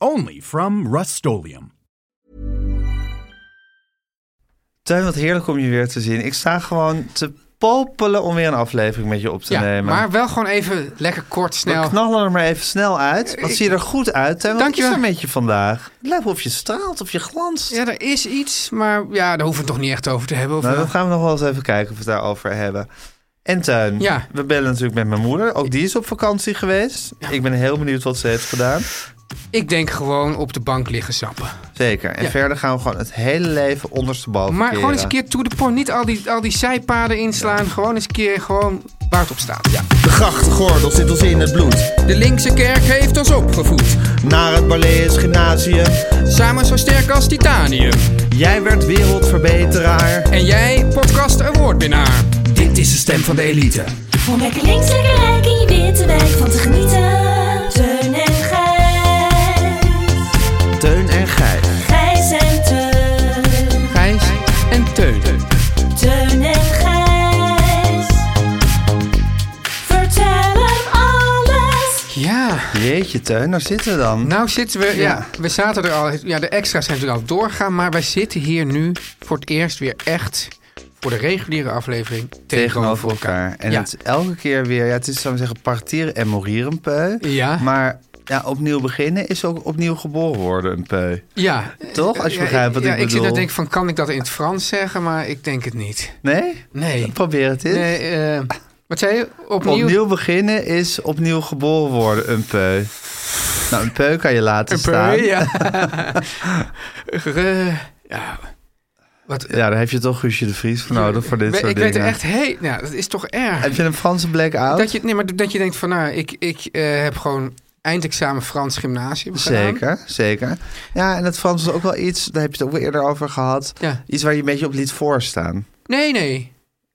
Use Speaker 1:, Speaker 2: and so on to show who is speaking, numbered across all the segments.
Speaker 1: Only from Rust-Oleum.
Speaker 2: Tuin, wat heerlijk om je weer te zien. Ik sta gewoon te popelen om weer een aflevering met je op te
Speaker 3: Ja,
Speaker 2: nemen.
Speaker 3: maar wel gewoon even lekker kort, snel.
Speaker 2: We knallen er maar even snel uit. Wat
Speaker 3: Ik-
Speaker 2: zie je er goed uit, Tuin? Wat
Speaker 3: Dank je
Speaker 2: is er
Speaker 3: wel.
Speaker 2: met je vandaag? Het lijkt wel of je straalt, of je glanst.
Speaker 3: Ja, er is iets, maar ja, daar hoeven we het toch niet echt over te hebben. Of
Speaker 2: nou,
Speaker 3: wel?
Speaker 2: dat gaan we nog wel eens even kijken of we het daarover hebben. En Tuin,
Speaker 3: Ja.
Speaker 2: we bellen natuurlijk met mijn moeder. Ook die is op vakantie geweest. Ik ben heel benieuwd wat ze heeft gedaan.
Speaker 3: Ik denk gewoon op de bank liggen zappen.
Speaker 2: Zeker. En
Speaker 3: Ja.
Speaker 2: verder gaan we gewoon het hele leven ondersteboven
Speaker 3: Maar gewoon
Speaker 2: keren.
Speaker 3: eens een keer to the point. Niet al die, al die zijpaden inslaan. Gewoon eens een keer gewoon waar het op staat. Ja.
Speaker 4: De grachtgordel zit ons in het bloed.
Speaker 5: De linkse kerk heeft ons opgevoed,
Speaker 4: Naar het Balees Gymnasium.
Speaker 5: samen zo sterk als titanium.
Speaker 4: Jij werd wereldverbeteraar.
Speaker 5: En jij, podcast awardwinnaar.
Speaker 4: Dit is de stem van de elite.
Speaker 6: Om lekker links, lekker rijk in je witte wijk van te genieten. Teun en Gijs.
Speaker 4: Teun en Gijs.
Speaker 6: Gijs en Teun.
Speaker 5: Gijs en Teun.
Speaker 6: Teun en Gijs. Vertel hem alles.
Speaker 3: ja.
Speaker 2: Jeetje, Tuin, daar zitten we dan.
Speaker 3: Nou zitten we... Ja. we zaten er al... Ja, de extra's zijn natuurlijk al doorgegaan. Maar wij zitten hier nu voor het eerst weer echt... voor de reguliere aflevering
Speaker 2: tegenover elkaar. En
Speaker 3: ja.
Speaker 2: het is elke keer weer, ja, het is zou ik zeggen, partieren en morieren een peu.
Speaker 3: Ja.
Speaker 2: Maar ja, opnieuw beginnen is ook opnieuw geboren worden een peu.
Speaker 3: Ja.
Speaker 2: Toch? Als je
Speaker 3: Ja,
Speaker 2: begrijpt wat
Speaker 3: ja,
Speaker 2: ik bedoel.
Speaker 3: Ik zit daar denk van, kan ik dat in het Frans zeggen? Maar ik denk het niet.
Speaker 2: Nee?
Speaker 3: Nee.
Speaker 2: Probeer het eens.
Speaker 3: Nee, eh, wat zei je? Opnieuw?
Speaker 2: Opnieuw beginnen is opnieuw geboren worden een peu. Nou, een peu kan je laten
Speaker 3: Een
Speaker 2: staan.
Speaker 3: peu, ja. Ge- ja. Wat,
Speaker 2: Ja, daar heb je toch Guusje de Vries voor nodig voor dit
Speaker 3: ik
Speaker 2: soort
Speaker 3: weet
Speaker 2: dingen.
Speaker 3: er echt heen. Nou, dat is toch erg.
Speaker 2: Heb je een Franse blackout?
Speaker 3: Dat je, nee, maar dat je denkt van, nou, ik, ik eh, heb gewoon eindexamen Frans gymnasium gedaan.
Speaker 2: Zeker, zeker. Ja, en het Frans was ook wel iets, daar heb je het ook wel eerder over gehad.
Speaker 3: Ja.
Speaker 2: Iets waar je een beetje op liet voorstaan.
Speaker 3: Nee, nee.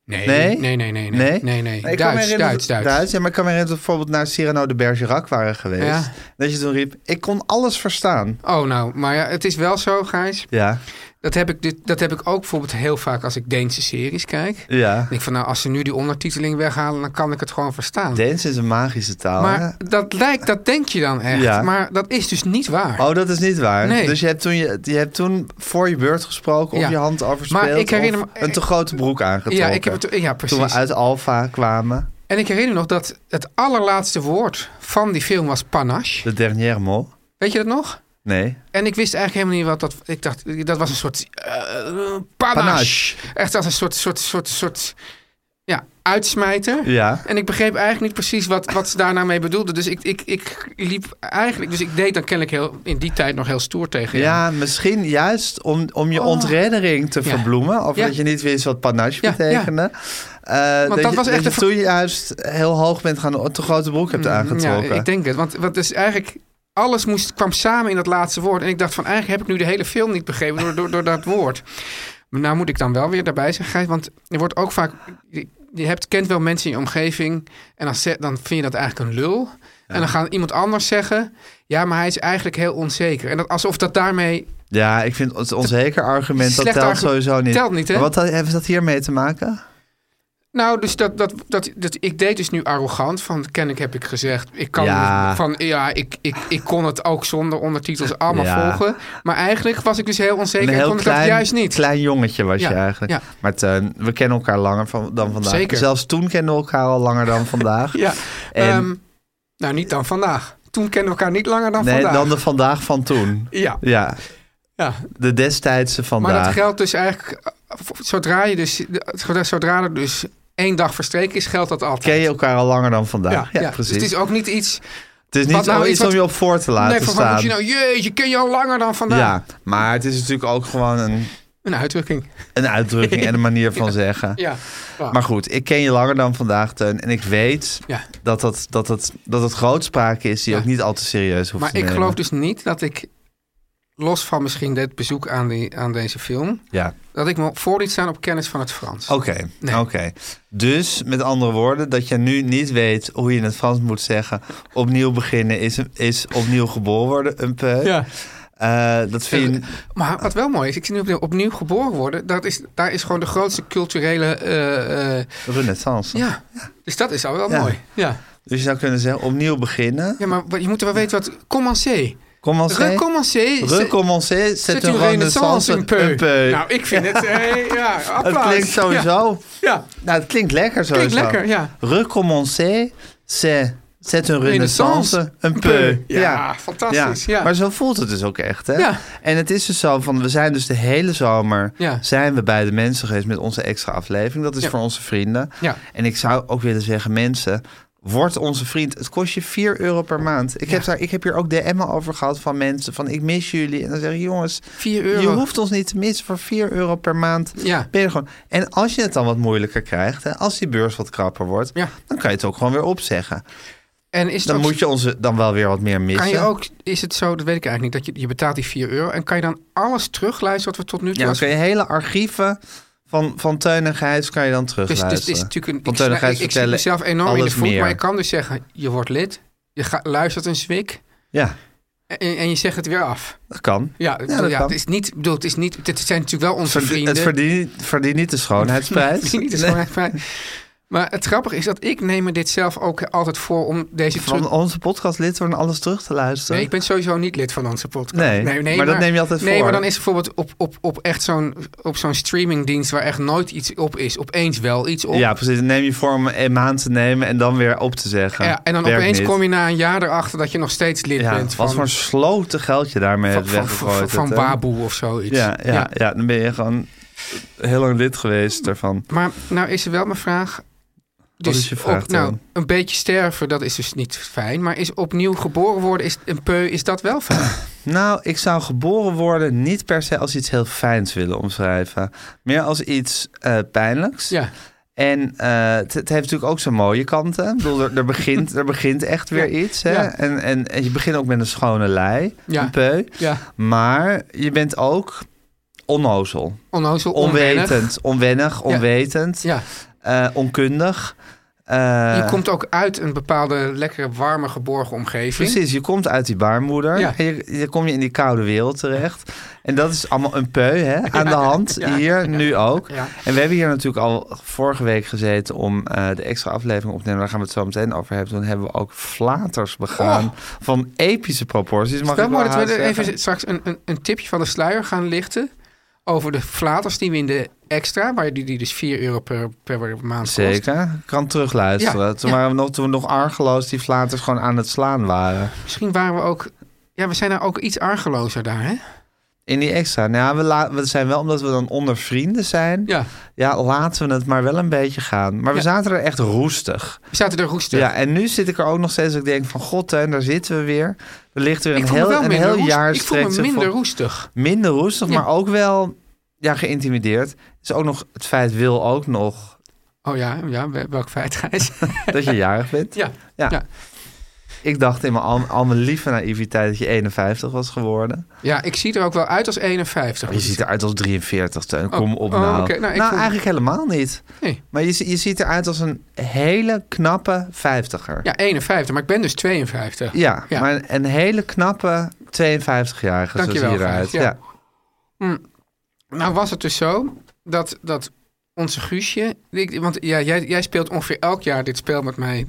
Speaker 3: Nee?
Speaker 2: Nee?
Speaker 3: Nee, nee, nee. Nee,
Speaker 2: Nee?
Speaker 3: nee. nee,
Speaker 2: Nee, ik kan me
Speaker 3: Duits,
Speaker 2: herinneren-
Speaker 3: Duits, Duits,
Speaker 2: ja, maar ik kan me herinneren dat we bijvoorbeeld naar Cyrano de Bergerac waren geweest.
Speaker 3: Ja.
Speaker 2: Dat je toen riep, ik kon alles verstaan.
Speaker 3: Oh, nou, maar ja, het is wel zo, Gijs.
Speaker 2: Ja,
Speaker 3: Dat heb ik, dit, dat heb ik ook bijvoorbeeld heel vaak als ik Deense series kijk.
Speaker 2: ja.
Speaker 3: Ik denk van, nou, als ze nu die ondertiteling weghalen, dan kan ik het gewoon verstaan.
Speaker 2: Deens is een magische taal.
Speaker 3: maar dat lijkt, dat denk je dan echt.
Speaker 2: Ja.
Speaker 3: Maar dat is dus niet waar.
Speaker 2: hè? Oh, dat is niet waar.
Speaker 3: Nee.
Speaker 2: Dus je hebt, toen je, je hebt toen voor je beurt gesproken
Speaker 3: Ja.
Speaker 2: of je hand overspeeld
Speaker 3: Maar ik herinner
Speaker 2: of
Speaker 3: me-
Speaker 2: een te grote broek aangetrokken.
Speaker 3: ja, ik heb het, ja, precies.
Speaker 2: toen we uit Alfa kwamen,
Speaker 3: En ik herinner nog dat het allerlaatste woord van die film was panache.
Speaker 2: de dernière mot.
Speaker 3: Weet je dat nog?
Speaker 2: Nee.
Speaker 3: En ik wist eigenlijk helemaal niet wat dat... Ik dacht, dat was een soort eh, panache.
Speaker 2: Panache.
Speaker 3: Echt als een soort, soort, soort, soort ja, uitsmijter.
Speaker 2: Ja.
Speaker 3: En ik begreep eigenlijk niet precies wat, wat ze daar nou mee bedoelden. Dus ik, ik, ik liep eigenlijk... Dus ik deed dan kennelijk heel, in die tijd nog heel stoer tegen jou.
Speaker 2: Ja, misschien juist om, om je ontreddering te
Speaker 3: Oh. Ja.
Speaker 2: verbloemen. Of
Speaker 3: Ja.
Speaker 2: dat je niet wist wat panache
Speaker 3: Ja, ja.
Speaker 2: betekende. Eh, dat,
Speaker 3: dat
Speaker 2: je,
Speaker 3: was
Speaker 2: dat
Speaker 3: echt
Speaker 2: je
Speaker 3: een ver- Mm,
Speaker 2: toen juist heel hoog bent gaan... te grote broek hebt aangetrokken.
Speaker 3: Ja, ik denk het. Want, want dus eigenlijk alles moest, kwam samen in dat laatste woord. En ik dacht van eigenlijk heb ik nu de hele film niet begrepen door, door, door dat woord. Maar nou moet ik dan wel weer daarbij zijn, Gijs. Want er wordt ook vaak... Je, je hebt, kent wel mensen in je omgeving. En dan, ze- dan vind je dat eigenlijk een lul. En dan gaan iemand anders zeggen... Ja, maar hij is eigenlijk heel onzeker. En dat, alsof dat daarmee...
Speaker 2: Ja, ik vind het onzeker argument, dat
Speaker 3: Slecht
Speaker 2: telt
Speaker 3: argu-
Speaker 2: sowieso niet.
Speaker 3: telt niet, hè?
Speaker 2: Maar Wat had- heeft dat hiermee te maken?
Speaker 3: Nou, dus dat, dat, dat, dat, ik deed dus nu arrogant. Van kennelijk heb ik gezegd... Ik kan
Speaker 2: Ja.
Speaker 3: van ja, ik, ik, ik kon het ook zonder ondertitels allemaal
Speaker 2: Ja.
Speaker 3: volgen. Maar eigenlijk was ik dus heel onzeker
Speaker 2: een
Speaker 3: en
Speaker 2: heel
Speaker 3: kon ik dat juist niet.
Speaker 2: klein jongetje was
Speaker 3: Ja,
Speaker 2: je eigenlijk.
Speaker 3: ja.
Speaker 2: Maar Teun, we kennen elkaar langer van, dan vandaag.
Speaker 3: Zeker.
Speaker 2: Zelfs toen kenden we elkaar al langer dan vandaag.
Speaker 3: Ja.
Speaker 2: En-
Speaker 3: Ehm, nou, niet dan vandaag. Toen kennen we elkaar niet langer dan
Speaker 2: nee,
Speaker 3: vandaag.
Speaker 2: dan de vandaag van toen.
Speaker 3: Ja.
Speaker 2: Ja,
Speaker 3: Ja,
Speaker 2: De destijdse
Speaker 3: maar dat
Speaker 2: vandaag.
Speaker 3: geldt dus eigenlijk... Zodra, je dus, zodra er dus één dag verstreken is, geldt dat altijd.
Speaker 2: Ken je elkaar al langer dan vandaag? Ja, precies.
Speaker 3: Dus het is ook niet iets...
Speaker 2: het is
Speaker 3: wat
Speaker 2: niet
Speaker 3: nou
Speaker 2: nou
Speaker 3: iets
Speaker 2: iets om
Speaker 3: wat-
Speaker 2: je op voor te laten
Speaker 3: nee, van, van,
Speaker 2: staan.
Speaker 3: moet je nou, jeetje, ken je al langer dan vandaag.
Speaker 2: ja, maar het is natuurlijk ook gewoon een,
Speaker 3: Een uitdrukking.
Speaker 2: een uitdrukking en een manier van zeggen.
Speaker 3: Ja. Ja.
Speaker 2: Maar goed, ik ken je langer dan vandaag, Teun. En ik weet
Speaker 3: Ja.
Speaker 2: dat, dat, dat, dat, dat het grootspraak is die
Speaker 3: Ja.
Speaker 2: ook niet al te serieus hoeft
Speaker 3: Maar
Speaker 2: te
Speaker 3: ik
Speaker 2: nemen.
Speaker 3: geloof dus niet dat ik, los van misschien dit bezoek aan, die, aan deze film,
Speaker 2: Ja, Oh,
Speaker 3: dat ik me voor liet staan op kennis van het Frans.
Speaker 2: oké.
Speaker 3: Nee.
Speaker 2: oké. Dus met andere woorden, dat je nu niet weet hoe je in het Frans moet zeggen... opnieuw beginnen is, is opnieuw geboren worden, een peu.
Speaker 3: Ja.
Speaker 2: Eh, dat vind je...
Speaker 3: Maar wat wel mooi is, ik zie nu opnieuw- opnieuw geboren worden. Dat is, daar is gewoon de grootste culturele. eh, eh,
Speaker 2: Renaissance.
Speaker 3: ja. Dus dat is al wel
Speaker 2: Ja.
Speaker 3: mooi. Ja.
Speaker 2: Dus je zou kunnen zeggen, opnieuw beginnen.
Speaker 3: ja, maar wat- je moet er wel weten wat. Commencer.
Speaker 2: Commencer.
Speaker 3: Recommencer. c'est-
Speaker 2: Recommencer, c'est
Speaker 3: c'est
Speaker 2: une renaissance,
Speaker 3: in
Speaker 2: een peu.
Speaker 3: peu. Nou, ik vind het. eh, ja,
Speaker 2: het
Speaker 3: applaus.
Speaker 2: klinkt sowieso...
Speaker 3: Ja, ja.
Speaker 2: Nou, het klinkt lekker zo.
Speaker 3: Klinkt lekker, ja.
Speaker 2: Recommencer, c'est, c'est een renaissance,
Speaker 3: Renaissance,
Speaker 2: een peu.
Speaker 3: Ja, fantastisch, ja.
Speaker 2: Maar zo voelt het dus ook echt, hè?
Speaker 3: Ja.
Speaker 2: En het is dus zo van, we zijn dus de hele zomer...
Speaker 3: Ja.
Speaker 2: zijn we bij de mensen geweest met onze extra aflevering. Dat is
Speaker 3: Ja.
Speaker 2: voor onze vrienden.
Speaker 3: Ja.
Speaker 2: En ik zou ook willen zeggen, mensen... Word onze vriend. Het kost je 4 euro per maand. Ik, heb daar, ik heb hier ook DM'en over gehad van mensen. Van ik mis jullie. En dan zeg ik jongens,
Speaker 3: 4 euro.
Speaker 2: je hoeft ons niet te missen voor 4 euro per maand.
Speaker 3: Ja.
Speaker 2: Ben je er gewoon. En als je het dan wat moeilijker krijgt, hè, als die beurs wat krapper wordt,
Speaker 3: Ja.
Speaker 2: dan kan je het ook gewoon weer opzeggen.
Speaker 3: En is het
Speaker 2: Dan
Speaker 3: ook-
Speaker 2: moet je onze dan wel weer wat meer missen.
Speaker 3: Kan je ook, is het zo, dat weet ik eigenlijk niet, dat je, je betaalt die 4 euro en kan je dan alles terugluisteren wat we tot nu toe
Speaker 2: ja, dan
Speaker 3: als-
Speaker 2: kun je hele archieven van, van Teun en Gijs kan je dan
Speaker 3: Dus,
Speaker 2: terugluisteren.
Speaker 3: dus het is natuurlijk een,
Speaker 2: Van
Speaker 3: ik,
Speaker 2: Teun en
Speaker 3: snij-
Speaker 2: Gijs
Speaker 3: ik, ik zit
Speaker 2: vertellen
Speaker 3: mezelf enorm in de
Speaker 2: alles
Speaker 3: voet,
Speaker 2: meer.
Speaker 3: maar je kan dus zeggen, je wordt lid, je gaat, luistert een zwik
Speaker 2: Ja,
Speaker 3: en, en je zegt het weer af.
Speaker 2: dat kan.
Speaker 3: Ja, ik bedoel,
Speaker 2: dat
Speaker 3: ja
Speaker 2: kan.
Speaker 3: het is niet, ik bedoel, het is niet, dit zijn natuurlijk wel onze
Speaker 2: Verdi-
Speaker 3: vrienden.
Speaker 2: het verdient, verdient niet de schoonheidsprijs.
Speaker 3: Het is niet, het is gewoon echt fijn. Maar het grappige is dat ik neem me dit zelf ook altijd voor om deze terug...
Speaker 2: Van onze podcastlid worden alles terug te luisteren.
Speaker 3: Nee, ik ben sowieso niet lid van onze podcast.
Speaker 2: Nee, maar dat neem je altijd
Speaker 3: Nee,
Speaker 2: voor.
Speaker 3: maar dan is bijvoorbeeld op, op, op echt zo'n op zo'n streamingdienst waar echt nooit iets op is, opeens wel iets op.
Speaker 2: Ja, precies. Dan Neem je voor om een maand te nemen en dan weer op te zeggen.
Speaker 3: Ja, en dan
Speaker 2: Werkt
Speaker 3: opeens
Speaker 2: niet.
Speaker 3: kom je na een jaar erachter dat je nog steeds lid
Speaker 2: Ja,
Speaker 3: bent
Speaker 2: wat
Speaker 3: van,
Speaker 2: voor sloten geld je daarmee
Speaker 3: van,
Speaker 2: hebt
Speaker 3: van,
Speaker 2: weggegooid.
Speaker 3: van, van
Speaker 2: het, hè?
Speaker 3: Baboe of zoiets.
Speaker 2: Ja, ja, ja. dan ben je gewoon heel lang lid geweest daarvan.
Speaker 3: Maar nou is er wel mijn vraag. Dus
Speaker 2: is je vraag
Speaker 3: op- nou,
Speaker 2: dan?
Speaker 3: een beetje sterven, dat is dus niet fijn. Maar is opnieuw geboren worden is een peu, is dat wel fijn?
Speaker 2: Nou, ik zou geboren worden niet per se als iets heel fijns willen omschrijven. Meer als iets eh, pijnlijks.
Speaker 3: ja.
Speaker 2: En eh, het, het heeft natuurlijk ook zijn mooie kanten. Ik bedoel, er, er begint, er begint echt weer
Speaker 3: Ja,
Speaker 2: iets. Hè?
Speaker 3: ja.
Speaker 2: En, en, en je begint ook met een schone lei,
Speaker 3: Ja.
Speaker 2: een peu.
Speaker 3: Ja.
Speaker 2: Maar je bent ook onnozel,
Speaker 3: Onnozel, onwennig.
Speaker 2: onwetend, onwennig, onwetend,
Speaker 3: Ja.
Speaker 2: eh, onkundig.
Speaker 3: Je
Speaker 2: Eh,
Speaker 3: komt ook uit een bepaalde lekkere, warme, geborgen omgeving.
Speaker 2: Precies, je komt uit die baarmoeder.
Speaker 3: Ja.
Speaker 2: En je, je kom je in die koude wereld terecht. En dat is allemaal een peu hè, aan de hand. hier, nu ook.
Speaker 3: ja.
Speaker 2: En we hebben hier natuurlijk al vorige week gezeten om eh, de extra aflevering op te nemen. Daar gaan we het zo meteen over hebben. Toen hebben we ook flaters begaan
Speaker 3: Oh.
Speaker 2: van epische proporties. Mag
Speaker 3: Het is
Speaker 2: ik
Speaker 3: wel
Speaker 2: wel
Speaker 3: mooi dat
Speaker 2: haast
Speaker 3: we er even
Speaker 2: zeggen?
Speaker 3: straks een, een, een tipje van de sluier gaan lichten. Over de flaters die we in de extra, waar die, die dus 4 euro per, per maand kost.
Speaker 2: Zeker, Ik kan terugluisteren.
Speaker 3: Ja,
Speaker 2: toen,
Speaker 3: ja.
Speaker 2: Waren we nog, toen we nog argeloos die flaters gewoon aan het slaan waren.
Speaker 3: Misschien waren we ook... Ja, we zijn daar ook iets argelozer daar, hè?
Speaker 2: In die extra. Nou ja, we, la- we zijn wel omdat we dan onder vrienden zijn.
Speaker 3: Ja,
Speaker 2: Ja, laten we het maar wel een beetje gaan. Maar we
Speaker 3: Ja.
Speaker 2: zaten er echt roestig.
Speaker 3: we zaten er roestig.
Speaker 2: Ja, en nu zit ik er ook nog steeds. dat Ik denk van, god, Teun, daar zitten we weer. Er ligt weer
Speaker 3: ik
Speaker 2: een
Speaker 3: voel me
Speaker 2: heel,
Speaker 3: wel
Speaker 2: een
Speaker 3: minder
Speaker 2: heel
Speaker 3: roestig.
Speaker 2: jaar
Speaker 3: Ik voel me
Speaker 2: strekt zich
Speaker 3: minder
Speaker 2: vol-
Speaker 3: roestig.
Speaker 2: minder roestig,
Speaker 3: Ja.
Speaker 2: maar ook wel ja, geïntimideerd. Is ook nog het feit wil ook nog
Speaker 3: Oh ja, ja wel- welk feit, Gijs?
Speaker 2: dat je jarig bent.
Speaker 3: ja.
Speaker 2: Ja.
Speaker 3: Ja.
Speaker 2: Ik dacht in mijn al, al mijn lieve naïviteit dat je 51 was geworden.
Speaker 3: ja, ik zie er ook wel uit als 51.
Speaker 2: Je ziet eruit als 43, Teun. Kom op
Speaker 3: oh,
Speaker 2: nou.
Speaker 3: oké. Nou,
Speaker 2: Nou,
Speaker 3: ik voel-
Speaker 2: eigenlijk helemaal niet.
Speaker 3: Nee.
Speaker 2: Maar je, zie- je ziet eruit als een hele knappe 50er.
Speaker 3: Ja, 51, maar ik ben dus 52.
Speaker 2: Ja,
Speaker 3: Ja.
Speaker 2: maar een hele knappe 52-jarige zo zie
Speaker 3: Dankjewel,
Speaker 2: je eruit.
Speaker 3: Gijs.
Speaker 2: Ja.
Speaker 3: Ja. Nou was het dus zo dat, dat onze Guusje... Ik, want ja, jij, jij speelt ongeveer elk jaar dit spel met mij.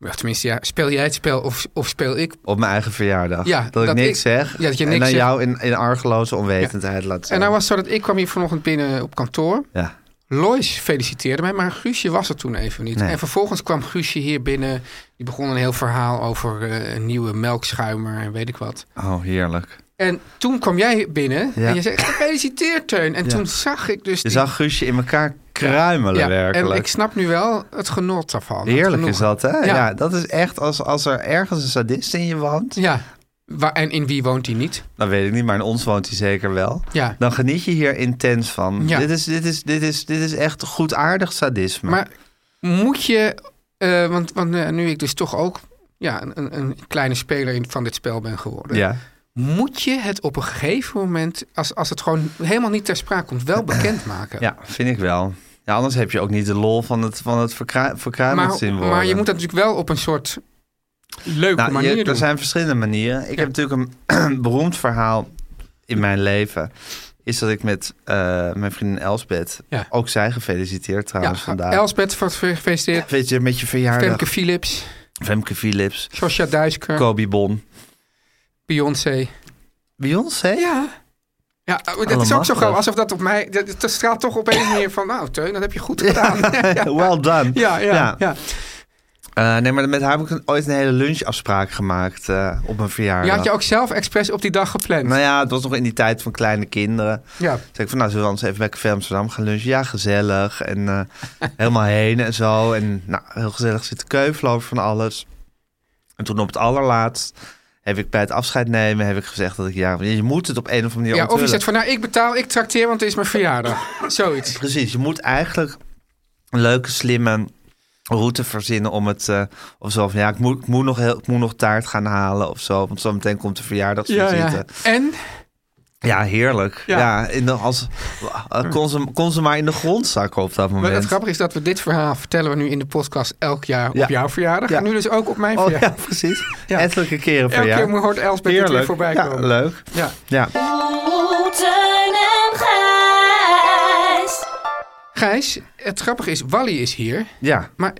Speaker 3: Of tenminste, ja, speel jij het spel of, of speel ik?
Speaker 2: Op mijn eigen verjaardag.
Speaker 3: Ja,
Speaker 2: dat, ik
Speaker 3: dat
Speaker 2: niks
Speaker 3: ik-
Speaker 2: zeg.
Speaker 3: ja, dat je
Speaker 2: en
Speaker 3: niks
Speaker 2: dan
Speaker 3: zegt.
Speaker 2: jou in, in argeloze onwetendheid laat
Speaker 3: En
Speaker 2: zijn.
Speaker 3: nou was het zo dat ik kwam hier vanochtend binnen op kantoor.
Speaker 2: Ja.
Speaker 3: Lois feliciteerde mij, maar Guusje was er toen even niet.
Speaker 2: Nee.
Speaker 3: En vervolgens kwam Guusje hier binnen. Die begon een heel verhaal over eh, een nieuwe melkschuimer en weet ik wat.
Speaker 2: Oh, heerlijk.
Speaker 3: En toen kwam jij binnen
Speaker 2: Ja.
Speaker 3: en je zei, gefeliciteerd Teun. En
Speaker 2: Ja.
Speaker 3: toen zag ik dus...
Speaker 2: Je
Speaker 3: die-
Speaker 2: zag Guusje in elkaar kruimelen
Speaker 3: ja, en
Speaker 2: werkelijk.
Speaker 3: ik snap nu wel het genot daarvan. het
Speaker 2: Heerlijk is
Speaker 3: genoegen.
Speaker 2: dat, hè? Ja.
Speaker 3: Ja.
Speaker 2: dat is echt als, als er ergens een sadist in je woont.
Speaker 3: Ja, Waar, en in wie woont hij niet?
Speaker 2: Dat weet ik niet, maar in ons woont hij zeker wel.
Speaker 3: Ja.
Speaker 2: Dan geniet je hier intens van.
Speaker 3: Ja.
Speaker 2: Dit, is, dit, is, dit, is, dit is echt goedaardig sadisme.
Speaker 3: Maar moet je, eh, want, want eh, nu ik dus toch ook ja, een- een, een kleine speler in, van dit spel ben geworden,
Speaker 2: ja.
Speaker 3: moet je het op een gegeven moment, als, als het gewoon helemaal niet ter sprake komt, wel bekendmaken.
Speaker 2: ja, vind ik wel. Ja, anders heb je ook niet de lol van het, van het verkru- verkruimeld
Speaker 3: maar,
Speaker 2: zien worden.
Speaker 3: maar je moet dat natuurlijk wel op een soort leuke
Speaker 2: Nou, je-
Speaker 3: manier doen.
Speaker 2: er zijn verschillende manieren. Ik
Speaker 3: Ja.
Speaker 2: heb natuurlijk een beroemd verhaal in mijn leven. Is dat ik met eh, mijn vriendin Elsbeth,
Speaker 3: Ja.
Speaker 2: ook zij gefeliciteerd trouwens vandaag.
Speaker 3: Elsbeth, van- gefeliciteerd.
Speaker 2: Weet je, met je verjaardag.
Speaker 3: Femke Philips,
Speaker 2: Femke Philips,
Speaker 3: Sosja Duisker,
Speaker 2: Kobe Bon.
Speaker 3: Beyoncé.
Speaker 2: Beyoncé?
Speaker 3: Ja. Ja, oh, dat is ook zo
Speaker 2: Allemachtig.
Speaker 3: gauw. Alsof dat op mij... Dat, dat straalt toch op een manier van... Nou, Teun, dat heb je goed gedaan.
Speaker 2: Well done.
Speaker 3: ja, ja. ja.
Speaker 2: Eh, nee, maar met haar heb ik een- ooit een hele lunchafspraak gemaakt eh, op mijn verjaardag.
Speaker 3: Je had je ook zelf expres op die dag gepland.
Speaker 2: Nou ja, het was nog in die tijd van kleine kinderen.
Speaker 3: Ja.
Speaker 2: Toen zei ik van, nou, zullen we anders even bij Café Amsterdam gaan lunchen? Ja, gezellig. En eh, helemaal heen en zo. En nou, heel gezellig zitten keuvelen over van alles. En toen op het allerlaatst heb ik bij het afscheid nemen... heb ik gezegd dat ik, ja, je moet het op een of andere manier
Speaker 3: Ja, of je
Speaker 2: onthullen.
Speaker 3: zegt van, nou, ik betaal, ik trakteer, want het is mijn verjaardag. Zoiets.
Speaker 2: Precies, je moet eigenlijk een leuke, slimme route verzinnen om het... eh, of zo van, ja, ik moet, ik, moet nog heel, ik moet nog taart gaan halen of zo. Want zometeen komt de verjaardagsvisite. Ja,
Speaker 3: En?
Speaker 2: heerlijk. Ja,
Speaker 3: Ja.
Speaker 2: in de, als, eh, kon, ze, kon ze maar in de grond zakken op dat
Speaker 3: Maar
Speaker 2: moment.
Speaker 3: het grappige is dat we dit verhaal vertellen we nu in de podcast elk jaar
Speaker 2: Ja.
Speaker 3: op jouw verjaardag.
Speaker 2: Ja.
Speaker 3: En nu dus ook op mijn
Speaker 2: Oh ja,
Speaker 3: verjaardag.
Speaker 2: precies.
Speaker 3: Ja.
Speaker 2: Ettelijke keren per
Speaker 3: Elke
Speaker 2: jaar.
Speaker 3: keer hoort Elsbeth het weer voorbij
Speaker 2: ja,
Speaker 3: komen.
Speaker 2: leuk.
Speaker 3: Ja.
Speaker 2: Ja.
Speaker 6: Oeh, Teun en Gijs.
Speaker 3: Gijs, het grappige is, Wally is hier,
Speaker 2: Ja.
Speaker 3: maar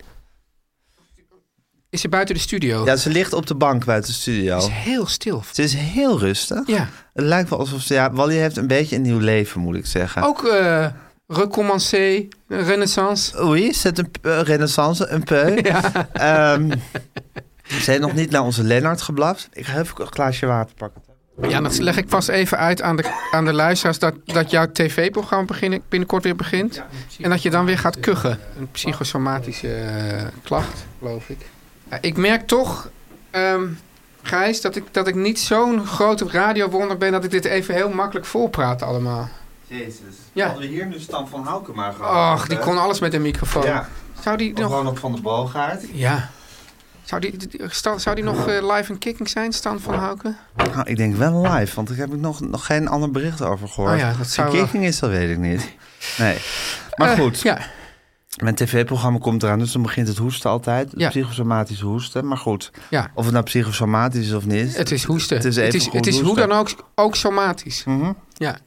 Speaker 3: is ze buiten de studio?
Speaker 2: ja, ze ligt op de bank buiten de studio.
Speaker 3: Is heel stil.
Speaker 2: Ze is heel rustig.
Speaker 3: Ja.
Speaker 2: Het lijkt wel alsof ze... Ja, Wally heeft een beetje een nieuw leven, moet ik zeggen.
Speaker 3: Ook eh recommencé, renaissance.
Speaker 2: Oei, is het een p- eh, renaissance, een peu? Ehm, we zijn nog niet naar onze Lennart geblaft. Ik ga even een glaasje water pakken.
Speaker 3: Ja, dat leg ik vast even uit aan de, aan de luisteraars dat, dat jouw tv-programma begin- binnenkort weer begint. en dat je dan weer gaat kuchen. Een psychosomatische eh, klacht, geloof ik. Ja, ik merk toch, ehm, Gijs, dat ik, dat ik niet zo'n grote radiowonder ben dat ik dit even heel makkelijk volpraat allemaal.
Speaker 2: Jezus.
Speaker 3: Ja. Hadden
Speaker 2: we hier nu Stan van Haukema
Speaker 3: Och, die kon alles met een microfoon.
Speaker 2: Ja,
Speaker 3: Zou die nog...
Speaker 2: gewoon op Van de Bogaard.
Speaker 3: Ja. Zou die, die- die- Stan- zou die nog eh, live en kicking zijn, Stan van Houken?
Speaker 2: Nou, ik denk wel live, want ik heb ik nog, nog geen ander bericht over gehoord.
Speaker 3: Oh ja, dat
Speaker 2: Of die
Speaker 3: zou wel-
Speaker 2: kicking is, dat weet ik niet. Nee. Maar
Speaker 3: Eh,
Speaker 2: goed,
Speaker 3: ja.
Speaker 2: mijn tv-programma komt eraan, dus dan begint het hoesten altijd. Het
Speaker 3: Ja.
Speaker 2: psychosomatische hoesten. Maar goed,
Speaker 3: Ja.
Speaker 2: of het nou psychosomatisch is of niet.
Speaker 3: Het is hoesten.
Speaker 2: Het is even
Speaker 3: het is,
Speaker 2: goed
Speaker 3: het is hoe
Speaker 2: hoesten.
Speaker 3: dan ook, ook somatisch.
Speaker 2: Mhm.
Speaker 3: Ja.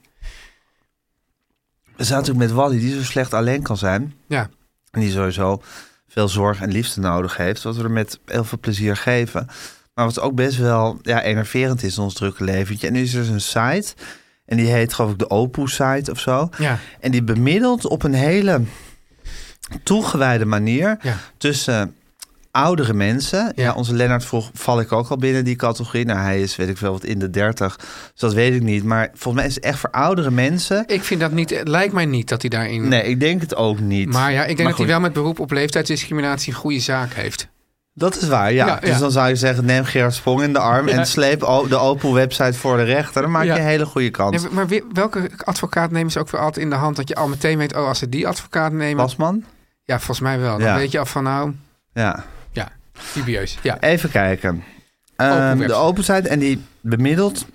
Speaker 2: We zaten ook met Wally, die zo slecht alleen kan zijn.
Speaker 3: Ja.
Speaker 2: En die sowieso veel zorg en liefde nodig heeft. Wat we er met heel veel plezier geven. Maar wat ook best wel ja, enerverend is in ons drukke leventje. En nu is er dus een site. En die heet geloof ik de Opu-site of zo.
Speaker 3: Ja.
Speaker 2: En die bemiddelt op een hele toegewijde manier
Speaker 3: Ja.
Speaker 2: tussen oudere mensen. Ja.
Speaker 3: Ja.
Speaker 2: onze Lennart vroeg, val ik ook al binnen die categorie? Nou, hij is, weet ik veel, wat in de 30. Dus dat weet ik niet. Maar volgens mij is het echt voor oudere mensen.
Speaker 3: Ik vind dat niet, het lijkt mij niet dat hij daarin.
Speaker 2: Nee, ik denk het ook niet.
Speaker 3: Maar ja, ik denk dat
Speaker 2: goed,
Speaker 3: hij wel met beroep op leeftijdsdiscriminatie een goede zaak heeft.
Speaker 2: Dat is waar, ja.
Speaker 3: Ja,
Speaker 2: dus
Speaker 3: ja.
Speaker 2: dan zou je zeggen, neem Gerard Sprong in de arm... en sleep o- de Opel-website voor de rechter. Dan maak je
Speaker 3: Ja.
Speaker 2: een hele goede kans.
Speaker 3: Nee, maar wie- welke advocaat nemen ze ook weer altijd in de hand? Dat je al meteen weet, oh, als ze die advocaat nemen.
Speaker 2: Wasman?
Speaker 3: Ja, volgens mij wel. Dan
Speaker 2: Ja.
Speaker 3: weet je al van, nou,
Speaker 2: Ja.
Speaker 3: ja, dubieus. Ja.
Speaker 2: Even kijken. Ehm,
Speaker 3: website.
Speaker 2: de open site en die bemiddelt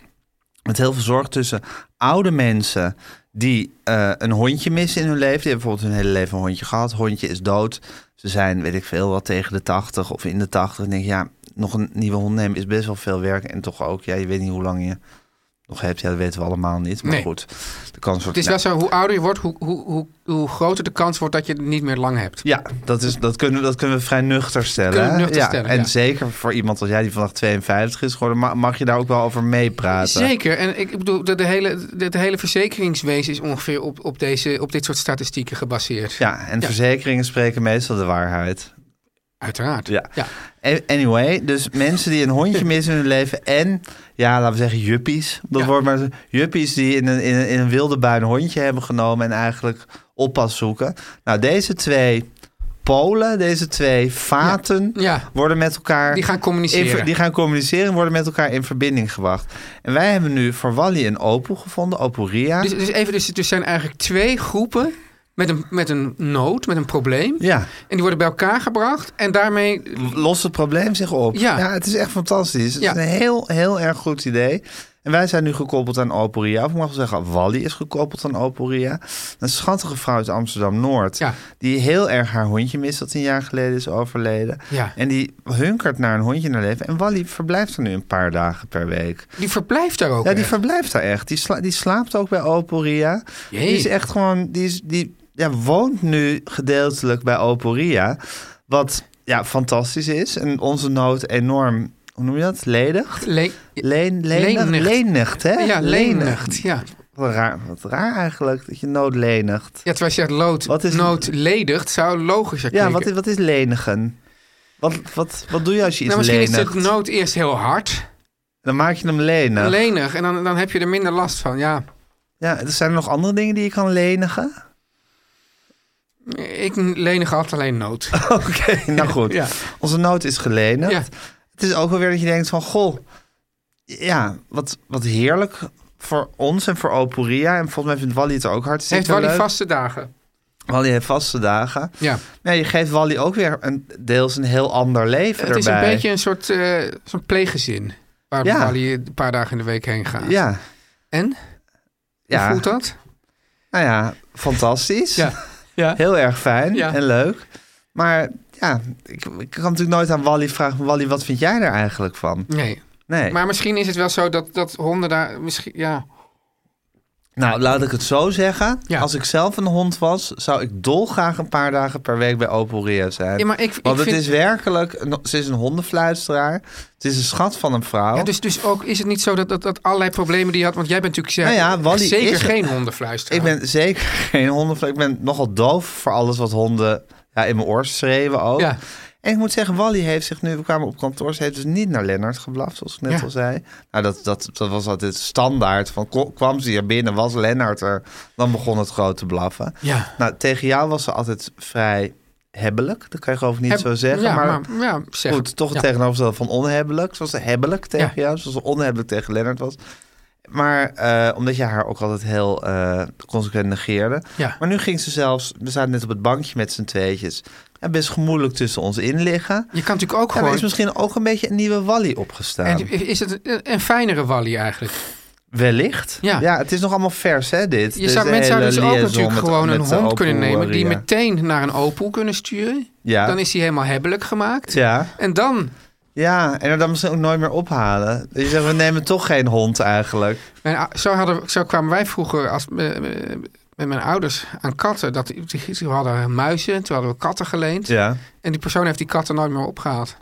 Speaker 2: met heel veel zorg tussen oude mensen die eh, een hondje missen in hun leven. Die hebben bijvoorbeeld hun hele leven een hondje gehad. Hondje is dood. Ze zijn, weet ik veel, wat tegen de 80 of in de 80. En denk je, ja, nog een nieuwe hond nemen is best wel veel werk. En toch ook, ja, je weet niet hoe lang je nog hebt. Ja, dat weten we allemaal niet. Maar
Speaker 3: Nee.
Speaker 2: goed, de kans
Speaker 3: Het
Speaker 2: wordt...
Speaker 3: is
Speaker 2: nou,
Speaker 3: wel zo, hoe ouder je wordt, hoe, hoe, hoe, hoe groter de kans wordt dat je het niet meer lang hebt.
Speaker 2: Ja, dat, is, dat, kunnen, we- dat kunnen we vrij nuchter stellen.
Speaker 3: Kunnen we
Speaker 2: hè?
Speaker 3: nuchter
Speaker 2: ja,
Speaker 3: stellen,
Speaker 2: en
Speaker 3: ja.
Speaker 2: zeker voor iemand als jij die vandaag 52 is geworden, ma- mag je daar ook wel over meepraten.
Speaker 3: Zeker. En ik ik bedoel, de, de hele, de, de hele verzekeringswezen is ongeveer op, op, deze, op dit soort statistieken gebaseerd.
Speaker 2: Ja, en
Speaker 3: Ja.
Speaker 2: verzekeringen spreken meestal de waarheid.
Speaker 3: Uiteraard.
Speaker 2: Ja.
Speaker 3: ja.
Speaker 2: A- Anyway, dus mensen die een hondje missen in hun leven en, ja, laten we zeggen juppies. Dat
Speaker 3: Ja.
Speaker 2: wordt maar zo- juppies die in een, in, een, in een wilde bui een hondje hebben genomen en eigenlijk oppas zoeken. Nou, deze twee polen, deze twee vaten,
Speaker 3: Ja.
Speaker 2: worden met elkaar...
Speaker 3: Die gaan communiceren.
Speaker 2: in ver- die gaan communiceren en worden met elkaar in verbinding gebracht. En wij hebben nu voor Wally een Opel gevonden, Opel Ria.
Speaker 3: Dus, dus even, dus, er zijn eigenlijk twee groepen met een, met een nood, met een probleem.
Speaker 2: ja.
Speaker 3: En die worden bij elkaar gebracht. En daarmee
Speaker 2: lost het probleem zich op.
Speaker 3: Ja.
Speaker 2: het is echt fantastisch. Het
Speaker 3: Ja.
Speaker 2: is een heel, heel erg goed idee. En wij zijn nu gekoppeld aan Oporia. Of ik mag wel zeggen, Wally is gekoppeld aan Oporia. Een schattige vrouw uit Amsterdam-Noord.
Speaker 3: Ja.
Speaker 2: Die heel erg haar hondje mist, dat een jaar geleden is overleden.
Speaker 3: Ja.
Speaker 2: En die hunkert naar een hondje naar leven. En Wally verblijft er nu een paar dagen per week.
Speaker 3: die verblijft daar ook.
Speaker 2: Ja, die
Speaker 3: echt.
Speaker 2: verblijft daar echt. Die, sla- die slaapt ook bij Oporia.
Speaker 3: Jee.
Speaker 2: Die is echt gewoon... Die, is, die ja, woont nu gedeeltelijk bij Oporia. Wat ja, fantastisch is. En onze nood enorm... Hoe noem je dat? Ledig?
Speaker 3: Le-
Speaker 2: Leen, lenig,
Speaker 3: Leenigt.
Speaker 2: lenigt, hè?
Speaker 3: ja, lenigt.
Speaker 2: Lenigt.
Speaker 3: Ja.
Speaker 2: Wat raar, wat raar eigenlijk, dat je nood lenigt.
Speaker 3: ja, terwijl je zegt lood,
Speaker 2: Wat is-
Speaker 3: nood ledigt, zou logischer
Speaker 2: Ja,
Speaker 3: klinken.
Speaker 2: wat, is- wat is lenigen? Wat, wat, wat doe je als je iets
Speaker 3: nou, misschien
Speaker 2: lenigt?
Speaker 3: is het nood eerst heel hard,
Speaker 2: Dan maak je hem lenig.
Speaker 3: lenig. En dan, dan heb je er minder last van. Ja,
Speaker 2: ja, er zijn er nog andere dingen die je kan lenigen?
Speaker 3: ik lenig altijd alleen nood.
Speaker 2: Oké, nou goed.
Speaker 3: Ja.
Speaker 2: Onze nood is gelenigd.
Speaker 3: Ja.
Speaker 2: Het is ook wel weer dat je denkt van... Goh, ja, wat, wat heerlijk voor ons en voor Oporia. En volgens mij vindt Wally het ook hartstikke
Speaker 3: Heeft wel die
Speaker 2: leuk.
Speaker 3: vaste dagen.
Speaker 2: Wally heeft vaste dagen.
Speaker 3: Ja.
Speaker 2: Nee, je geeft Wally ook weer een, deels een heel ander leven
Speaker 3: Het is een
Speaker 2: erbij.
Speaker 3: beetje een soort eh, zo'n pleeggezin. Waar
Speaker 2: Ja.
Speaker 3: Wally een paar dagen in de week heen gaat.
Speaker 2: Ja,
Speaker 3: En?
Speaker 2: ja.
Speaker 3: Hoe voelt dat?
Speaker 2: Nou ja, fantastisch.
Speaker 3: ja.
Speaker 2: Heel erg fijn
Speaker 3: Ja.
Speaker 2: en leuk. Maar ja, ik, ik kan natuurlijk nooit aan Wally vragen... Wally, wat vind jij er eigenlijk van?
Speaker 3: Nee.
Speaker 2: Nee.
Speaker 3: Maar misschien is het wel zo dat, dat honden daar misschien... Ja.
Speaker 2: Nou, laat ik het zo zeggen.
Speaker 3: Ja.
Speaker 2: Als ik zelf een hond was, zou ik dolgraag een paar dagen per week bij Opel Ria zijn.
Speaker 3: Ja, maar ik- ik
Speaker 2: Want het
Speaker 3: vind-
Speaker 2: is werkelijk, een- ze is een hondenfluisteraar. Het is een schat van een vrouw.
Speaker 3: Ja, dus, dus ook is het niet zo dat, dat, dat allerlei problemen die je had... Want jij bent natuurlijk
Speaker 2: Nou
Speaker 3: zeker,
Speaker 2: ja, Wally
Speaker 3: zeker
Speaker 2: is-
Speaker 3: geen hondenfluisteraar.
Speaker 2: Ik ben zeker geen hondenfluisteraar. Ik ben nogal doof voor alles wat honden ja, in mijn oor schreeuwen ook.
Speaker 3: Ja.
Speaker 2: En ik moet zeggen, Wally heeft zich nu, we kwamen op kantoor, ze heeft dus niet naar Lennart geblaft, zoals ik net
Speaker 3: Ja.
Speaker 2: al zei. Nou, dat, dat, dat was altijd standaard. Van, ko- kwam ze hier binnen, was Lennart er, dan begon het grote blaffen.
Speaker 3: Ja.
Speaker 2: Nou, tegen jou was ze altijd vrij hebbelijk. Dat kan je geloof ik niet
Speaker 3: Heb-
Speaker 2: zo zeggen.
Speaker 3: ja,
Speaker 2: maar,
Speaker 3: maar- ja, zeg
Speaker 2: goed,
Speaker 3: het.
Speaker 2: toch het
Speaker 3: Ja.
Speaker 2: tegenovergestelde van onhebbelijk. Zoals ze hebbelijk tegen
Speaker 3: Ja.
Speaker 2: jou, zoals ze onhebbelijk tegen Lennart was. Maar eh, omdat je haar ook altijd heel eh, consequent negeerde.
Speaker 3: Ja.
Speaker 2: Maar nu ging ze zelfs, we zaten net op het bankje met z'n tweetjes. En best gemoedelijk tussen ons in liggen.
Speaker 3: Je kan natuurlijk ook
Speaker 2: Ja, er
Speaker 3: gewoon...
Speaker 2: is misschien ook een beetje een nieuwe Wally opgestaan.
Speaker 3: En is het een, een fijnere Wally eigenlijk?
Speaker 2: Wellicht.
Speaker 3: Ja.
Speaker 2: het is nog allemaal vers, hè, dit.
Speaker 3: Je
Speaker 2: Deze
Speaker 3: zou, mensen zouden
Speaker 2: hele
Speaker 3: dus ook
Speaker 2: liaison
Speaker 3: natuurlijk
Speaker 2: met-
Speaker 3: gewoon
Speaker 2: met
Speaker 3: een
Speaker 2: de
Speaker 3: hond kunnen
Speaker 2: Opel,
Speaker 3: nemen... die
Speaker 2: Ria.
Speaker 3: meteen naar een Opel kunnen sturen.
Speaker 2: Ja.
Speaker 3: Dan is hij helemaal hebbelijk gemaakt.
Speaker 2: Ja.
Speaker 3: En dan...
Speaker 2: Ja, en er dan misschien ook nooit meer ophalen. Je zegt, we nemen toch geen hond eigenlijk.
Speaker 3: Mijn, ou- zo, hadden, zo kwamen wij vroeger als, eh, eh, met mijn ouders aan katten. Dat, die, die hadden muizen, toen hadden we katten geleend.
Speaker 2: Ja.
Speaker 3: En die persoon heeft die katten nooit meer opgehaald.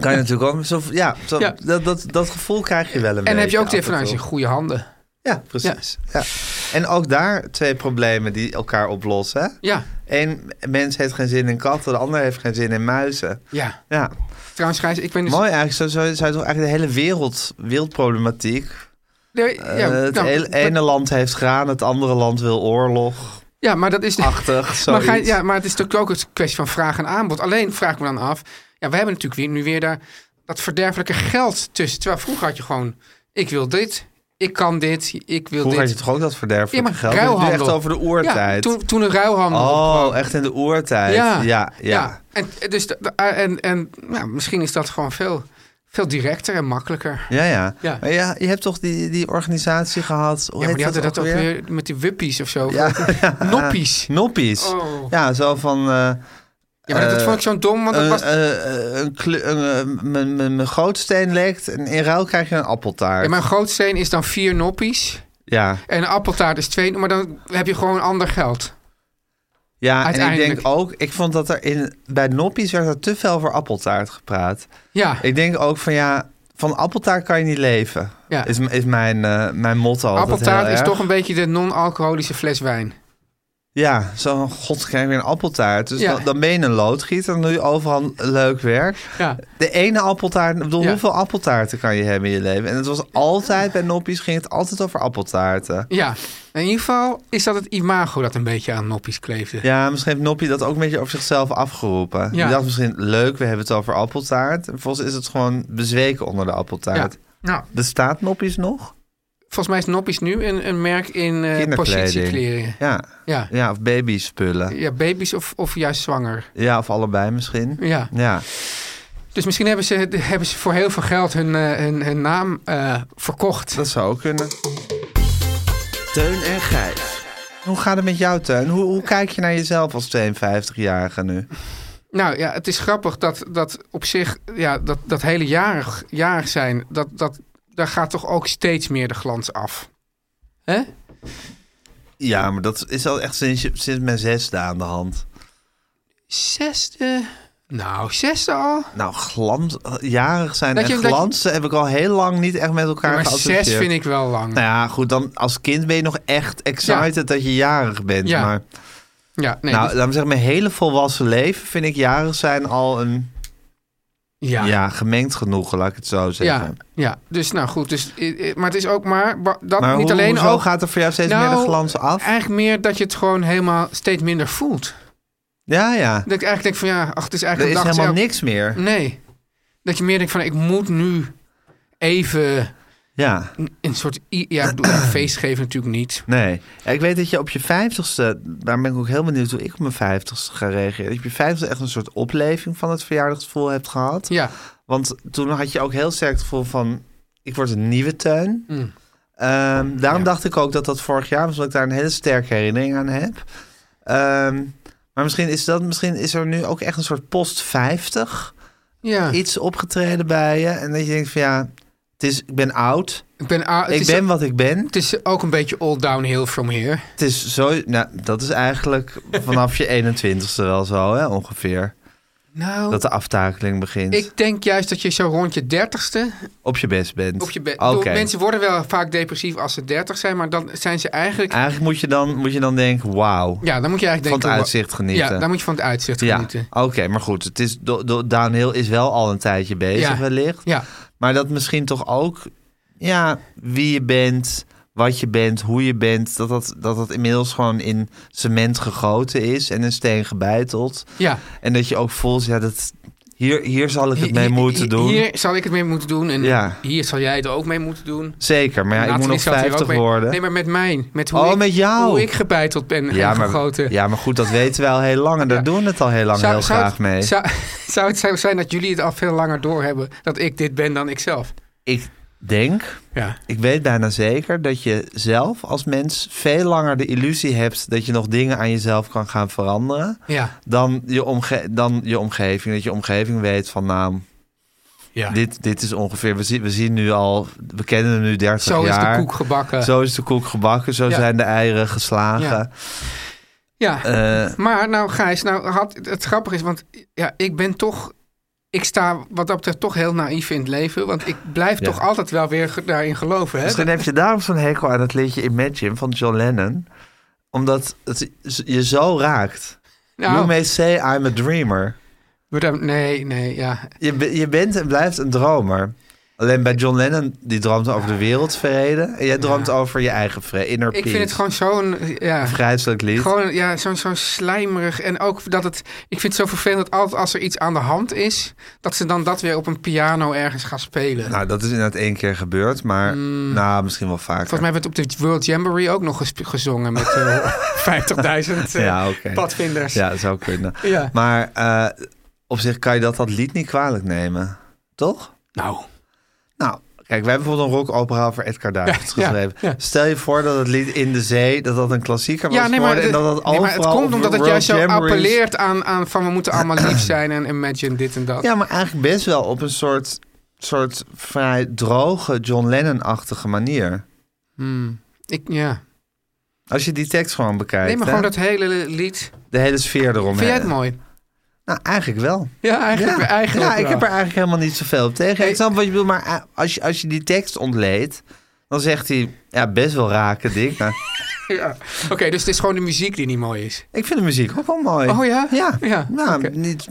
Speaker 2: Kan je natuurlijk ook. Zo, ja, zo-
Speaker 3: Ja.
Speaker 2: Dat, dat, dat gevoel krijg je wel een beetje.
Speaker 3: en heb je ook
Speaker 2: af
Speaker 3: tegen
Speaker 2: en
Speaker 3: van, nou, is
Speaker 2: toe.
Speaker 3: in goede handen.
Speaker 2: Ja, precies. Ja. En ook daar twee problemen die elkaar oplossen. hè?
Speaker 3: Ja,
Speaker 2: Eén mens heeft geen zin in katten, de ander heeft geen zin in muizen.
Speaker 3: ja.
Speaker 2: Ja,
Speaker 3: Trouwens, Gijs, ik ben dus...
Speaker 2: mooi eigenlijk. Zo, zo zou je toch eigenlijk de hele wereld, wereldproblematiek.
Speaker 3: Nee,
Speaker 2: Eh,
Speaker 3: ja,
Speaker 2: het
Speaker 3: nou,
Speaker 2: ene,
Speaker 3: dat-
Speaker 2: ene land heeft graan, het andere land wil oorlog.
Speaker 3: ja, maar dat is...
Speaker 2: Achtig,
Speaker 3: maar,
Speaker 2: zoiets.
Speaker 3: Gijs, ja, maar het is natuurlijk ook een kwestie van vraag en aanbod. Alleen vraag ik me dan af... Ja, we hebben natuurlijk weer, nu weer daar dat verderfelijke geld tussen. Terwijl vroeger had je gewoon... Ik wil dit, ik kan dit, ik wil
Speaker 2: Vroeger had
Speaker 3: dit.
Speaker 2: je toch ook dat verderfelijke geld? We hebben het nu
Speaker 3: ruilhandel.
Speaker 2: echt over de
Speaker 3: Ja,
Speaker 2: oertijd.
Speaker 3: toen, toen een ruilhandel opkwam.
Speaker 2: Oh, echt in de oertijd. Ja, ja.
Speaker 3: En, en dus, de- de- en, en nou, misschien is dat gewoon veel, veel directer en makkelijker.
Speaker 2: Ja, ja.
Speaker 3: Ja.
Speaker 2: Maar ja, je hebt toch die, die organisatie gehad? Hoe
Speaker 3: ja, maar
Speaker 2: heet
Speaker 3: die hadden dat ook weer? met die wuppies of zo. Noppies.
Speaker 2: Noppies.
Speaker 3: Oh.
Speaker 2: Ja, zo van... eh,
Speaker 3: Ja, maar dat
Speaker 2: Eh,
Speaker 3: vond ik zo dom, want dat
Speaker 2: een-
Speaker 3: was...
Speaker 2: eh, eh, een kle- een, eh, mijn- mijn- Mijn gootsteen lekt en in ruil krijg je een appeltaart.
Speaker 3: Ja, mijn grootsteen is dan vier noppies.
Speaker 2: ja.
Speaker 3: En een appeltaart is twee. Maar dan heb je gewoon ander geld.
Speaker 2: ja en ik denk
Speaker 3: uiteindelijk.
Speaker 2: ook... Ik vond dat er in, bij Noppies werd er te veel over appeltaart gepraat.
Speaker 3: Ja,
Speaker 2: Ik denk ook van ja, van appeltaart kan je niet leven.
Speaker 3: Ja.
Speaker 2: Is, m- is mijn, eh, mijn motto altijd heel
Speaker 3: appeltaart is
Speaker 2: erg.
Speaker 3: toch een beetje de non-alcoholische fles wijn.
Speaker 2: Ja, zo'n god krijg je weer een appeltaart. Dus
Speaker 3: Ja.
Speaker 2: dan, dan ben je een loodgieter, dan doe je overal leuk werk.
Speaker 3: Ja.
Speaker 2: De ene appeltaart, ik bedoel,
Speaker 3: Ja.
Speaker 2: hoeveel appeltaarten kan je hebben in je leven? En het was altijd, bij Noppies ging het altijd over appeltaarten.
Speaker 3: Ja, in ieder geval is dat het imago dat een beetje aan noppies kleefde.
Speaker 2: Ja, misschien heeft Noppie dat ook een beetje over zichzelf afgeroepen.
Speaker 3: Ja.
Speaker 2: Die dacht misschien, leuk, we hebben het over appeltaart. En Volgens is het gewoon bezweken onder de appeltaart.
Speaker 3: Ja. Nou,
Speaker 2: Bestaat Noppies nog?
Speaker 3: volgens mij is Noppies nu een, een merk in eh
Speaker 2: Kinderkleding.
Speaker 3: positiekleren.
Speaker 2: Ja,
Speaker 3: Ja.
Speaker 2: ja of babyspullen.
Speaker 3: ja, baby's of, of juist zwanger.
Speaker 2: Ja, of allebei misschien.
Speaker 3: Ja.
Speaker 2: Ja,
Speaker 3: Dus misschien hebben ze, hebben ze voor heel veel geld hun, eh, hun, hun naam eh, verkocht.
Speaker 2: dat zou ook kunnen.
Speaker 4: Teun en Gijs.
Speaker 2: Hoe gaat het met jou, Teun? Hoe, hoe kijk je naar jezelf als 52-jarige nu?
Speaker 3: Nou ja, het is grappig dat, dat op zich, ja, dat, dat hele jarig, jarig zijn, dat, dat, daar gaat toch ook steeds meer de glans af. Hè?
Speaker 2: Ja, maar dat is al echt sinds, je- sinds mijn zesde aan de hand.
Speaker 3: Zesde. Nou, zesde al?
Speaker 2: Nou, glans, jarig zijn
Speaker 3: Dat
Speaker 2: en
Speaker 3: je- dat je-
Speaker 2: glansen heb ik al heel lang niet echt met elkaar
Speaker 3: Ja, maar
Speaker 2: geassocieerd.
Speaker 3: zes vind ik wel lang.
Speaker 2: Nou ja, goed, dan als kind ben je nog echt excited dat je jarig bent.
Speaker 3: Ja.
Speaker 2: Maar
Speaker 3: Ja, nee,
Speaker 2: nou,
Speaker 3: dus-
Speaker 2: laten we zeggen, mijn hele volwassen leven vind ik jarig zijn al een ja.
Speaker 3: ja.
Speaker 2: gemengd genoegen, laat ik het zo zeggen.
Speaker 3: Ja, ja, dus nou goed. Dus, eh, eh, maar het is ook maar, ba- dat
Speaker 2: Maar
Speaker 3: niet
Speaker 2: hoe,
Speaker 3: alleen
Speaker 2: hoezo
Speaker 3: ook,
Speaker 2: gaat er voor jou steeds
Speaker 3: Nou,
Speaker 2: meer de glans af?
Speaker 3: eigenlijk meer dat je het gewoon helemaal steeds minder voelt.
Speaker 2: Ja, ja.
Speaker 3: Dat ik eigenlijk denk van ja, ach, het is
Speaker 2: Er
Speaker 3: eigenlijk
Speaker 2: is
Speaker 3: een dag
Speaker 2: helemaal
Speaker 3: zelf. Mm.
Speaker 2: niks meer.
Speaker 3: Nee, dat je meer denkt van ik moet nu even
Speaker 2: Ja.
Speaker 3: een, een soort, i- ja, doe- een feest geven natuurlijk niet.
Speaker 2: Nee. Ja, Ik weet dat je op je vijftigste, daar ben ik ook heel benieuwd hoe ik op mijn vijftigste ga reageren. Dat je op je vijftigste echt een soort opleving van het verjaardagsgevoel hebt gehad.
Speaker 3: Ja,
Speaker 2: Want toen had je ook heel sterk het gevoel van, ik word een nieuwe teun.
Speaker 3: Mm.
Speaker 2: Ehm, daarom dacht ik ook dat dat vorig jaar was, omdat ik daar een hele sterke herinnering aan heb. Ehm, maar misschien is, dat, misschien is er nu ook echt een soort post 50
Speaker 3: ja.
Speaker 2: iets opgetreden bij je. En dat je denkt van ja, het is, ik ben oud,
Speaker 3: Ik ben, a- het,
Speaker 2: ik
Speaker 3: is,
Speaker 2: ben wat ik ben.
Speaker 3: het is ook een beetje all downhill from here.
Speaker 2: Het is zo, nou, dat is eigenlijk vanaf je 21ste wel zo, hè, ongeveer.
Speaker 3: Nou,
Speaker 2: Dat de aftakeling begint.
Speaker 3: ik denk juist dat je zo rond je dertigste
Speaker 2: Op je best bent.
Speaker 3: op je bed...
Speaker 2: Oké.
Speaker 3: Mensen worden wel vaak depressief als ze dertig zijn, maar dan zijn ze eigenlijk...
Speaker 2: Eigenlijk moet je dan, moet je dan denken, wauw,
Speaker 3: Ja, dan moet je eigenlijk
Speaker 2: Ah. van
Speaker 3: denken...
Speaker 2: het
Speaker 3: wa-
Speaker 2: uitzicht genieten.
Speaker 3: Ja, dan moet je van het uitzicht
Speaker 2: Ja,
Speaker 3: genieten.
Speaker 2: oké, maar goed. Het is, do, do- downhill is wel al een tijdje bezig
Speaker 3: Ja.
Speaker 2: wellicht.
Speaker 3: Ja,
Speaker 2: Maar dat misschien toch ook, ja, wie je bent, wat je bent, hoe je bent... dat dat, dat, dat inmiddels gewoon in cement gegoten is en in steen gebeiteld.
Speaker 3: ja.
Speaker 2: En dat je ook voelt, ja, dat, hier, hier zal ik het mee
Speaker 3: Hier-
Speaker 2: moeten
Speaker 3: hier-
Speaker 2: doen.
Speaker 3: Hier zal ik het mee moeten doen en
Speaker 2: Ja.
Speaker 3: hier zal jij het ook mee moeten doen.
Speaker 2: Zeker, maar ja, ik
Speaker 3: Nathalie
Speaker 2: moet nog
Speaker 3: zal het hier ook
Speaker 2: 50
Speaker 3: mee-
Speaker 2: worden.
Speaker 3: Nee, maar met mij. Met hoe,
Speaker 2: Oh,
Speaker 3: ik,
Speaker 2: met jou.
Speaker 3: hoe ik gebeiteld ben
Speaker 2: ja,
Speaker 3: en
Speaker 2: maar,
Speaker 3: gegoten.
Speaker 2: ja, maar goed, dat weten we al heel lang en daar
Speaker 3: Ja.
Speaker 2: doen we het al heel lang heel graag
Speaker 3: het,
Speaker 2: mee.
Speaker 3: Zou, zou het zo zijn dat jullie het al veel langer doorhebben dat ik dit ben dan ikzelf?
Speaker 2: Ik denk,
Speaker 3: Ja.
Speaker 2: ik weet bijna zeker dat je zelf als mens veel langer de illusie hebt dat je nog dingen aan jezelf kan gaan veranderen
Speaker 3: Ja.
Speaker 2: dan je, omge dan je omgeving. Dat je omgeving weet van nou,
Speaker 3: ja.
Speaker 2: dit, dit is ongeveer, we zien, we zien nu al, we kennen hem nu 30
Speaker 3: zo
Speaker 2: jaar.
Speaker 3: is de koek gebakken.
Speaker 2: Zo is de koek gebakken, zo
Speaker 3: Ja.
Speaker 2: zijn de eieren geslagen.
Speaker 3: Ja.
Speaker 2: Eh,
Speaker 3: Maar nou, Gijs, nou had, het grappige is, want ja, ik ben toch. Ik sta wat dat betreft toch heel naïef in het leven. Want ik blijf
Speaker 2: Ja.
Speaker 3: toch altijd wel weer ge- daarin geloven. Hè?
Speaker 2: Misschien dus heb je daarom zo'n hekel aan dat liedje Imagine van John Lennon. Omdat het je zo raakt. You
Speaker 3: Nou,
Speaker 2: may say I'm a dreamer.
Speaker 3: we dan- nee, nee, ja.
Speaker 2: Je, be- je bent en blijft een dromer. Alleen bij John Lennon, die droomt over de wereldvrede. En jij droomt over je eigen vrede, inner
Speaker 3: Ik
Speaker 2: peace.
Speaker 3: vind het gewoon zo'n. Ja,
Speaker 2: Vrijzelijk lied.
Speaker 3: gewoon ja, zo'n zo'n slijmerig. En ook dat het. Ik vind het zo vervelend dat altijd als er iets aan de hand is. dat ze dan dat weer op een piano ergens gaan spelen.
Speaker 2: Nou, dat is inderdaad één keer gebeurd, maar nou, misschien wel vaker.
Speaker 3: Mm. Volgens mij werd op de World Jamboree ook nog gesp- gezongen met eh, 50.000 eh,
Speaker 2: Ja, oké.
Speaker 3: padvinders.
Speaker 2: Ja, dat zou kunnen.
Speaker 3: Ja.
Speaker 2: Maar eh, op zich kan je dat, dat lied niet kwalijk nemen, toch?
Speaker 3: Nou,
Speaker 2: Nou, kijk, wij hebben bijvoorbeeld een rockopera over Edgar Davids
Speaker 3: Ja, ja,
Speaker 2: geschreven.
Speaker 3: ja.
Speaker 2: Stel je voor dat het lied In de Zee, dat dat een klassieker was geworden. en
Speaker 3: de-
Speaker 2: dat dat
Speaker 3: nee, maar het
Speaker 2: overal op
Speaker 3: komt omdat het
Speaker 2: World
Speaker 3: juist zo
Speaker 2: Jamborees-
Speaker 3: appelleert aan, aan van we moeten allemaal lief zijn en imagine dit en dat.
Speaker 2: Ja, maar eigenlijk best wel op een soort, soort vrij droge John Lennon-achtige manier.
Speaker 3: Hmm. Ik, ja.
Speaker 2: Als je die tekst gewoon bekijkt,
Speaker 3: Nee, maar
Speaker 2: hè,
Speaker 3: gewoon dat hele lied.
Speaker 2: de hele sfeer eromheen.
Speaker 3: Vind jij het mooi?
Speaker 2: Nou, eigenlijk wel.
Speaker 3: Ja, eigenlijk.
Speaker 2: ja.
Speaker 3: eigenlijk
Speaker 2: ja, ik
Speaker 3: wel.
Speaker 2: heb er eigenlijk helemaal niet zoveel op tegen.
Speaker 3: Nee.
Speaker 2: Ik snap wat je bedoelt, maar eh, als je, als je die tekst ontleedt, dan zegt hij, ja, best wel raken, dik. Nou,
Speaker 3: Ja. Oké, dus het is gewoon de muziek die niet mooi is.
Speaker 2: Ik vind de muziek ook wel mooi.
Speaker 3: Oh ja?
Speaker 2: Ja.
Speaker 3: Ja,
Speaker 2: Nou,
Speaker 3: oké.
Speaker 2: niet,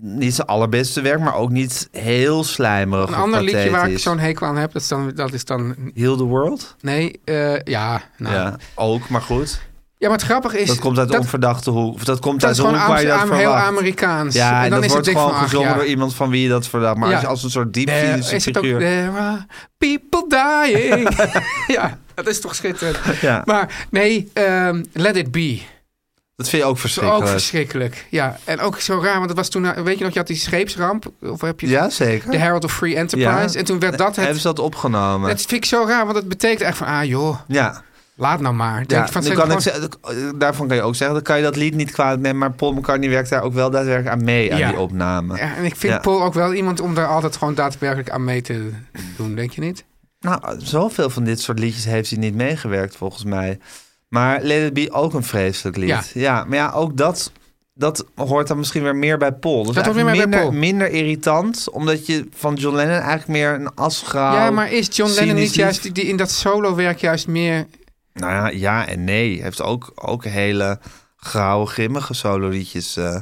Speaker 2: niet zijn allerbeste werk, maar ook niet heel slijmerig.
Speaker 3: Een
Speaker 2: of
Speaker 3: ander liedje waar ik
Speaker 2: pathetisch.
Speaker 3: zo'n hekel aan heb, dat is dan... Dat is dan
Speaker 2: Heal the World?
Speaker 3: nee, eh, ja, nou. ja.
Speaker 2: Ja, ook, maar goed.
Speaker 3: maar het grappige is...
Speaker 2: Dat komt uit onverdachte hoek. Of dat komt
Speaker 3: dat
Speaker 2: uit
Speaker 3: is
Speaker 2: de hoek
Speaker 3: gewoon
Speaker 2: waar je dat
Speaker 3: Amsterdam, heel
Speaker 2: verwacht.
Speaker 3: Amerikaans.
Speaker 2: Ja, en
Speaker 3: dan
Speaker 2: dat
Speaker 3: is het
Speaker 2: wordt
Speaker 3: ding
Speaker 2: gewoon
Speaker 3: van, ach,
Speaker 2: gezongen
Speaker 3: ja.
Speaker 2: door iemand van wie je dat verwacht. Maar als,
Speaker 3: Ja.
Speaker 2: je als een soort diep
Speaker 3: Eh,
Speaker 2: filosofie
Speaker 3: is het ook
Speaker 2: figuur-
Speaker 3: There are people dying. ja, dat is toch schitterend.
Speaker 2: Ja.
Speaker 3: Maar nee, ehm, Let It Be.
Speaker 2: Dat vind je ook
Speaker 3: Dat is ook
Speaker 2: verschrikkelijk.
Speaker 3: verschrikkelijk. Ja, en ook zo raar, want het was toen... eh, Weet je nog, je had die scheepsramp. Of heb je
Speaker 2: ja,
Speaker 3: de
Speaker 2: zeker.
Speaker 3: Herald of Free Enterprise.
Speaker 2: Ja.
Speaker 3: En toen werd dat het...
Speaker 2: Hebben ze dat opgenomen?
Speaker 3: Dat vind ik zo raar, want dat betekent echt van... Ah joh,
Speaker 2: ja.
Speaker 3: laat nou maar. Denk
Speaker 2: Ja,
Speaker 3: ik van,
Speaker 2: nu
Speaker 3: zijn
Speaker 2: kan ik
Speaker 3: gewoon-
Speaker 2: zeggen- daarvan kan je ook zeggen, dan kan je dat lied niet kwaad nemen, maar Paul McCartney werkt daar ook wel daadwerkelijk aan mee, aan
Speaker 3: Ja.
Speaker 2: die opname.
Speaker 3: ja, en ik vind
Speaker 2: Ja.
Speaker 3: Paul ook wel iemand om daar altijd gewoon daadwerkelijk aan mee te doen, denk je niet?
Speaker 2: Nou, zoveel van dit soort liedjes heeft hij niet meegewerkt, volgens mij. Maar Let It Be ook een vreselijk lied.
Speaker 3: Ja.
Speaker 2: Ja, maar ja, ook dat, dat hoort dan misschien weer meer bij Paul. Dus
Speaker 3: Dat hoort weer
Speaker 2: eigenlijk
Speaker 3: meer bij
Speaker 2: minder, minder irritant, omdat je van John Lennon eigenlijk meer een asgraal...
Speaker 3: ja, maar is John
Speaker 2: cynisch
Speaker 3: Lennon Nou, niet juist
Speaker 2: lied-
Speaker 3: die, die in dat solo-werk juist meer...
Speaker 2: Nou ja, ja en nee. Hij heeft ook, ook hele grauwe, grimmige sololiedjes eh,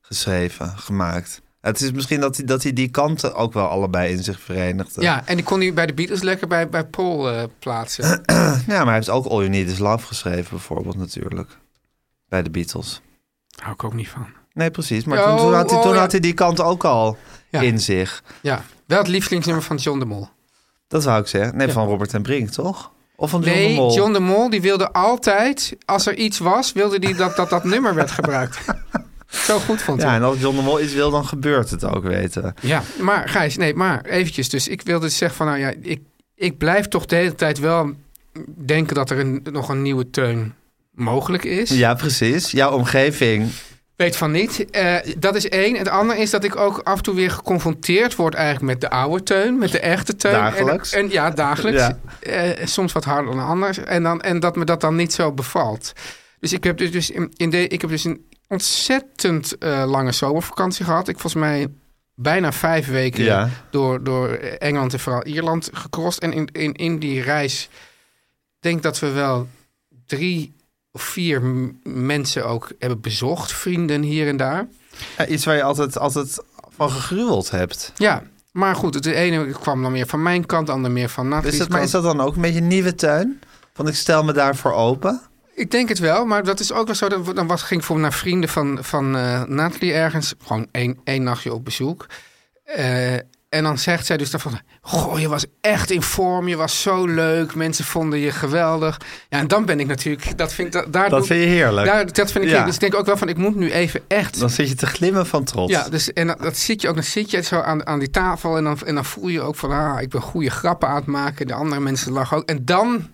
Speaker 2: geschreven, gemaakt. Het is misschien dat hij, dat hij die kanten ook wel allebei in zich verenigde.
Speaker 3: Ja, en die kon hij bij de Beatles lekker bij, bij Paul eh, plaatsen.
Speaker 2: ja, maar hij heeft ook All You Need Is Love geschreven bijvoorbeeld natuurlijk. Bij de Beatles.
Speaker 3: Hou ik ook niet van.
Speaker 2: Nee, precies. Maar toen,
Speaker 3: Ja,
Speaker 2: toen, had, hij,
Speaker 3: oh,
Speaker 2: toen
Speaker 3: ja.
Speaker 2: had hij die kant ook al
Speaker 3: Ja.
Speaker 2: in zich.
Speaker 3: Ja, wel het lievelingsnummer van John de Mol.
Speaker 2: Dat zou ik zeggen. Nee, van Robert en Brink, toch? Of van John de
Speaker 3: Nee,
Speaker 2: Mol.
Speaker 3: John de Mol die wilde altijd, als er iets was, wilde die dat dat, dat nummer werd gebruikt. Zo goed vond hij.
Speaker 2: Ja, en als John de Mol iets wil, dan gebeurt het ook, weten we.
Speaker 3: Ja, maar Gijs, nee, maar eventjes. Dus ik wilde zeggen van, nou ja, ik, ik blijf toch de hele tijd wel denken dat er een, nog een nieuwe teun mogelijk is.
Speaker 2: Ja, precies. Jouw omgeving
Speaker 3: Weet van niet. Eh, dat is één. Het andere is dat ik ook af en toe weer geconfronteerd word eigenlijk met de oude teun, met de echte teun.
Speaker 2: Dagelijks.
Speaker 3: En, en ja, dagelijks.
Speaker 2: Ja.
Speaker 3: Eh, soms wat harder dan anders. En, dan, en dat me dat dan niet zo bevalt. Dus ik heb dus, dus, in, in de, ik heb dus een ontzettend eh, lange zomervakantie gehad. Ik volgens mij bijna vijf weken
Speaker 2: Ja.
Speaker 3: eh, door, door Engeland en vooral Ierland gecrossed. En in, in, in die reis denk dat we wel drie of vier m- mensen ook hebben bezocht. Vrienden hier en daar.
Speaker 2: Ja, eh, iets waar je altijd, altijd van gegruweld hebt.
Speaker 3: Ja, maar goed, het ene kwam dan meer van mijn kant, de ander meer van Natalie's
Speaker 2: Is dat, maar
Speaker 3: kant.
Speaker 2: is dat dan ook een beetje een nieuwe tuin? Want ik stel me daarvoor open.
Speaker 3: Ik denk het wel, maar dat is ook wel zo. Dat, we- dan was, ging ik voor naar vrienden van, van eh Nathalie ergens. Gewoon één, één nachtje op bezoek. Eh, en dan zegt zij dus daarvan... Goh, je was echt in vorm. Je was zo leuk. Mensen vonden je geweldig. Ja, en dan ben ik natuurlijk... Dat vind ik, da- daar
Speaker 2: Dat
Speaker 3: doe-
Speaker 2: vind je heerlijk.
Speaker 3: daar- dat vind ik
Speaker 2: Ja.
Speaker 3: heerlijk. Dus ik denk ook wel van... Ik moet nu even echt...
Speaker 2: Dan zit je te glimmen van trots.
Speaker 3: Ja, dus, en dat, dat zit je ook. Dan zit je zo aan, aan die tafel en dan, en dan voel je ook van... Ah, ik ben goede grappen aan het maken. De andere mensen lachen ook. En dan...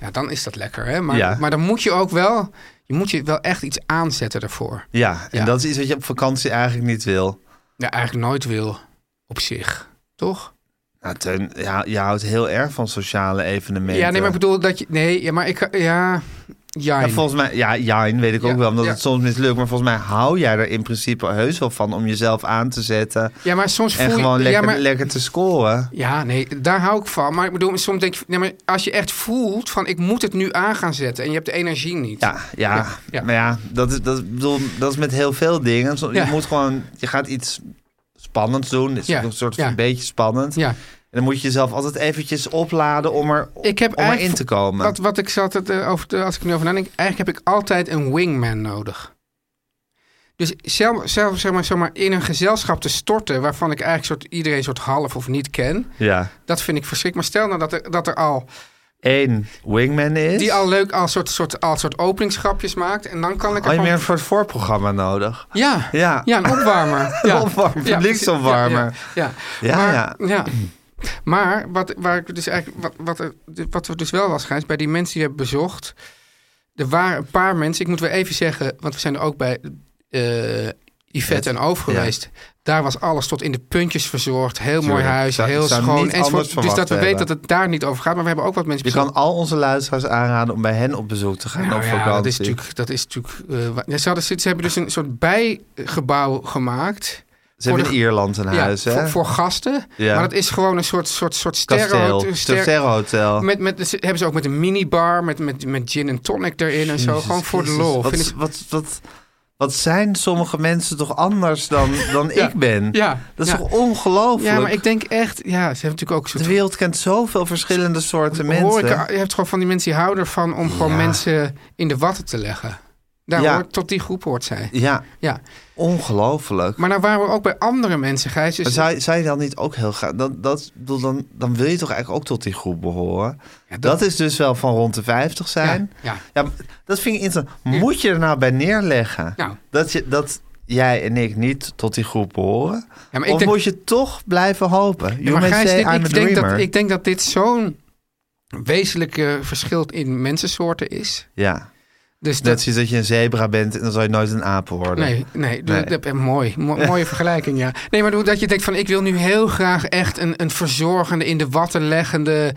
Speaker 3: Ja, dan is dat lekker, hè? Maar,
Speaker 2: Ja.
Speaker 3: maar dan moet je ook wel... Je moet je wel echt iets aanzetten daarvoor.
Speaker 2: Ja, en
Speaker 3: Ja.
Speaker 2: dat is iets wat je op vakantie eigenlijk niet wil.
Speaker 3: Ja, eigenlijk nooit wil op zich. Toch?
Speaker 2: Nou, Teun, ja, je houdt heel erg van sociale evenementen.
Speaker 3: Ja, nee, maar ik bedoel dat je... Nee, ja, maar ik... Ja... Ja,
Speaker 2: En volgens mij, ja, Jijn weet ik
Speaker 3: Ja,
Speaker 2: ook wel, omdat
Speaker 3: ja.
Speaker 2: het soms mislukt. Maar volgens mij hou jij er in principe heus wel van om jezelf aan te zetten.
Speaker 3: ja maar soms voel
Speaker 2: En
Speaker 3: je...
Speaker 2: gewoon lekker,
Speaker 3: ja, maar,
Speaker 2: lekker te scoren.
Speaker 3: ja, nee, daar hou ik van. Maar ik bedoel, soms denk je... Nee, maar als je echt voelt van ik moet het nu aan gaan zetten... en je hebt de energie niet.
Speaker 2: Ja, ja,
Speaker 3: Ja, ja.
Speaker 2: maar ja, dat is, dat, is- bedoel, dat is met heel veel dingen. Zo- Je
Speaker 3: Ja.
Speaker 2: moet gewoon, je gaat iets spannends doen. Het is
Speaker 3: Ja,
Speaker 2: een soort
Speaker 3: ja.
Speaker 2: van een beetje spannend.
Speaker 3: ja.
Speaker 2: En dan moet je jezelf altijd eventjes opladen om, er,
Speaker 3: Ik heb
Speaker 2: om erin
Speaker 3: eigenlijk-
Speaker 2: te komen.
Speaker 3: Wat, wat ik zat het, eh, over, te- als ik er nu over nadenk, eigenlijk heb ik altijd een wingman nodig. Dus zelf, zelf zeg maar, zeg maar, in een gezelschap te storten waarvan ik eigenlijk soort, iedereen soort half of niet ken,
Speaker 2: Ja.
Speaker 3: dat vind ik verschrikkelijk. Maar stel nou dat er, dat er al,
Speaker 2: Eén wingman is.
Speaker 3: die al leuk al soort, soort, al soort openingsgrapjes maakt en dan kan ik
Speaker 2: Had je
Speaker 3: ervan-
Speaker 2: meer een soort voorprogramma nodig?
Speaker 3: ja, ja.
Speaker 2: Ja.
Speaker 3: een opwarmer. ja.
Speaker 2: Opwarmer, publieksopwarmer.
Speaker 3: Ja, ja, ja.
Speaker 2: Ja,
Speaker 3: maar, ja.
Speaker 2: ja.
Speaker 3: Maar wat, waar ik dus eigenlijk, wat, wat, er, wat er dus wel was, Gijs, bij die mensen die we hebben bezocht. Er waren een paar mensen, ik moet wel even zeggen, want we zijn er ook bij eh Yvette en Oof geweest. Daar was alles tot in de puntjes verzorgd. Heel mooi
Speaker 2: Tuurlijk.
Speaker 3: huis,
Speaker 2: Zou-
Speaker 3: heel
Speaker 2: zou
Speaker 3: schoon.
Speaker 2: niet
Speaker 3: enzovoort.
Speaker 2: anders
Speaker 3: dus dat
Speaker 2: verwacht
Speaker 3: we weten
Speaker 2: hebben.
Speaker 3: dat het daar niet over gaat. Maar we hebben ook wat mensen
Speaker 2: Je kan al onze luisteraars aanraden om bij hen op bezoek te gaan
Speaker 3: nou
Speaker 2: op
Speaker 3: ja,
Speaker 2: vakantie.
Speaker 3: dat is natuurlijk. Dat is natuurlijk eh, wa- ja, ze, hadden, ze ze hebben dus een soort bijgebouw gemaakt.
Speaker 2: Ze hebben
Speaker 3: de-
Speaker 2: in Ierland een
Speaker 3: ja,
Speaker 2: huis, hè?
Speaker 3: voor, voor gasten.
Speaker 2: Ja.
Speaker 3: Maar dat is gewoon een soort, soort, soort
Speaker 2: Kasteel,
Speaker 3: sterrenhotel.
Speaker 2: Sterrenhotel. Hotel.
Speaker 3: Met, met, ze- hebben ze ook met een minibar, met, met, met gin en tonic erin en zo. Gewoon voor de lol.
Speaker 2: Wat,
Speaker 3: Vind ik-
Speaker 2: wat, wat, wat zijn sommige mensen toch anders dan, dan
Speaker 3: Ja.
Speaker 2: ik ben?
Speaker 3: Ja.
Speaker 2: Dat is
Speaker 3: Ja.
Speaker 2: toch ongelooflijk?
Speaker 3: ja, maar ik denk echt... Ja, ze hebben natuurlijk ook een
Speaker 2: De
Speaker 3: soort...
Speaker 2: wereld kent zoveel verschillende soorten mensen.
Speaker 3: Horeca, je hebt gewoon van die mensen die houden ervan om gewoon mensen in de watten te leggen. Daar
Speaker 2: Ja.
Speaker 3: hoort, tot die groep hoort zij.
Speaker 2: Ja,
Speaker 3: Ja.
Speaker 2: ongelooflijk.
Speaker 3: Maar nou waren we ook bij andere mensen, Gijs. Dus
Speaker 2: Maar zou, zou je dan niet ook heel graag... Dat, dat, ik bedoel, dan, dan wil je toch eigenlijk ook tot die groep behoren?
Speaker 3: Ja,
Speaker 2: dat,
Speaker 3: dat-
Speaker 2: is dus wel van rond de 50 zijn.
Speaker 3: Ja, ja.
Speaker 2: maar dat vind ik interessant. Moet je er nou bij neerleggen
Speaker 3: Nou.
Speaker 2: dat, je, dat jij en ik niet tot die groep behoren?
Speaker 3: Ja, maar ik
Speaker 2: of
Speaker 3: denk-
Speaker 2: moet je toch blijven hopen?
Speaker 3: Ja,
Speaker 2: You
Speaker 3: maar
Speaker 2: may
Speaker 3: Gijs,
Speaker 2: say
Speaker 3: dit-
Speaker 2: I'm a
Speaker 3: ik, denk dat,
Speaker 2: dreamer.
Speaker 3: ik denk dat dit zo'n wezenlijk eh, verschil in mensensoorten is.
Speaker 2: Ja,
Speaker 3: Dus
Speaker 2: net
Speaker 3: dat,
Speaker 2: zoals dat je een zebra bent en dan zal je nooit een aap worden.
Speaker 3: Nee, nee,
Speaker 2: Nee.
Speaker 3: Dat, dat- mooi. Mo- mooie vergelijking, ja. Nee, maar dat je denkt van... ik wil nu heel graag echt een, een verzorgende, in de watten leggende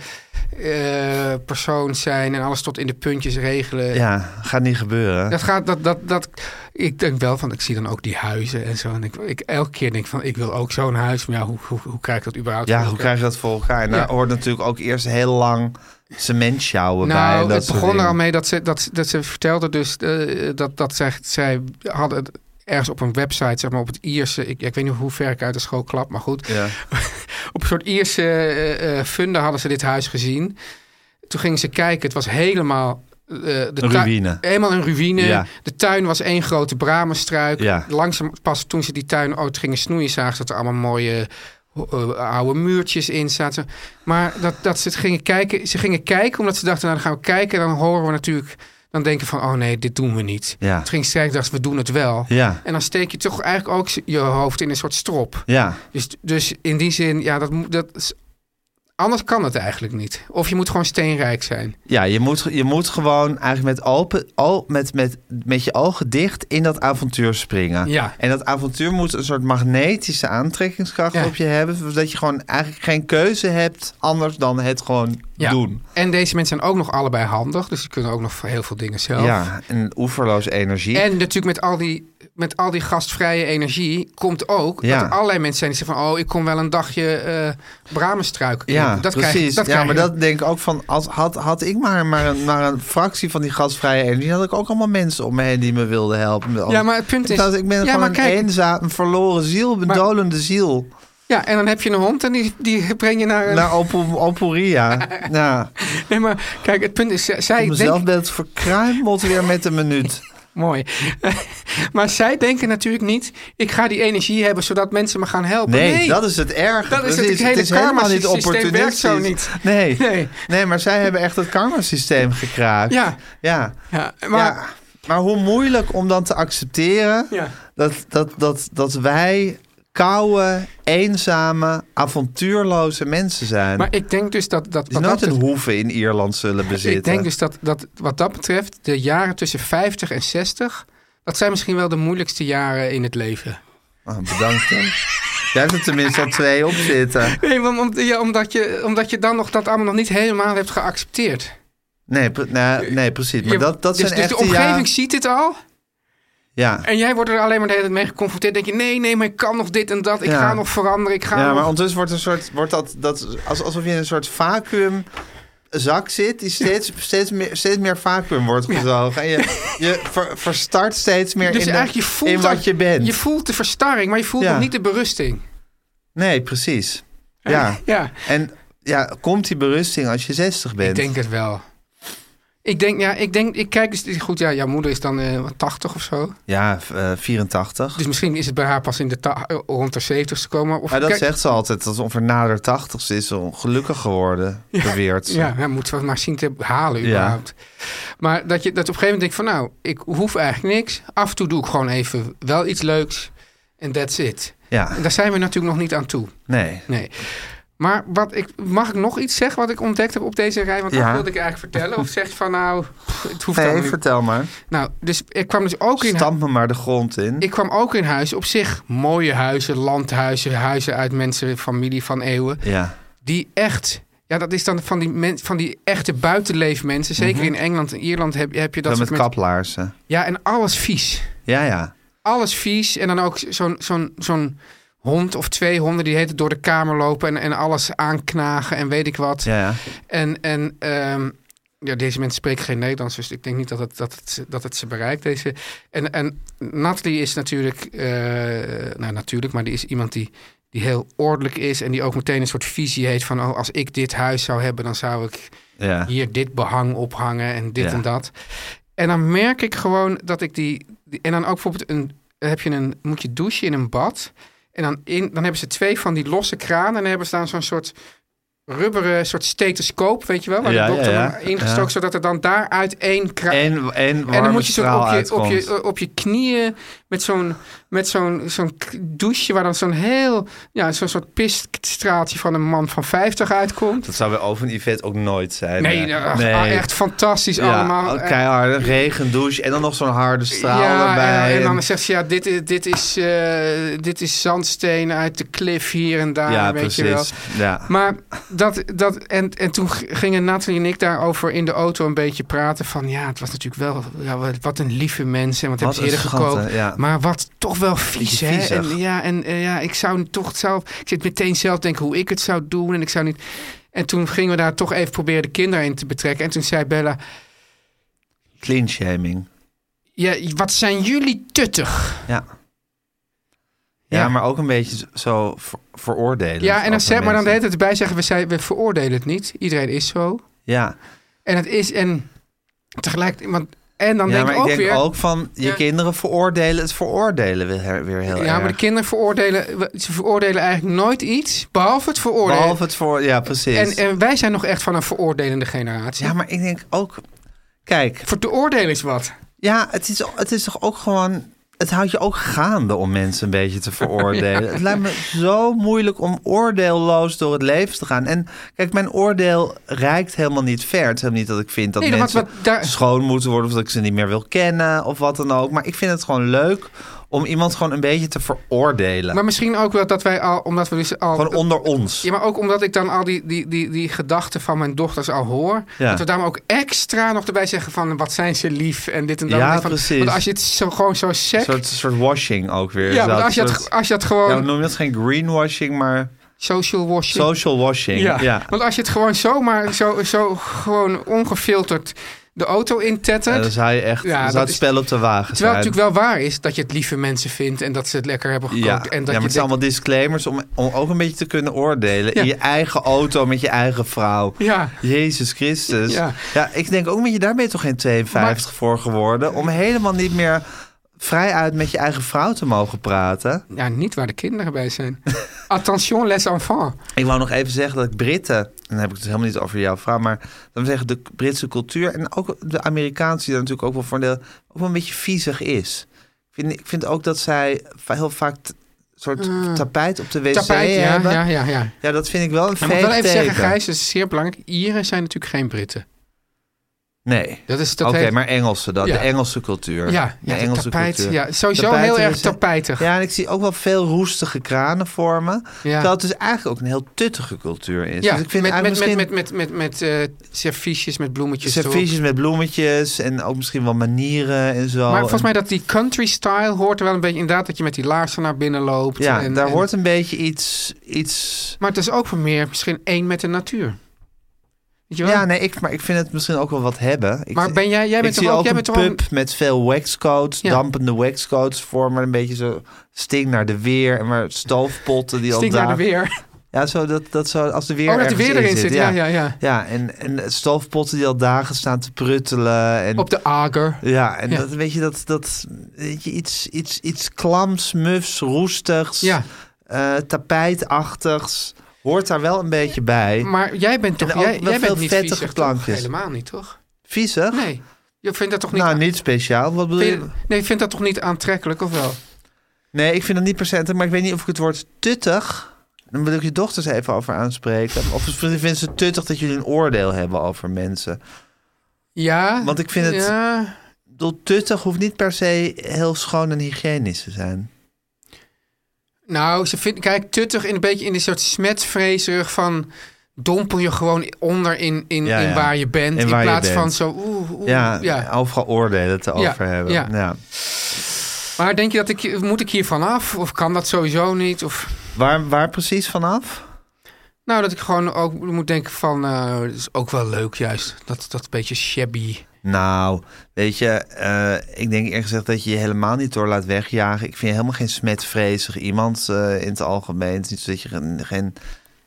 Speaker 3: eh, persoon zijn... en alles tot in de puntjes regelen.
Speaker 2: Ja, gaat niet gebeuren.
Speaker 3: Dat gaat, dat, dat, dat, ik denk wel van, ik zie dan ook die huizen en zo. En ik, ik elke keer denk van, ik wil ook zo'n huis. Maar ja, hoe, hoe, hoe krijg ik dat überhaupt?
Speaker 2: Ja,
Speaker 3: voor
Speaker 2: hoe
Speaker 3: elkaar?
Speaker 2: krijg je dat voor elkaar? En daar
Speaker 3: Ja.
Speaker 2: hoort natuurlijk ook eerst heel lang cement sjouwen bij. en
Speaker 3: Nou,
Speaker 2: dat
Speaker 3: het
Speaker 2: soort
Speaker 3: begon er al
Speaker 2: dingen.
Speaker 3: mee dat ze, dat, ze- dat ze vertelde dus eh, dat, dat zij, zij hadden het ergens op een website, zeg maar op het Ierse, ik, ik weet niet hoe ver ik uit de school klap, maar goed.
Speaker 2: Ja.
Speaker 3: Op een soort Ierse eh, eh, funden hadden ze dit huis gezien. Toen gingen ze kijken, het was helemaal... eh, de
Speaker 2: Een
Speaker 3: tui-
Speaker 2: ruïne.
Speaker 3: Helemaal een ruïne.
Speaker 2: Ja.
Speaker 3: De tuin was één grote bramenstruik.
Speaker 2: Ja.
Speaker 3: Langzaam, pas toen ze die tuin ooit gingen snoeien, zagen ze dat er allemaal mooie eh, oude muurtjes in zaten. Maar dat, dat ze het gingen kijken, ze gingen kijken omdat ze dachten, nou dan gaan we kijken. En dan horen we natuurlijk, dan denken van, oh nee, dit doen we niet.
Speaker 2: Ja.
Speaker 3: Toen gingen ze kijken, dachten we doen het wel.
Speaker 2: Ja.
Speaker 3: En dan steek je toch eigenlijk ook je hoofd in een soort strop.
Speaker 2: Ja.
Speaker 3: Dus, dus in die zin, ja, dat, moet- dat is- anders kan het eigenlijk niet. Of je moet gewoon steenrijk zijn.
Speaker 2: Ja, je moet, je moet gewoon eigenlijk met, open, al, met, met, met je ogen dicht in dat avontuur springen.
Speaker 3: Ja.
Speaker 2: En dat avontuur moet een soort magnetische aantrekkingskracht
Speaker 3: Ja.
Speaker 2: op je hebben. Zodat je gewoon eigenlijk geen keuze hebt anders dan het gewoon
Speaker 3: Ja.
Speaker 2: doen.
Speaker 3: En deze mensen zijn ook nog allebei handig, dus ze kunnen ook nog voor heel veel dingen zelf.
Speaker 2: Ja, en oeverloos energie.
Speaker 3: En natuurlijk met al die, met al die gastvrije energie komt ook
Speaker 2: Ja.
Speaker 3: dat er allerlei mensen zijn die zeggen van... oh, ik kom wel een dagje eh bramenstruik. in.
Speaker 2: Ja,
Speaker 3: dat
Speaker 2: precies.
Speaker 3: Krijg, je- dat
Speaker 2: ja,
Speaker 3: krijg
Speaker 2: maar
Speaker 3: je.
Speaker 2: dat denk ik ook van, als, had, had ik maar, maar, een, maar een fractie van die gasvrije energie, had ik ook allemaal mensen om me heen die me wilden helpen.
Speaker 3: Ja, maar het punt is-
Speaker 2: Dat, ik ben
Speaker 3: Ja,
Speaker 2: gewoon
Speaker 3: maar kijk-
Speaker 2: een eenzaam, een verloren ziel, een
Speaker 3: Maar-
Speaker 2: bedolende ziel.
Speaker 3: Ja, en dan heb je een hond en die, die breng je naar... Een...
Speaker 2: Naar Opo- Oporia. ja,
Speaker 3: Nee, maar kijk, het punt is, z- zij
Speaker 2: ik mezelf
Speaker 3: denken...
Speaker 2: ben het verkruimeld weer met een minuut.
Speaker 3: Mooi. maar zij denken natuurlijk niet... ik ga die energie hebben zodat mensen me gaan helpen.
Speaker 2: Nee,
Speaker 3: Nee,
Speaker 2: dat is het erg.
Speaker 3: Dat is het hele
Speaker 2: het is helemaal niet
Speaker 3: karmasysteem werkt
Speaker 2: opportunistisch.
Speaker 3: zo niet.
Speaker 2: Nee.
Speaker 3: Nee.
Speaker 2: Nee. maar zij hebben echt het karmasysteem gekraakt.
Speaker 3: Ja.
Speaker 2: Ja.
Speaker 3: Ja, maar...
Speaker 2: Ja, maar hoe moeilijk om dan te accepteren
Speaker 3: Ja.
Speaker 2: dat, dat, dat, dat wij koude, eenzame, avontuurloze mensen zijn.
Speaker 3: Maar ik denk dus dat... dat,
Speaker 2: die
Speaker 3: wat
Speaker 2: nooit
Speaker 3: dat
Speaker 2: een hoeve in Ierland zullen bezitten.
Speaker 3: Ik denk dus dat, dat wat dat betreft, de jaren tussen 50 en 60, dat zijn misschien wel de moeilijkste jaren in het leven.
Speaker 2: Oh, bedankt. hè. Jij hebt er tenminste al twee op zitten.
Speaker 3: Nee, want, om- ja, omdat, je, omdat je dan nog dat allemaal nog niet helemaal hebt geaccepteerd.
Speaker 2: Nee, pre- nee, nee, precies. Maar
Speaker 3: Je-
Speaker 2: dat, dat
Speaker 3: dus,
Speaker 2: zijn
Speaker 3: dus
Speaker 2: echt
Speaker 3: de omgeving
Speaker 2: jaren-
Speaker 3: ziet dit al.
Speaker 2: Ja.
Speaker 3: En jij wordt er alleen maar de hele tijd mee geconfronteerd. Denk je, nee, nee, maar ik kan nog dit en dat. Ik
Speaker 2: Ja.
Speaker 3: ga nog veranderen. Ik ga
Speaker 2: Ja, maar
Speaker 3: nog...
Speaker 2: ondertussen wordt, een soort, wordt dat, dat als- alsof je in een soort vacuüm zak zit die steeds, steeds, meer, steeds meer vacuüm wordt gezogen. En je, je ver- verstart steeds meer
Speaker 3: Dus
Speaker 2: in, de-
Speaker 3: eigenlijk, je voelt,
Speaker 2: in
Speaker 3: dat-
Speaker 2: wat je bent.
Speaker 3: Je voelt de verstarring, maar je voelt
Speaker 2: Ja.
Speaker 3: nog niet de berusting.
Speaker 2: Nee, precies. Ja.
Speaker 3: Ja.
Speaker 2: En ja, komt die berusting als je 60 bent?
Speaker 3: Ik denk het wel. Ik denk, ja, ik denk, ik kijk dus goed. Ja, jouw moeder is dan eh, wat 80 of zo.
Speaker 2: Ja, v- eh, 84.
Speaker 3: Dus misschien is het bij haar pas in de ta- eh, rond de 70 gekomen. Of
Speaker 2: maar dat
Speaker 3: kijk-
Speaker 2: zegt ze altijd, dat ze ongeveer nader 80 ze is ze ongelukkig geworden, beweert ze.
Speaker 3: Ja, ja, moeten we het maar zien te halen
Speaker 2: Ja.
Speaker 3: überhaupt. Maar dat je dat op een gegeven moment denkt van nou, ik hoef eigenlijk niks. Af en toe doe ik gewoon even wel iets leuks. En that's it.
Speaker 2: Ja,
Speaker 3: En daar zijn we natuurlijk nog niet aan toe.
Speaker 2: nee.
Speaker 3: Nee. Maar wat ik, mag ik nog iets zeggen wat ik ontdekt heb op deze rij? Want dat
Speaker 2: Ja.
Speaker 3: wilde ik eigenlijk vertellen. Of zeg je van nou, pff, het hoeft
Speaker 2: Nee,
Speaker 3: allemaal niet.
Speaker 2: vertel maar.
Speaker 3: Nou, dus ik kwam dus ook in
Speaker 2: Stamp me maar de grond in.
Speaker 3: Ik kwam ook in huizen, op zich mooie huizen, landhuizen, huizen uit mensen, familie van eeuwen.
Speaker 2: Ja,
Speaker 3: Die echt, ja, dat is dan van die, men, van die echte buitenleefmensen. Zeker in Engeland en Ierland heb, heb je dat
Speaker 2: dan met
Speaker 3: soort mensen.
Speaker 2: kaplaarzen.
Speaker 3: Ja, en alles vies.
Speaker 2: Ja, ja.
Speaker 3: Alles vies. En dan ook zo'n zo'n zo'n hond of twee honden die heten door de kamer lopen en, en alles aanknagen en weet ik wat.
Speaker 2: Ja, ja.
Speaker 3: En, en ehm, ja, deze mensen spreken geen Nederlands, dus ik denk niet dat het, dat het, ze- dat het ze bereikt. Deze. En, en Natalie is natuurlijk, eh, nou natuurlijk, maar die is iemand die, die heel ordelijk is en die ook meteen een soort visie heeft van, oh, als ik dit huis zou hebben, dan zou ik
Speaker 2: ja.
Speaker 3: hier dit behang ophangen en dit
Speaker 2: Ja.
Speaker 3: en dat. En dan merk ik gewoon dat ik die, die- en dan ook bijvoorbeeld een, heb je een, moet je douchen in een bad. En dan, in, dan hebben ze twee van die losse kranen en dan hebben ze dan zo'n soort rubberen soort stethoscoop, weet je wel, waar
Speaker 2: Ja,
Speaker 3: de
Speaker 2: ja,
Speaker 3: dokter
Speaker 2: ja.
Speaker 3: dan ingestoken,
Speaker 2: Ja.
Speaker 3: zodat er dan daaruit één kraan...
Speaker 2: En, en,
Speaker 3: en dan moet je zo
Speaker 2: straal
Speaker 3: op je, op,
Speaker 2: uitkomt.
Speaker 3: je, op je knieën met zo'n met zo'n zo'n k- douche waar dan zo'n heel, ja, zo'n soort piststraaltje van een man van 50 uitkomt.
Speaker 2: Dat zou bij Oven Yvette ook nooit zijn.
Speaker 3: Nee,
Speaker 2: hè?
Speaker 3: ach, ah, echt fantastisch
Speaker 2: eh, Ja,
Speaker 3: allemaal. eh,
Speaker 2: oh, keiharde regen, douche en dan nog zo'n harde straal
Speaker 3: Ja, eh,
Speaker 2: erbij.
Speaker 3: en, en dan zegt ze, ja, dit, is- dit, is, eh, dit is zandsteen uit de klif hier en daar,
Speaker 2: ja,
Speaker 3: weet
Speaker 2: precies.
Speaker 3: je wel.
Speaker 2: Ja.
Speaker 3: Maar dat, dat en, en toen g- gingen Nathalie en ik daarover in de auto een beetje praten. Van ja, het was natuurlijk wel, ja, wat- wat een lieve mensen en wat,
Speaker 2: Wat
Speaker 3: hebben ze
Speaker 2: een
Speaker 3: eerder
Speaker 2: schat,
Speaker 3: gekookt.
Speaker 2: hè, ja.
Speaker 3: Maar wat toch wel vies,
Speaker 2: Beetje
Speaker 3: hè?
Speaker 2: viezig.
Speaker 3: En, ja, en eh, ja, ik zou toch zelf, ik zit meteen zelf denken hoe ik het zou doen en ik zou niet. En toen gingen we daar toch even proberen de kinderen in te betrekken. En toen zei Bella,
Speaker 2: Clean shaming.
Speaker 3: ja, wat zijn jullie tuttig?
Speaker 2: Ja. Ja,
Speaker 3: Ja.
Speaker 2: maar ook een beetje zo ver- veroordelen.
Speaker 3: Ja, en dan zei, maar dan de hele tijd erbij zeggen, we, zei, we veroordelen het niet. Iedereen is zo.
Speaker 2: Ja,
Speaker 3: En het is, en tegelijk, want, en dan
Speaker 2: ja
Speaker 3: denk
Speaker 2: maar
Speaker 3: ik
Speaker 2: ik
Speaker 3: ook
Speaker 2: denk
Speaker 3: weer...
Speaker 2: ook van je
Speaker 3: Ja.
Speaker 2: kinderen veroordelen het veroordelen weer, weer heel erg.
Speaker 3: Ja, maar de kinderen veroordelen, ze veroordelen eigenlijk nooit iets, behalve het veroordelen.
Speaker 2: Behalve het voor, ja, precies.
Speaker 3: en, eh, en wij zijn nog echt van een veroordelende generatie.
Speaker 2: Ja, maar ik denk ook, kijk,
Speaker 3: Voor de oordelen is wat.
Speaker 2: ja, het is, het is toch ook gewoon, het houdt je ook gaande om mensen een beetje te veroordelen. Het lijkt me zo moeilijk om oordeelloos door het leven te gaan. En kijk, mijn oordeel reikt helemaal niet ver. Het is helemaal niet dat ik vind dat
Speaker 3: Nee, wat-
Speaker 2: mensen
Speaker 3: wat daar-
Speaker 2: schoon moeten worden of dat ik ze niet meer wil kennen of wat dan ook. Maar ik vind het gewoon leuk om iemand gewoon een beetje te veroordelen.
Speaker 3: Maar misschien ook wel dat wij al, omdat we dus al...
Speaker 2: gewoon onder ons.
Speaker 3: ja, maar ook omdat ik dan al die, die, die, die gedachten van mijn dochters al hoor.
Speaker 2: Ja.
Speaker 3: Dat we daarom ook extra nog erbij zeggen van wat zijn ze lief en dit en dat.
Speaker 2: Ja,
Speaker 3: En ik van-
Speaker 2: precies.
Speaker 3: Want als je het zo, gewoon zo
Speaker 2: Een
Speaker 3: sec...
Speaker 2: soort, soort washing ook weer.
Speaker 3: ja,
Speaker 2: Zo,
Speaker 3: want als je, oh.
Speaker 2: een
Speaker 3: dat,
Speaker 2: soort-
Speaker 3: als je dat
Speaker 2: ja,
Speaker 3: gewoon
Speaker 2: we noemen dat geen greenwashing, maar
Speaker 3: social washing...
Speaker 2: social washing.
Speaker 3: Ja.
Speaker 2: Ja.
Speaker 3: want als je het gewoon zomaar zo, zo gewoon ongefilterd de auto intettert...
Speaker 2: Ja, dan zou je echt
Speaker 3: Ja,
Speaker 2: dan
Speaker 3: dat
Speaker 2: zou het
Speaker 3: is-
Speaker 2: spel op de wagen
Speaker 3: Terwijl het
Speaker 2: zijn.
Speaker 3: natuurlijk wel waar is dat je het lieve mensen vindt en dat ze het lekker hebben gekookt.
Speaker 2: ja, ja,
Speaker 3: en
Speaker 2: maar het
Speaker 3: dat je
Speaker 2: zijn
Speaker 3: denkt-
Speaker 2: allemaal disclaimers om, om ook een beetje te kunnen oordelen.
Speaker 3: Ja.
Speaker 2: In je eigen auto met je eigen vrouw.
Speaker 3: Ja.
Speaker 2: Jezus Christus.
Speaker 3: Ja.
Speaker 2: ik denk ook met je, daar ben je toch geen 52 voor geworden. Om helemaal niet meer vrijuit met je eigen vrouw te mogen praten.
Speaker 3: ja, niet waar de kinderen bij zijn. Attention les enfants.
Speaker 2: Ik wou nog even zeggen dat Britten, en dan heb ik het dus helemaal niet over jouw vrouw, maar dan zeggen de Britse cultuur en ook de Amerikaanse, die daar natuurlijk ook wel voor een deel, ook wel een beetje viezig is. Ik vind, ik vind ook dat zij va- heel vaak t- soort tapijt op de wc
Speaker 3: Mm. Tapijt, ja,
Speaker 2: hebben.
Speaker 3: ja, ja, ja.
Speaker 2: Ja, dat vind ik wel een
Speaker 3: Ik
Speaker 2: fake
Speaker 3: moet wel even zeggen,
Speaker 2: teken.
Speaker 3: Gijs, dat is zeer belangrijk. Ieren zijn natuurlijk geen Britten.
Speaker 2: Nee.
Speaker 3: Dat is dat
Speaker 2: Oké,
Speaker 3: heet-
Speaker 2: maar Engelsen dan.
Speaker 3: Ja.
Speaker 2: De Engelse cultuur.
Speaker 3: Ja, ja,
Speaker 2: de
Speaker 3: de
Speaker 2: Engelse
Speaker 3: tapijt,
Speaker 2: cultuur.
Speaker 3: ja. Sowieso
Speaker 2: Tapijten
Speaker 3: heel erg
Speaker 2: is-
Speaker 3: tapijtig.
Speaker 2: Ja, en ik zie ook wel veel roestige kranen vormen.
Speaker 3: Ja.
Speaker 2: Terwijl het dus eigenlijk ook een heel tuttige cultuur is.
Speaker 3: Ja,
Speaker 2: dus ik vind
Speaker 3: met, met,
Speaker 2: eigenlijk misschien...
Speaker 3: met, met, met, met, eh, serviesjes, met bloemetjes. erop.
Speaker 2: Serviesjes met bloemetjes en ook misschien wel manieren en zo.
Speaker 3: Maar volgens
Speaker 2: En-
Speaker 3: mij dat die country style hoort er wel een beetje inderdaad dat je met die laarzen naar binnen loopt.
Speaker 2: Ja,
Speaker 3: en-
Speaker 2: daar
Speaker 3: en-
Speaker 2: hoort een beetje iets... iets...
Speaker 3: Maar het is ook voor meer misschien één met de natuur. Weet je wel?
Speaker 2: Ja, nee, ik, maar ik vind het misschien ook wel wat hebben. Ik,
Speaker 3: Maar ben jij- jij bent
Speaker 2: ik
Speaker 3: toch
Speaker 2: zie
Speaker 3: ook-
Speaker 2: ook
Speaker 3: jij
Speaker 2: een
Speaker 3: bent toch
Speaker 2: pub met veel waxcoats,
Speaker 3: Ja.
Speaker 2: dampende waxcoats, vormen een beetje zo sting naar de weer en maar stoofpotten die
Speaker 3: Stinkt
Speaker 2: al
Speaker 3: naar
Speaker 2: daar.
Speaker 3: de weer.
Speaker 2: Ja, zo dat, dat zo als de weer.
Speaker 3: Oh, dat de
Speaker 2: ergens
Speaker 3: weer erin zit. Ja, ja, ja.
Speaker 2: Ja, en, en stoofpotten die al dagen staan te pruttelen en
Speaker 3: Op de ager.
Speaker 2: Ja, en
Speaker 3: Ja.
Speaker 2: Dat, weet je, dat, dat weet je, iets, iets, iets klams, mufs, roestigs,
Speaker 3: Ja.
Speaker 2: eh, tapijtachtigs, hoort daar wel een beetje bij.
Speaker 3: Maar jij bent toch
Speaker 2: En ook
Speaker 3: jij,
Speaker 2: wel
Speaker 3: jij
Speaker 2: veel
Speaker 3: bent niet
Speaker 2: vettige
Speaker 3: viezig, toch?
Speaker 2: plankjes.
Speaker 3: Helemaal niet, toch?
Speaker 2: Viezig?
Speaker 3: Nee. Je vindt dat toch niet...
Speaker 2: nou,
Speaker 3: aan-
Speaker 2: niet speciaal. Wat bedoel
Speaker 3: Vind
Speaker 2: je?
Speaker 3: je- nee, je vindt dat toch niet aantrekkelijk, of wel?
Speaker 2: Nee, ik vind het niet per se aantrekkelijk, maar ik weet niet of ik het woord tuttig... Dan wil ik je dochters even over aanspreken. Of vinden ze het tuttig dat jullie een oordeel hebben over mensen?
Speaker 3: Ja.
Speaker 2: Want ik vind het-
Speaker 3: Ja,
Speaker 2: Ik bedoel, tuttig hoeft niet per se heel schoon en hygiënisch te zijn.
Speaker 3: nou, ze vindt... Kijk, tuttig in een beetje in een soort smetvreeserig van... Dompel je gewoon onder in, in,
Speaker 2: Ja,
Speaker 3: in
Speaker 2: ja.
Speaker 3: waar je bent.
Speaker 2: In
Speaker 3: In,
Speaker 2: waar je
Speaker 3: plaats
Speaker 2: bent.
Speaker 3: van zo... Oeh, oeh,
Speaker 2: Ja,
Speaker 3: ja.
Speaker 2: overal oordelen te
Speaker 3: Ja,
Speaker 2: over hebben.
Speaker 3: ja.
Speaker 2: Ja.
Speaker 3: Maar denk je dat ik, moet ik hier vanaf? Of kan dat sowieso niet? Of,
Speaker 2: Waar, waar precies vanaf?
Speaker 3: nou, dat ik gewoon ook moet denken van, eh dat is ook wel leuk juist. Dat, dat beetje shabby.
Speaker 2: Nou, weet je, eh, ik denk eerlijk gezegd dat je je helemaal niet door laat wegjagen. Ik vind helemaal geen smetvreesig iemand eh, in het algemeen. Het is niet zo dat je geen, geen-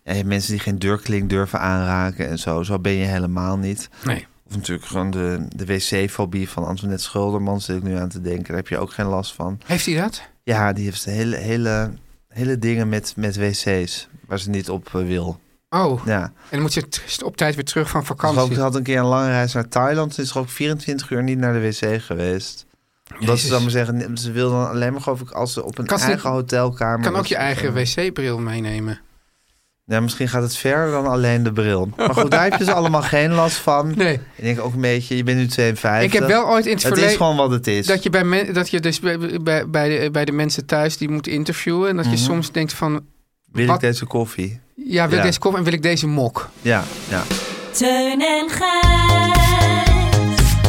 Speaker 2: ja, je hebt mensen die geen deurklink durven aanraken en zo. Zo ben je helemaal niet.
Speaker 3: Nee.
Speaker 2: Of natuurlijk gewoon de, de wc-fobie van Antoinette Schulderman zit ik nu aan te denken. Daar heb je ook geen last van.
Speaker 3: Heeft hij dat?
Speaker 2: Ja, die heeft hele, hele, hele dingen met, met wc's waar ze niet op eh, wil.
Speaker 3: Oh,
Speaker 2: Ja.
Speaker 3: en dan moet je t- op tijd weer terug van
Speaker 2: Ze
Speaker 3: vakantie.
Speaker 2: ook, had een keer een lange reis naar Thailand. Ze is gewoon 24 uur niet naar de wc geweest. Omdat ze
Speaker 3: Jezus.
Speaker 2: dan maar zeggen, ze wil dan alleen maar geloof ik als ze op een
Speaker 3: Kan ze-
Speaker 2: eigen hotelkamer...
Speaker 3: kan ook
Speaker 2: is.
Speaker 3: je eigen wc-bril meenemen.
Speaker 2: Ja, misschien gaat het verder dan alleen de bril. Maar goed, daar heb je ze allemaal geen last van.
Speaker 3: Nee.
Speaker 2: Ik denk ook een beetje, je bent nu 52.
Speaker 3: Ik heb wel ooit in het
Speaker 2: Het
Speaker 3: verleden...
Speaker 2: is gewoon wat het is.
Speaker 3: Dat je, bij men- dat je dus bij, bij, bij de, bij de mensen thuis die moet interviewen... en dat
Speaker 2: Mhm.
Speaker 3: je soms denkt van...
Speaker 2: wil
Speaker 3: wat-
Speaker 2: ik deze koffie?
Speaker 3: Ja, wil
Speaker 2: Ja.
Speaker 3: ik deze kop en wil ik deze mok?
Speaker 2: Ja, ja.
Speaker 6: Teun en Gijs.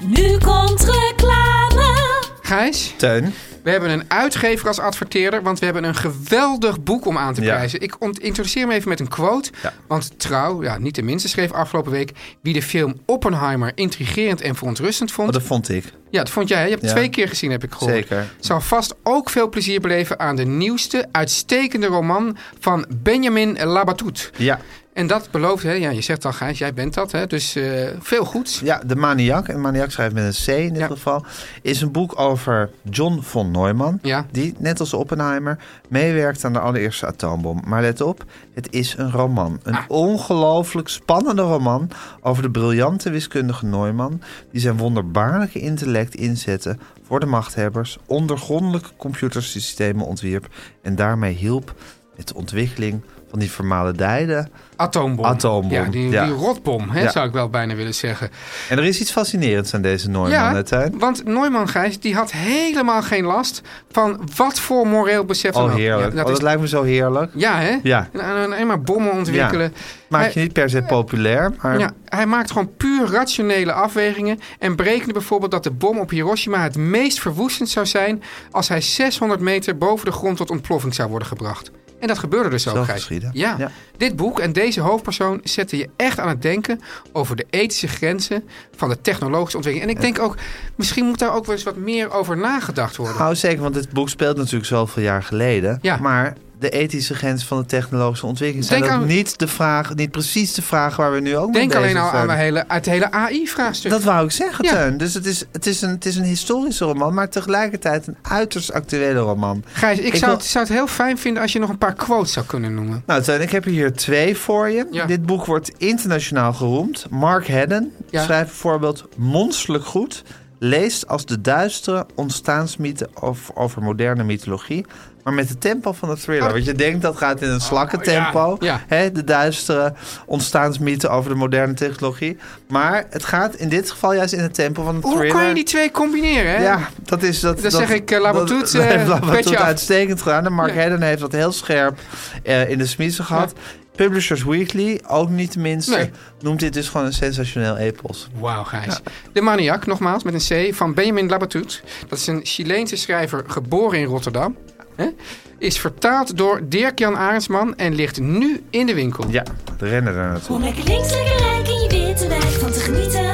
Speaker 6: Nu komt reclame.
Speaker 3: Gijs,
Speaker 2: Teun?
Speaker 3: we hebben een uitgever als adverteerder... want we hebben een geweldig boek om aan te
Speaker 2: Ja.
Speaker 3: prijzen. Ik ont- introduceer me even met een quote.
Speaker 2: Ja.
Speaker 3: Want Trouw, ja, niet de minste, schreef afgelopen week... wie de film Oppenheimer intrigerend en verontrustend vond.
Speaker 2: Oh, dat vond ik.
Speaker 3: Ja, dat vond jij. hè? Je hebt het
Speaker 2: Ja.
Speaker 3: twee keer gezien, heb ik gehoord.
Speaker 2: Zeker.
Speaker 3: Zal vast ook veel plezier beleven aan de nieuwste, uitstekende roman van Benjamin Labatut.
Speaker 2: Ja.
Speaker 3: En dat belooft, hè? Ja, je zegt al, Gijs, jij bent dat, hè? Dus eh, veel goeds.
Speaker 2: Ja, De Maniak. En Maniak schrijft met een C in dit
Speaker 3: Ja.
Speaker 2: geval. Is een boek over John von Neumann.
Speaker 3: Ja.
Speaker 2: Die, net als Oppenheimer, meewerkt aan de allereerste atoombom. Maar let op, het is een roman.
Speaker 3: Ah.
Speaker 2: Een ongelooflijk spannende roman over de briljante wiskundige Neumann... die zijn wonderbaarlijke intellect inzette voor de machthebbers... ondergrondelijke computersystemen ontwierp... en daarmee hielp met de ontwikkeling van die vermalendijden...
Speaker 3: Atoombom.
Speaker 2: Atoombom,
Speaker 3: Ja, die,
Speaker 2: ja.
Speaker 3: die rotbom, hè,
Speaker 2: Ja.
Speaker 3: zou ik wel bijna willen zeggen.
Speaker 2: En er is iets fascinerends aan deze Neumann, hè,
Speaker 3: Ja,
Speaker 2: Tijn?
Speaker 3: want Neumann, Gijs, die had helemaal geen last van wat voor moreel besef dan
Speaker 2: Oh,
Speaker 3: ook.
Speaker 2: heerlijk.
Speaker 3: Ja,
Speaker 2: Ja,
Speaker 3: dat
Speaker 2: dat
Speaker 3: is-
Speaker 2: lijkt me zo heerlijk.
Speaker 3: ja, hè?
Speaker 2: Ja.
Speaker 3: En, en, en maar bommen ontwikkelen.
Speaker 2: Maakt
Speaker 3: Hij-
Speaker 2: je niet per se populair, maar...
Speaker 3: Ja, hij maakt gewoon puur rationele afwegingen en berekende bijvoorbeeld dat de bom op Hiroshima het meest verwoestend zou zijn als hij 600 meter boven de grond tot ontploffing zou worden gebracht. En dat gebeurde dus ook,
Speaker 2: Zo
Speaker 3: Gijs.
Speaker 2: geschiedde.
Speaker 3: Ja.
Speaker 2: Ja.
Speaker 3: Dit boek en deze hoofdpersoon zetten je echt aan het denken over de ethische grenzen van de technologische ontwikkeling. En ik denk ook, misschien moet daar ook wel eens wat meer over nagedacht worden.
Speaker 2: Nou, zeker, want dit boek speelt natuurlijk zoveel jaar geleden.
Speaker 3: Ja.
Speaker 2: Maar de ethische grenzen van de technologische ontwikkeling zijn
Speaker 3: Denk
Speaker 2: ook
Speaker 3: aan-
Speaker 2: niet, de vraag, niet precies de vraag waar we nu ook mee
Speaker 3: Denk
Speaker 2: bezig
Speaker 3: alleen al aan
Speaker 2: zijn.
Speaker 3: de hele, het hele AI-vraagstuk.
Speaker 2: Dat wou ik zeggen,
Speaker 3: Ja.
Speaker 2: Teun. Dus het is, het, is een, het is een historische roman, maar tegelijkertijd een uiterst actuele roman.
Speaker 3: Gijs, ik,
Speaker 2: Ik
Speaker 3: zou,
Speaker 2: wil-
Speaker 3: het, zou het heel fijn vinden als je nog een paar quotes zou kunnen noemen.
Speaker 2: Nou, Teun, ik heb hier twee voor je.
Speaker 3: Ja.
Speaker 2: Dit boek wordt internationaal geroemd. Mark Hedden
Speaker 3: Ja.
Speaker 2: schrijft bijvoorbeeld monsterlijk goed. Leest als de duistere ontstaansmythe of, over moderne mythologie. Maar met het tempo van de thriller. Want je denkt dat gaat in een slakkentempo.
Speaker 3: Oh. ja.
Speaker 2: Hè, de duistere ontstaansmythe over de moderne technologie. Maar het gaat in dit geval juist in het tempo van de
Speaker 3: Hoe
Speaker 2: thriller.
Speaker 3: kan je die twee combineren? Hè?
Speaker 2: Ja, dat is... Dat,
Speaker 3: Dan zeg ik, eh, Labatut,
Speaker 2: dat-
Speaker 3: eh,
Speaker 2: dat heeft
Speaker 3: petje
Speaker 2: Labatut
Speaker 3: af.
Speaker 2: uitstekend gedaan. En Mark
Speaker 3: Ja.
Speaker 2: Hedden heeft dat heel scherp eh, in de smiezen gehad. Publishers Weekly, ook niet tenminste,
Speaker 3: Nee.
Speaker 2: noemt dit dus gewoon een sensationeel epos.
Speaker 3: Wauw, Gijs. De Maniac, nogmaals, met een C, van Benjamin Labatut. Dat is een Chileense schrijver, geboren in Rotterdam. Hè? Is vertaald door Dirk-Jan Arendsman en ligt nu in de winkel.
Speaker 2: Ja, de rennen daar naartoe.
Speaker 6: Om lekker links, lekker rijk in je witte wijk van te genieten.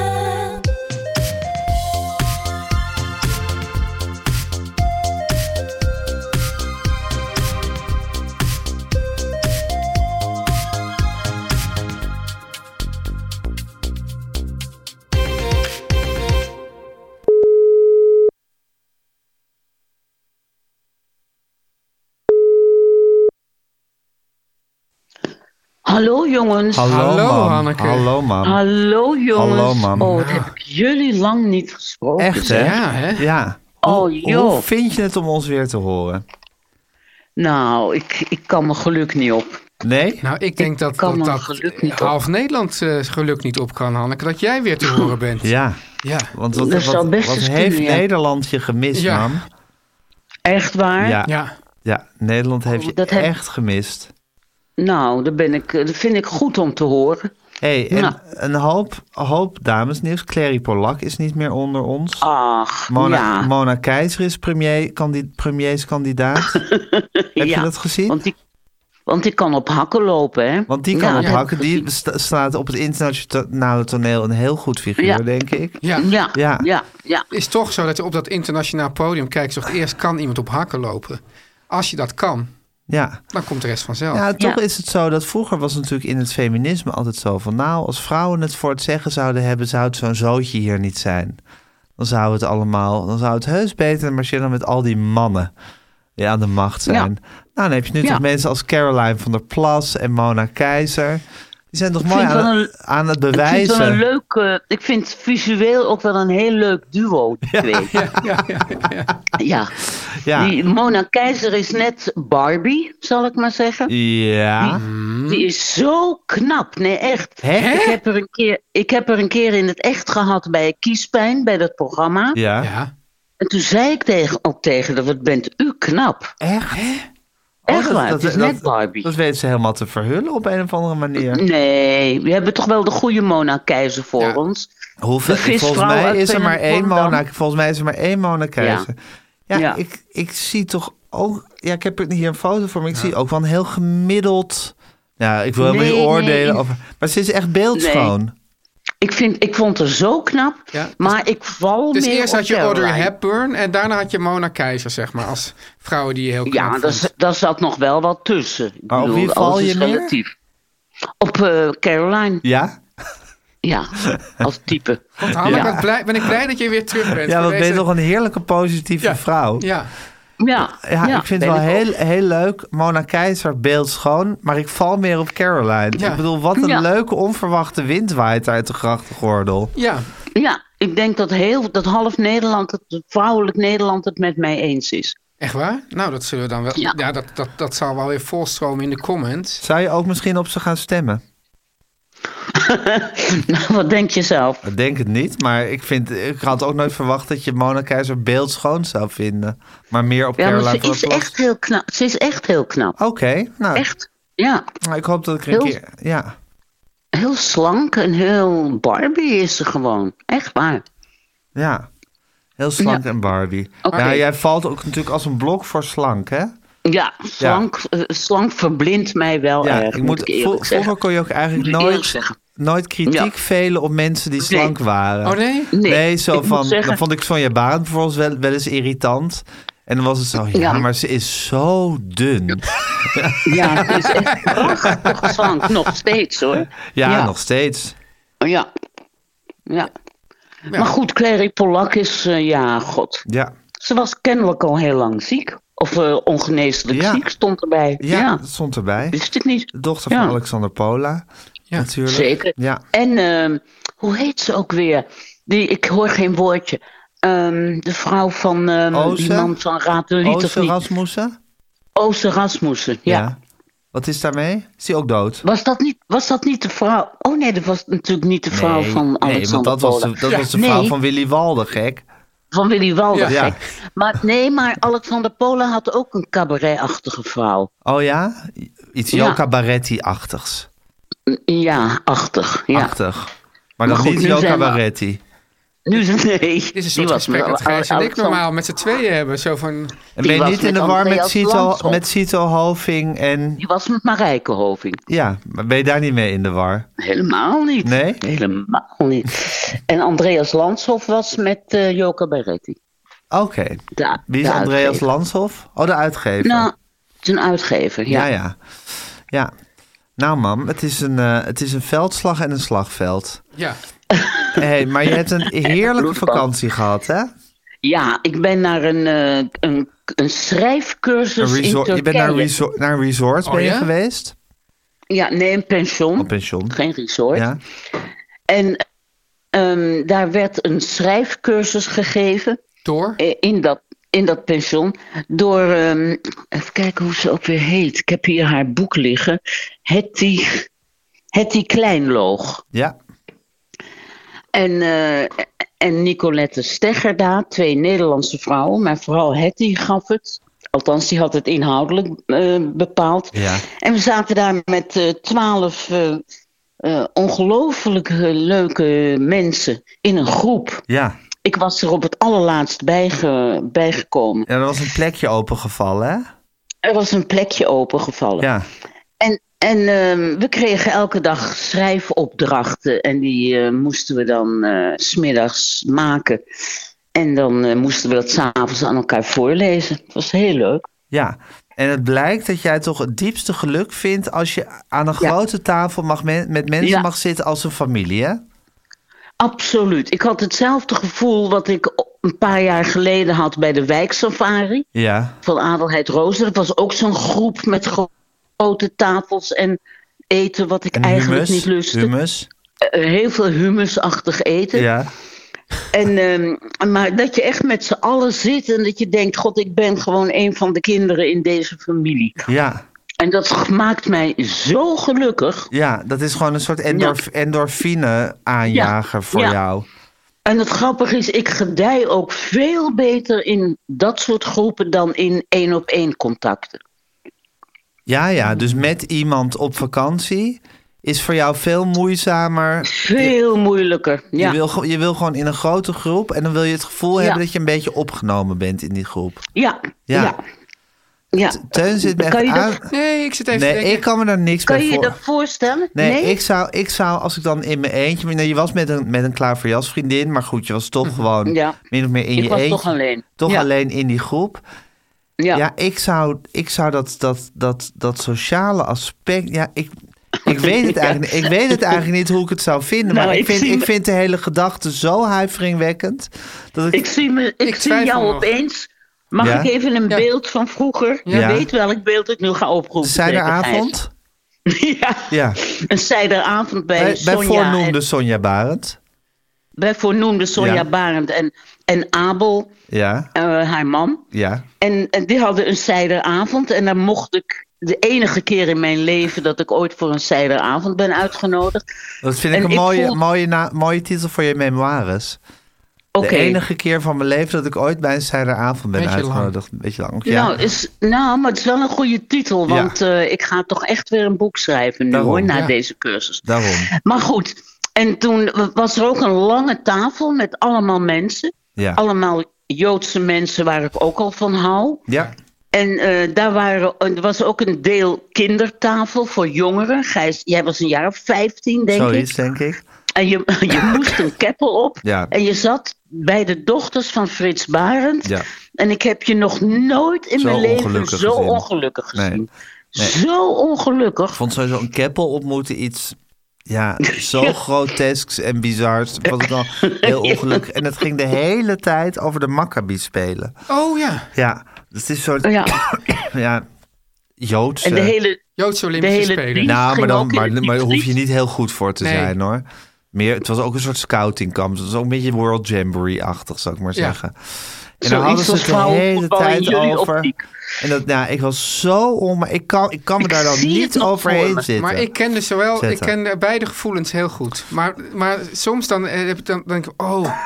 Speaker 7: Hallo jongens.
Speaker 2: Hallo,
Speaker 3: Hallo,
Speaker 2: mam.
Speaker 3: Hanneke.
Speaker 2: Hallo, mam.
Speaker 7: Hallo, jongens.
Speaker 2: Hallo, mam.
Speaker 7: Oh, dat heb ik jullie lang niet gesproken.
Speaker 2: Echt, hè?
Speaker 3: Ja, hè?
Speaker 2: Ja.
Speaker 7: Oh,
Speaker 2: Hoe
Speaker 7: joh.
Speaker 2: vind je het om ons weer te horen?
Speaker 7: Nou, ik, ik kan mijn geluk niet op.
Speaker 2: Nee?
Speaker 3: Nou, ik denk dat,
Speaker 7: kan
Speaker 3: dat,
Speaker 7: mijn
Speaker 3: dat
Speaker 7: geluk niet op.
Speaker 3: half Nederland eh, geluk niet op kan, Hanneke. Dat jij weer te horen bent.
Speaker 2: Ja.
Speaker 3: Ja.
Speaker 2: Want wat,
Speaker 7: Dat zou
Speaker 2: wat-
Speaker 7: best
Speaker 2: wat
Speaker 7: eens
Speaker 2: heeft
Speaker 7: kunnen, ja.
Speaker 2: Nederland je gemist,
Speaker 3: Ja.
Speaker 2: mam?
Speaker 7: Echt waar?
Speaker 2: Ja. ja.
Speaker 3: Ja.
Speaker 2: Nederland heeft je
Speaker 7: Oh, Dat heb-
Speaker 2: echt gemist.
Speaker 7: Nou, dat, ben ik, dat vind ik goed om te horen.
Speaker 2: hey, en
Speaker 7: Nou.
Speaker 2: een hoop, hoop damesnieuws. Clary Polak is niet meer onder ons.
Speaker 7: Ach,
Speaker 2: Mona,
Speaker 7: Oh, ja.
Speaker 2: Mona Keizer is premier, kandi, premierskandidaat. Heb
Speaker 7: Ja,
Speaker 2: je dat gezien? Want,
Speaker 7: Want die, want die kan op hakken lopen, hè?
Speaker 2: die kan
Speaker 7: Ja,
Speaker 2: op
Speaker 7: dat
Speaker 2: hakken.
Speaker 7: heb ik
Speaker 2: Die sta- staat op het internationale toneel een heel goed figuur,
Speaker 7: Ja.
Speaker 2: denk ik.
Speaker 3: Ja.
Speaker 7: gezien. Ja,
Speaker 2: Ja.
Speaker 7: ja, ja. ja.
Speaker 3: Het is toch zo dat je op dat internationaal podium kijkt. Zegt eerst kan iemand op hakken lopen. Als je dat kan,
Speaker 2: Ja.
Speaker 3: dan komt de rest vanzelf.
Speaker 2: Ja, toch
Speaker 7: Oh, Ja.
Speaker 2: is het zo dat vroeger was natuurlijk in het feminisme altijd zo van... nou, als vrouwen het voor het zeggen zouden hebben, zou het zo'n zootje hier niet zijn. Dan zou het allemaal, dan zou het heus beter marcheren dan met al die mannen die aan de macht zijn.
Speaker 7: Ja.
Speaker 2: Nou, dan heb je nu
Speaker 7: Ja.
Speaker 2: toch mensen als Caroline van der Plas en Mona Keizer. Die zijn toch mooi
Speaker 7: vind
Speaker 2: aan,
Speaker 7: wel
Speaker 2: het- aan het
Speaker 7: Ik vind, het wel een
Speaker 2: bewijzen.
Speaker 7: leuk, eh, ik vind visueel ook wel een heel leuk duo, die twee. Ja,
Speaker 2: Ja,
Speaker 7: Die Mona Keizer is net Barbie, zal ik maar zeggen.
Speaker 2: ja.
Speaker 7: Die is zo knap. Nee, echt.
Speaker 2: Hm? Hè?
Speaker 7: Ik heb, er een keer, ik heb er een keer in het echt gehad bij Kiespijn, bij dat programma.
Speaker 2: ja.
Speaker 3: Ja.
Speaker 7: En toen zei ik tegen, ook tegen haar, wat bent u knap.
Speaker 2: Echt? Oh,
Speaker 7: Echt waar, het is net Barbie.
Speaker 2: Dat weten ze helemaal te verhullen op een of andere manier.
Speaker 7: Nee, we hebben toch wel de goede Mona Keizer voor
Speaker 3: Ja.
Speaker 7: ons.
Speaker 2: Hoeveel,
Speaker 7: De visvrouw
Speaker 2: volgens mij
Speaker 7: uit
Speaker 2: is er maar één
Speaker 7: Volendam.
Speaker 2: Mona. Volgens mij is er maar één Mona Keizer. Ja,
Speaker 7: Ja.
Speaker 2: Ik, ik zie toch ook. Ja, ik heb hier een foto voor me. Ik zie ook wel een heel gemiddeld. Nou, ik wil helemaal
Speaker 7: Nee,
Speaker 2: niet
Speaker 7: nee,
Speaker 2: oordelen
Speaker 7: ik-
Speaker 2: over. Maar ze is echt beeldschoon.
Speaker 7: Ik, vind, ik vond haar zo knap,
Speaker 2: dus
Speaker 3: Ja.
Speaker 7: maar ik val
Speaker 3: Dus
Speaker 7: meer
Speaker 3: eerst
Speaker 7: op
Speaker 3: had je
Speaker 7: Caroline.
Speaker 3: Audrey Hepburn en daarna had je Mona Keizer, zeg maar. Als vrouwen die je heel knap
Speaker 7: Ja, daar,
Speaker 3: vond.
Speaker 7: z- daar zat nog wel wat tussen. Ik
Speaker 2: Maar op
Speaker 7: bedoel,
Speaker 2: wie val
Speaker 7: alles
Speaker 2: je
Speaker 7: is
Speaker 2: meer?
Speaker 7: relatief. Op eh, Caroline,
Speaker 2: Ja?
Speaker 7: ja. Als type.
Speaker 3: Hanna,
Speaker 7: Ja.
Speaker 3: wat blij- ben ik blij dat je weer terug bent.
Speaker 2: Ja,
Speaker 3: voor
Speaker 2: want ben je
Speaker 3: deze-
Speaker 2: toch een heerlijke positieve
Speaker 3: Ja.
Speaker 2: vrouw. Ja,
Speaker 3: Ja,
Speaker 7: Ja,
Speaker 2: ik vind het
Speaker 7: ben
Speaker 2: wel
Speaker 7: ik ook.
Speaker 2: heel, heel leuk. Mona Keizer, beeldschoon. Maar ik val meer op Caroline.
Speaker 3: Ja.
Speaker 2: Ik bedoel, wat een
Speaker 7: Ja.
Speaker 2: leuke onverwachte wind waait uit de grachtengordel.
Speaker 3: ja.
Speaker 7: Ja, ik denk dat, heel, dat half Nederland, het vrouwelijk Nederland, het met mij eens is.
Speaker 3: Echt waar? Nou, dat zullen we dan wel. Ja,
Speaker 7: Ja.
Speaker 3: dat, dat, dat zal wel weer volstromen in de comments.
Speaker 2: Zou je ook misschien op ze gaan stemmen?
Speaker 7: nou, wat denk je zelf?
Speaker 2: Ik denk het niet, maar ik, vind, ik had ook nooit verwacht dat je Mona Keizer beeldschoon zou vinden. Maar meer op
Speaker 7: Ja, maar
Speaker 2: Caroline
Speaker 7: ze
Speaker 2: van
Speaker 7: is
Speaker 2: der Plas.
Speaker 7: echt heel knap. Ze is echt heel knap.
Speaker 2: Oké, nou,
Speaker 7: Echt. Ja,
Speaker 2: nou, ik hoop dat ik er een
Speaker 7: Heel-
Speaker 2: keer... Ja,
Speaker 7: heel slank en heel Barbie is ze gewoon. Echt waar.
Speaker 2: ja. Heel slank en Barbie.
Speaker 7: Oké.
Speaker 2: Ja, jij valt ook natuurlijk als een blok voor slank, hè?
Speaker 7: Ja, slank, eh, slank verblindt mij wel
Speaker 2: Ja,
Speaker 7: erg,
Speaker 2: ik
Speaker 7: moet, ik eerlijk
Speaker 2: vro-
Speaker 7: zeggen.
Speaker 2: vroeger kon je ook eigenlijk
Speaker 7: Moet ik eerlijk
Speaker 2: nooit,
Speaker 7: zeggen.
Speaker 2: nooit kritiek
Speaker 7: Ja.
Speaker 2: velen op mensen die slank waren.
Speaker 3: Oh nee?
Speaker 7: Nee,
Speaker 2: zo
Speaker 7: ik moet
Speaker 2: van,
Speaker 7: zeggen-
Speaker 2: dan vond ik Sonja Barend bijvoorbeeld wel, wel eens irritant. En dan was het zo, ja,
Speaker 7: Ja.
Speaker 2: maar ze is zo dun.
Speaker 7: Ja, het is echt prachtig slank. Nog steeds hoor.
Speaker 2: Ja,
Speaker 7: Ja.
Speaker 2: nog steeds.
Speaker 7: Ja. Ja. Maar goed, Clary Polak is, eh, ja, god.
Speaker 2: Ja.
Speaker 7: Ze was kennelijk al heel lang ziek. Of eh, ongeneeslijk
Speaker 2: Ja.
Speaker 7: ziek stond erbij.
Speaker 2: Ja,
Speaker 7: Ja.
Speaker 2: dat stond erbij.
Speaker 7: Wist ik niet.
Speaker 2: De dochter van
Speaker 7: Ja.
Speaker 2: Alexander Pola,
Speaker 3: Ja.
Speaker 2: natuurlijk.
Speaker 7: Zeker.
Speaker 2: Ja.
Speaker 7: En ehm, hoe heet ze ook weer? Die, ik hoor geen woordje. Ehm, de vrouw van ehm,
Speaker 2: Oze?
Speaker 7: die man van Raad de Lied, of
Speaker 2: Ooster
Speaker 7: niet?
Speaker 2: Oh, Rasmussen?
Speaker 7: Oze Rasmussen, ja.
Speaker 2: Wat is daarmee? Is die ook dood?
Speaker 7: Was dat, niet, was dat niet de vrouw? Oh nee, dat was natuurlijk niet de vrouw van Alexander
Speaker 2: nee, want dat was de,
Speaker 7: Polen.
Speaker 2: dat
Speaker 3: Ja.
Speaker 2: was de vrouw
Speaker 7: Nee.
Speaker 2: van Willy Walden, gek.
Speaker 7: Van Willy Walden,
Speaker 2: Ja.
Speaker 7: gek. Maar, nee, maar Alexander Polen had ook een cabaretachtige vrouw.
Speaker 2: Oh ja? Iets
Speaker 7: Ja.
Speaker 2: Joka Barretti-achtigs.
Speaker 7: Ja, achtig. Ja.
Speaker 2: Achtig. Maar
Speaker 7: Maar
Speaker 2: nog
Speaker 7: goed,
Speaker 2: niet
Speaker 7: nu
Speaker 2: Joka
Speaker 7: zijn we-
Speaker 2: Barretti.
Speaker 7: Nu, nee. Dit
Speaker 3: Dit is een soort gesprek dat Gijs en ik normaal met z'n tweeën hebben. Zo van,
Speaker 2: En
Speaker 7: Die
Speaker 2: ben je
Speaker 7: was
Speaker 2: niet in
Speaker 7: met
Speaker 2: de war met
Speaker 7: Andreas
Speaker 2: Cito,
Speaker 7: Landschot.
Speaker 2: met Cito Hoving en...
Speaker 7: Die was met Marijke Hoving.
Speaker 2: Ja, maar ben je daar niet mee in de war?
Speaker 7: Helemaal niet.
Speaker 2: Nee?
Speaker 7: Helemaal niet. en Andreas Landshof was met eh Joka Berretti.
Speaker 2: Oké.
Speaker 7: De-
Speaker 2: Wie is
Speaker 7: de
Speaker 2: Andreas
Speaker 7: uitgever.
Speaker 2: Lanshoff? Oh, de uitgever.
Speaker 7: Nou, zijn uitgever, ja.
Speaker 2: Ja, ja. Ja. Nou, mam, het is een, eh, het is een veldslag en een slagveld.
Speaker 3: ja.
Speaker 2: Hey, maar je hebt een heerlijke
Speaker 7: bloedbad.
Speaker 2: vakantie gehad, hè?
Speaker 7: Ja, ik ben naar een, eh, een, een
Speaker 2: Een
Speaker 7: schrijfcursus in
Speaker 2: resort,
Speaker 7: Turkije.
Speaker 2: je bent naar een resort, naar een resort ben je
Speaker 3: ja?
Speaker 2: geweest?
Speaker 7: Ja, nee, een pension.
Speaker 2: Oh, Op pensioen.
Speaker 7: Geen resort.
Speaker 2: Ja.
Speaker 7: En ehm, daar werd een schrijfcursus gegeven
Speaker 3: Door?
Speaker 7: eh, in dat, in dat pension door, ehm, even kijken hoe ze ook weer heet. Ik heb hier haar boek liggen. Hetty, Hetty Kleinloog.
Speaker 2: ja.
Speaker 7: En, eh, en Nicolette Steggerda, twee Nederlandse vrouwen, maar vooral Hetty gaf het. Althans, die had het inhoudelijk eh, bepaald.
Speaker 2: Ja.
Speaker 7: En we zaten daar met eh, twaalf eh, ongelooflijk eh, leuke mensen in een groep.
Speaker 2: Ja.
Speaker 7: Ik was er op het allerlaatst bijge, bijgekomen.
Speaker 2: ja, er was een plekje opengevallen, hè?
Speaker 7: Er was een plekje opengevallen.
Speaker 2: Ja.
Speaker 7: En, en ehm, we kregen elke dag schrijfopdrachten. En die eh, moesten we dan eh, s smiddags maken. En dan eh, moesten we dat s'avonds aan elkaar voorlezen. Het was heel leuk.
Speaker 2: Ja, en het blijkt dat jij toch het diepste geluk vindt als je aan een grote tafel mag men- met mensen
Speaker 7: Ja.
Speaker 2: mag zitten als een familie, hè?
Speaker 7: Absoluut. Ik had hetzelfde gevoel wat ik o- een paar jaar geleden had bij de wijksafari
Speaker 2: Ja.
Speaker 7: van Adelheid Rozen. Dat was ook zo'n groep met gro- grote tafels en eten wat ik
Speaker 2: En
Speaker 7: eigenlijk
Speaker 2: humus,
Speaker 7: niet lustte.
Speaker 2: Humus,
Speaker 7: Eh, heel veel humusachtig eten.
Speaker 2: ja.
Speaker 7: En, ehm, maar dat je echt met z'n allen zit en dat je denkt: God, ik ben gewoon een van de kinderen in deze familie.
Speaker 2: Ja.
Speaker 7: En dat maakt mij zo gelukkig.
Speaker 2: ja, dat is gewoon een soort endorf, endorfine aanjager voor
Speaker 7: Ja.
Speaker 2: jou.
Speaker 7: En het grappige is, ik gedij ook veel beter in dat soort groepen dan in één-op-één contacten.
Speaker 2: Ja, ja, dus met iemand op vakantie is voor jou veel moeizamer.
Speaker 7: Veel moeilijker. Ja.
Speaker 2: Je, wil, ge- je wil gewoon in een grote groep en dan wil je het gevoel
Speaker 7: Ja.
Speaker 2: hebben dat je een beetje opgenomen bent in die groep.
Speaker 7: Ja,
Speaker 2: Ja.
Speaker 7: ja. ja.
Speaker 2: Teun zit me echt
Speaker 7: Kan je
Speaker 2: aan.
Speaker 7: dat-
Speaker 3: Nee, ik zit even te
Speaker 2: Nee,
Speaker 3: denken.
Speaker 2: ik kan me daar niks
Speaker 7: Kan
Speaker 2: bij
Speaker 7: je je
Speaker 2: voor-
Speaker 7: dat voorstellen?
Speaker 2: Nee, Ik, zou, ik zou, als ik dan in mijn eentje... Nou, je was met een, met een klaverjas vriendin, maar goed, je was toch gewoon
Speaker 7: Mhm. Ja.
Speaker 2: min of meer in
Speaker 7: Ik
Speaker 2: je
Speaker 7: was
Speaker 2: eentje.
Speaker 7: toch alleen.
Speaker 2: Toch
Speaker 7: Ja.
Speaker 2: alleen in die groep. Ja,
Speaker 7: Ja.
Speaker 2: ik zou, ik zou dat, dat, dat, dat sociale aspect... Ja, ik, ik, weet het eigenlijk, ik weet het eigenlijk niet hoe ik het zou vinden.
Speaker 7: Nou,
Speaker 2: maar ik,
Speaker 7: ik
Speaker 2: vind,
Speaker 7: zie
Speaker 2: ik
Speaker 7: me-
Speaker 2: vind de hele gedachte zo huiveringwekkend. Dat ik,
Speaker 7: Ik zie, me, ik
Speaker 3: Ik
Speaker 7: zie
Speaker 3: twijfel
Speaker 7: jou
Speaker 3: nog.
Speaker 7: opeens. Mag
Speaker 2: Ja?
Speaker 7: ik even een beeld van vroeger? Je
Speaker 2: Ja.
Speaker 7: weet welk beeld ik nu ga oproepen. zeker,
Speaker 2: Zijderavond?
Speaker 7: Gijs. ja.
Speaker 2: Ja,
Speaker 7: Een zijderavond
Speaker 2: bij,
Speaker 7: bij,
Speaker 2: bij
Speaker 7: Sonja.
Speaker 2: voornoemde
Speaker 7: en-
Speaker 2: Sonja Barend.
Speaker 7: bij voornoemde Sonja
Speaker 2: Ja.
Speaker 7: Barend en, en Abel,
Speaker 2: Ja,
Speaker 7: eh, haar man.
Speaker 2: ja.
Speaker 7: En, en die hadden een zijderavond. En dan mocht ik de enige keer in mijn leven dat ik ooit voor een zijderavond ben uitgenodigd.
Speaker 2: Dat vind ik
Speaker 7: En
Speaker 2: een
Speaker 7: ik
Speaker 2: mooie,
Speaker 7: voel-
Speaker 2: mooie, na- mooie titel voor je memoires.
Speaker 7: Oké.
Speaker 2: De enige keer van mijn leven dat ik ooit bij een zijderavond ben
Speaker 3: Beetje lang.
Speaker 2: uitgenodigd. Een beetje lang. Ja.
Speaker 7: Nou, is, nou, maar het is wel een goede titel.
Speaker 2: Ja.
Speaker 7: Want eh, ik ga toch echt weer een boek schrijven nu
Speaker 2: Daarom,
Speaker 7: hoor, na
Speaker 2: ja.
Speaker 7: deze cursus.
Speaker 2: Daarom.
Speaker 7: Maar goed, en toen was er ook een lange tafel met allemaal mensen.
Speaker 2: Ja.
Speaker 7: Allemaal Joodse mensen waar ik ook al van hou.
Speaker 2: Ja.
Speaker 7: En eh, daar waren, en er was ook een deel kindertafel voor jongeren. Gijs, jij was een jaar of 15, denk
Speaker 2: Zoiets,
Speaker 7: ik.
Speaker 2: denk ik.
Speaker 7: En je, je moest een keppel op.
Speaker 2: Ja.
Speaker 7: En je zat bij de dochters van Frits Barend.
Speaker 2: Ja.
Speaker 7: En ik heb je nog nooit in
Speaker 2: Zo
Speaker 7: mijn leven
Speaker 2: ongelukkig
Speaker 7: zo
Speaker 2: gezien.
Speaker 7: ongelukkig gezien.
Speaker 2: Nee.
Speaker 7: Zo ongelukkig.
Speaker 2: Ik vond sowieso een keppel ontmoeten iets... Ja, zo grotesks en bizars. Was ik al heel ongelukkig. En het ging de hele tijd over de Maccabi spelen.
Speaker 3: Oh ja,
Speaker 2: Ja, dus het is een soort...
Speaker 7: Ja.
Speaker 2: ja, Joodse...
Speaker 7: En de hele,
Speaker 3: Joodse
Speaker 7: de
Speaker 3: Olympische
Speaker 7: hele
Speaker 3: Spelen.
Speaker 7: dienst
Speaker 2: Nou, maar
Speaker 7: ging
Speaker 2: dan
Speaker 7: ook in
Speaker 2: maar,
Speaker 7: het
Speaker 2: maar daar hoef je
Speaker 7: Diepvries.
Speaker 2: niet heel goed voor te
Speaker 3: Nee.
Speaker 2: zijn hoor. Meer, het was ook een soort scoutingkamp. Het was ook een beetje World Jamboree-achtig, zou ik maar
Speaker 3: Ja.
Speaker 2: zeggen. En dan
Speaker 7: Zoiets
Speaker 2: hadden ze
Speaker 7: als
Speaker 2: het de hele
Speaker 7: vrouwenvoetbal in
Speaker 2: tijd
Speaker 7: jullie
Speaker 2: over.
Speaker 7: optiek.
Speaker 2: En dat, nou, ik was zo on... maar Ik kan, ik kan me
Speaker 7: Ik
Speaker 2: daar dan
Speaker 7: zie het
Speaker 2: niet
Speaker 7: nog voor
Speaker 2: overheen
Speaker 7: me,
Speaker 2: zitten.
Speaker 3: Maar ik kende zowel, ik
Speaker 2: Zetten.
Speaker 3: kende beide gevoelens heel goed. Maar, maar soms dan, eh, heb ik dan, dan denk ik, oh,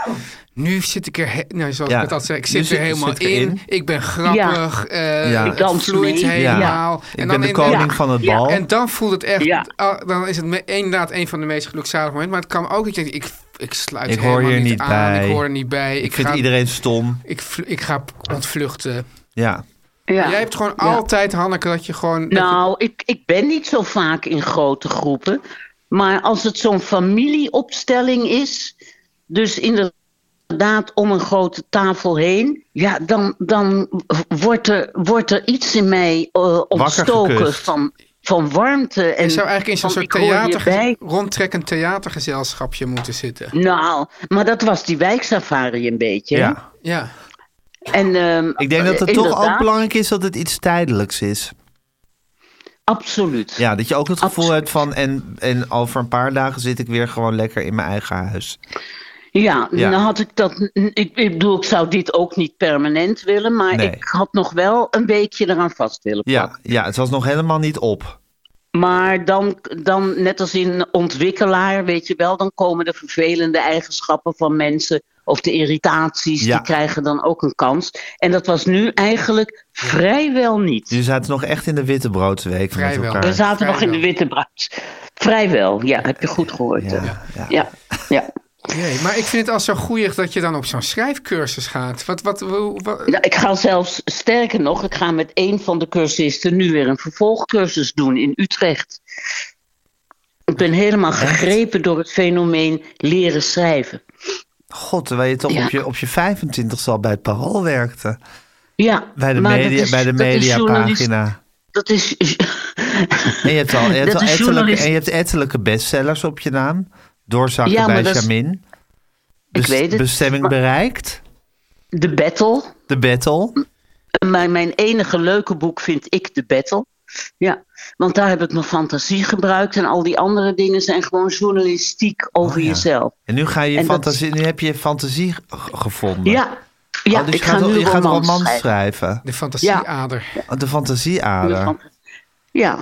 Speaker 3: nu zit ik er, he- nou, zoals
Speaker 2: Ja.
Speaker 3: ik het al zei, ik
Speaker 2: Nu
Speaker 3: zit
Speaker 2: zit-
Speaker 3: er helemaal
Speaker 2: zit
Speaker 3: in.
Speaker 2: erin.
Speaker 3: Ik ben grappig, eh
Speaker 2: Ja.
Speaker 3: ik
Speaker 2: Ik
Speaker 7: dans
Speaker 3: vloeit
Speaker 7: mee.
Speaker 3: helemaal.
Speaker 2: Ik ben de koning van het
Speaker 7: Ja.
Speaker 2: bal.
Speaker 3: En dan voelt het echt,
Speaker 7: Ja.
Speaker 3: ah, dan is het me- inderdaad een van de meest gelukzalige momenten. Maar het kan ook, ik denk, ik, ik sluit
Speaker 2: Ik hoor
Speaker 3: helemaal
Speaker 2: hier
Speaker 3: niet,
Speaker 2: niet
Speaker 3: aan,
Speaker 2: bij.
Speaker 3: ik hoor er niet bij.
Speaker 2: ik
Speaker 3: Ik,
Speaker 2: vind
Speaker 3: ga,
Speaker 2: iedereen stom.
Speaker 3: ik, vl- ik ga ontvluchten.
Speaker 2: Ja.
Speaker 7: Ja.
Speaker 3: Jij hebt gewoon
Speaker 7: Ja.
Speaker 3: altijd, Hanneke, dat je gewoon... dat je-
Speaker 7: Nou, ik, ik ben niet zo vaak in grote groepen. Maar als het zo'n familieopstelling is, dus inderdaad om een grote tafel heen, ja, dan, dan wordt, er, wordt er iets in mij eh, ontstoken
Speaker 2: gekust.
Speaker 7: van, van warmte. En
Speaker 3: je zou eigenlijk in zo'n
Speaker 7: van,
Speaker 3: soort
Speaker 7: ik hoor
Speaker 3: theater,
Speaker 7: hierbij.
Speaker 3: rondtrekkend theatergezelschapje moeten zitten.
Speaker 7: Nou, maar dat was die wijksafari een beetje.
Speaker 2: Ja.
Speaker 7: hè?
Speaker 3: Ja,
Speaker 7: En, ehm,
Speaker 2: Ik denk dat het
Speaker 7: eh,
Speaker 2: toch ook
Speaker 7: inderdaad,
Speaker 2: belangrijk is dat het iets tijdelijks is.
Speaker 7: Absoluut.
Speaker 2: Ja, dat je ook het gevoel
Speaker 7: Absoluut.
Speaker 2: hebt van... En, en over een paar dagen zit ik weer gewoon lekker in mijn eigen huis.
Speaker 7: Ja,
Speaker 2: Ja.
Speaker 7: dan had ik dat. Ik, ik bedoel, ik zou dit ook niet permanent willen, maar
Speaker 2: Nee.
Speaker 7: ik had nog wel een weekje eraan vast willen
Speaker 2: Ja,
Speaker 7: plakken.
Speaker 2: ja, het was nog helemaal niet op.
Speaker 7: Maar dan, dan, net als in ontwikkelaar, weet je wel, dan komen de vervelende eigenschappen van mensen of de irritaties,
Speaker 2: Ja.
Speaker 7: die krijgen dan ook een kans. En dat was nu eigenlijk vrijwel niet.
Speaker 2: Dus- Jullie zaten nog echt in de witte broodsweek met
Speaker 3: Vrijwel.
Speaker 2: elkaar.
Speaker 7: We zaten nog in de
Speaker 3: vrijwel.
Speaker 7: witte bruis. Vrijwel, ja, heb je goed gehoord. hè.
Speaker 2: Ja, ja.
Speaker 7: ja. ja.
Speaker 3: Jee, maar ik vind het al zo goeieig dat je dan op zo'n schrijfcursus gaat. Wat, wat, hoe- wa-
Speaker 7: Nou, ik ga zelfs, sterker nog, ik ga met een van de cursisten nu weer een vervolgcursus doen in Utrecht. Ik ben helemaal gegrepen door het fenomeen leren schrijven.
Speaker 2: God, terwijl je toch
Speaker 7: Ja.
Speaker 2: op, je, op je 25 al bij het Parool werkte.
Speaker 7: Ja,
Speaker 2: Bij de,
Speaker 7: maar dat
Speaker 2: media,
Speaker 7: is-
Speaker 2: bij de
Speaker 7: dat is journalist-
Speaker 2: mediapagina.
Speaker 7: Dat is.
Speaker 2: En je hebt al, je hebt al
Speaker 7: Dat is
Speaker 2: ettelijke,
Speaker 7: journalist-
Speaker 2: en je hebt ettelijke bestsellers op je naam. Doorzakken
Speaker 7: Ja, maar
Speaker 2: bij
Speaker 7: dat is-
Speaker 2: Jamin.
Speaker 7: Ik weet het,
Speaker 2: Bestemming
Speaker 7: maar-
Speaker 2: bereikt.
Speaker 7: De Battle.
Speaker 2: De battle.
Speaker 7: Mijn, mijn enige leuke boek vind ik The Battle. Ja, want daar heb ik mijn fantasie gebruikt. En al die andere dingen zijn gewoon journalistiek over
Speaker 2: Oh ja.
Speaker 7: jezelf.
Speaker 2: En nu, ga je je
Speaker 7: En dat-
Speaker 2: fantasie, nu heb je je fantasie g- gevonden.
Speaker 7: Ja, ja
Speaker 2: Oh, dus
Speaker 7: ik
Speaker 2: je gaat,
Speaker 7: ga nu
Speaker 2: je gaat
Speaker 7: romans
Speaker 2: romans
Speaker 7: schrijven.
Speaker 2: schrijven.
Speaker 3: de fantasieader.
Speaker 2: Oh, De fantasieader.
Speaker 7: Ja.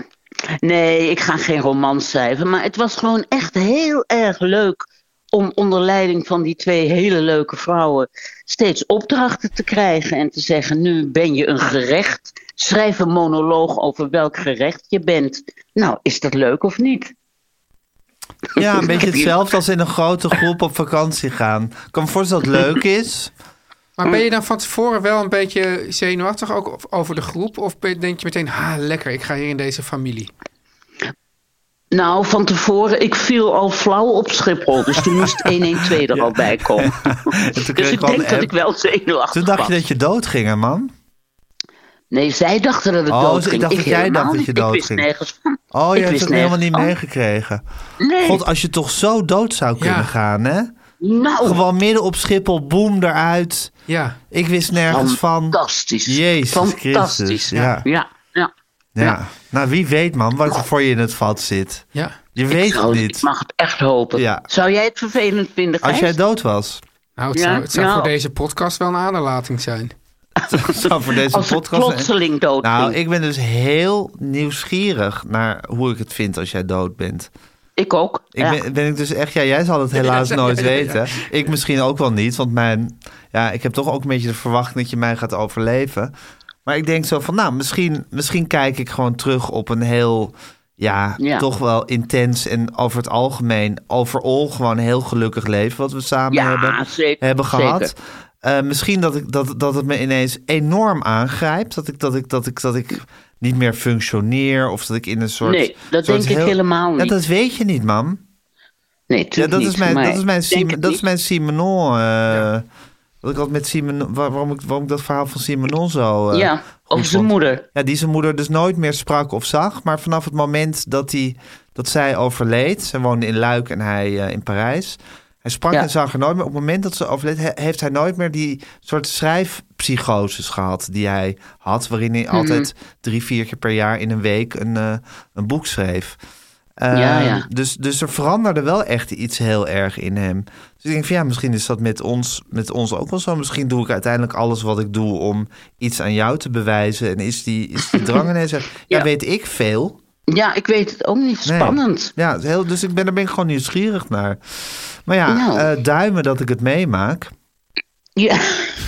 Speaker 7: Nee, ik ga geen roman schrijven. Maar het was gewoon echt heel erg leuk om onder leiding van die twee hele leuke vrouwen steeds opdrachten te krijgen en te zeggen: Nu ben je een gerecht. Schrijf een monoloog over welk gerecht je bent. Nou, is dat leuk of niet?
Speaker 2: Ja, een
Speaker 7: Ik
Speaker 2: beetje
Speaker 7: heb hier-
Speaker 2: hetzelfde als in een grote groep op vakantie gaan. Ik kan me voorstellen dat het leuk is.
Speaker 3: Maar ben je dan van tevoren wel een beetje zenuwachtig ook of- over de groep? Of ben- denk je meteen, ha, lekker, ik ga hier in deze familie?
Speaker 7: Nou, van tevoren, ik viel al flauw op Schiphol. Dus toen moest 112 er al bij komen.
Speaker 2: En toen
Speaker 7: Dus
Speaker 2: kreeg ik
Speaker 7: ik
Speaker 2: wel een
Speaker 7: denk dat
Speaker 2: app.
Speaker 7: ik wel zenuwachtig
Speaker 2: Toen dacht
Speaker 7: was.
Speaker 2: je dat je doodging, hè, man.
Speaker 7: Nee, zij dachten dat het
Speaker 2: Oh,
Speaker 7: dood
Speaker 2: ik
Speaker 7: ging.
Speaker 2: dacht dat jij
Speaker 7: helemaal
Speaker 2: dacht dat je
Speaker 7: niet. Ik
Speaker 2: dood
Speaker 7: wist
Speaker 2: ging.
Speaker 7: nergens van.
Speaker 2: Oh,
Speaker 7: Ik
Speaker 2: je hebt
Speaker 7: wist
Speaker 2: het helemaal niet
Speaker 7: nergens
Speaker 2: meegekregen.
Speaker 7: van. Nee,
Speaker 2: God, als je toch zo dood zou kunnen
Speaker 3: Ja.
Speaker 2: gaan, hè?
Speaker 7: nou,
Speaker 2: Gewoon midden op Schiphol, boem eruit.
Speaker 3: Ja.
Speaker 2: Ik wist nergens van.
Speaker 7: fantastisch.
Speaker 2: Jezus
Speaker 7: fantastisch.
Speaker 2: Christus, ja.
Speaker 7: Ja, ja. ja.
Speaker 2: Ja. Nou, wie weet, man, wat er voor je in het vat zit.
Speaker 3: Ja.
Speaker 2: Je
Speaker 7: Ik
Speaker 2: weet het
Speaker 7: zou-
Speaker 2: niet.
Speaker 7: Ik mag het echt hopen.
Speaker 2: Ja.
Speaker 7: Zou jij het vervelend vinden,
Speaker 2: Als
Speaker 7: Gijs?
Speaker 2: jij dood was,
Speaker 3: Nou, het
Speaker 7: Ja,
Speaker 3: zou, het zou
Speaker 7: ja.
Speaker 3: voor deze podcast wel een aderlating zijn.
Speaker 2: zou voor deze
Speaker 7: Als het
Speaker 2: podcast...
Speaker 7: plotseling dood
Speaker 2: Nou,
Speaker 7: ging.
Speaker 2: ik ben dus heel nieuwsgierig naar hoe ik het vind als jij dood bent.
Speaker 7: Ik ook.
Speaker 2: Ik
Speaker 7: ja.
Speaker 2: ben, ben ik dus echt, ja, jij zal het helaas nooit weten. Ik misschien ook wel niet, want mijn, ja, ik heb toch ook een beetje de verwachting dat je mij gaat overleven. Maar ik denk zo van, nou, misschien, misschien kijk ik gewoon terug op een heel, ja,
Speaker 7: Ja.
Speaker 2: toch wel intens en over het algemeen, overal gewoon een heel gelukkig leven wat we samen
Speaker 7: Ja,
Speaker 2: hebben,
Speaker 7: zeker,
Speaker 2: hebben gehad.
Speaker 7: zeker.
Speaker 2: Eh, misschien dat, ik, dat, dat het me ineens enorm aangrijpt. Dat ik, dat, ik, dat, ik, dat ik niet meer functioneer. Of dat ik in een soort.
Speaker 7: Nee, dat
Speaker 2: soort
Speaker 7: denk ik helemaal
Speaker 2: Ja,
Speaker 7: niet.
Speaker 2: dat weet je niet, mam.
Speaker 7: Nee,
Speaker 2: Ja,
Speaker 7: tuurlijk
Speaker 2: dat, is
Speaker 7: niet,
Speaker 2: mijn,
Speaker 7: maar
Speaker 2: dat is mijn,
Speaker 7: ik denk
Speaker 2: Simon,
Speaker 7: het
Speaker 2: dat is
Speaker 7: niet.
Speaker 2: mijn Simonon. eh, Wat ik altijd met Simonon. waar- waarom, ik, waarom ik dat verhaal van Simonon zo. eh,
Speaker 7: Ja,
Speaker 2: goed
Speaker 7: over zijn
Speaker 2: vond.
Speaker 7: moeder.
Speaker 2: Ja, die zijn moeder dus nooit meer sprak of zag. Maar vanaf het moment dat, hij, dat zij overleed. Ze woonde in Luik en hij eh, in Parijs. Hij sprak
Speaker 7: Ja.
Speaker 2: en zag haar nooit meer. Op het moment dat ze overleed, he- heeft hij nooit meer die soort schrijfpsychoses gehad. die hij had. Waarin
Speaker 7: Hmm.
Speaker 2: hij altijd drie, vier keer per jaar in een week een, eh, een boek schreef. Eh,
Speaker 7: Ja, ja.
Speaker 2: Dus, dus er veranderde wel echt iets heel erg in hem. Dus ik denk van ja, misschien is dat met ons, met ons ook wel zo. Misschien doe ik uiteindelijk alles wat ik doe om iets aan jou te bewijzen. En is die, is die drang ineens er? Ja,
Speaker 7: Ja.
Speaker 2: weet ik veel.
Speaker 7: Ja, ik weet het ook niet.
Speaker 2: Nee.
Speaker 7: Spannend.
Speaker 2: Ja, het is heel, dus ik ben, daar ben ik gewoon nieuwsgierig naar. Maar ja,
Speaker 7: Nou.
Speaker 2: eh, duimen dat ik het meemaak.
Speaker 7: Ja.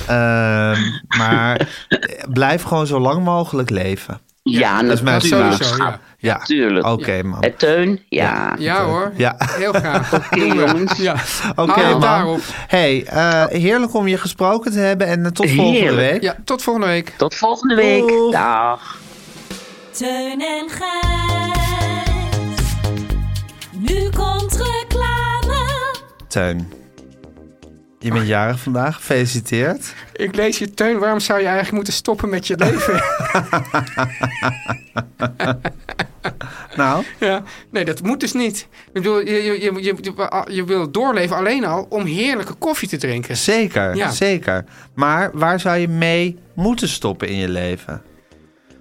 Speaker 2: Ehm, maar blijf gewoon zo lang mogelijk leven.
Speaker 7: Ja,
Speaker 2: dat is mijn
Speaker 3: Dat
Speaker 2: prima.
Speaker 3: Nou, sowieso, ja.
Speaker 2: Ja,
Speaker 7: Tuurlijk.
Speaker 2: Oké, man.
Speaker 7: En Teun, ja.
Speaker 3: Ja hoor,
Speaker 2: Ja.
Speaker 3: heel graag. Oké
Speaker 7: jongens.
Speaker 3: Ja.
Speaker 2: Oké,
Speaker 3: Hou het
Speaker 2: man.
Speaker 3: daarop.
Speaker 2: Hey, eh, heerlijk om je gesproken te hebben en eh, tot volgende
Speaker 7: Heerlijk.
Speaker 2: week.
Speaker 3: ja, tot volgende week.
Speaker 7: Tot volgende week.
Speaker 2: Doeg.
Speaker 7: Dag.
Speaker 6: Teun en Gijs. Nu komt reclame.
Speaker 2: Teun, je bent jarig vandaag. Gefeliciteerd.
Speaker 3: Ik lees je, Teun, waarom zou je eigenlijk moeten stoppen met je leven?
Speaker 2: Nou,
Speaker 3: ja. Nee, dat moet dus niet. Ik bedoel, je, je, je, je, je, je wil doorleven alleen al om heerlijke koffie te drinken.
Speaker 2: zeker,
Speaker 3: Ja.
Speaker 2: zeker. Maar waar zou je mee moeten stoppen in je leven?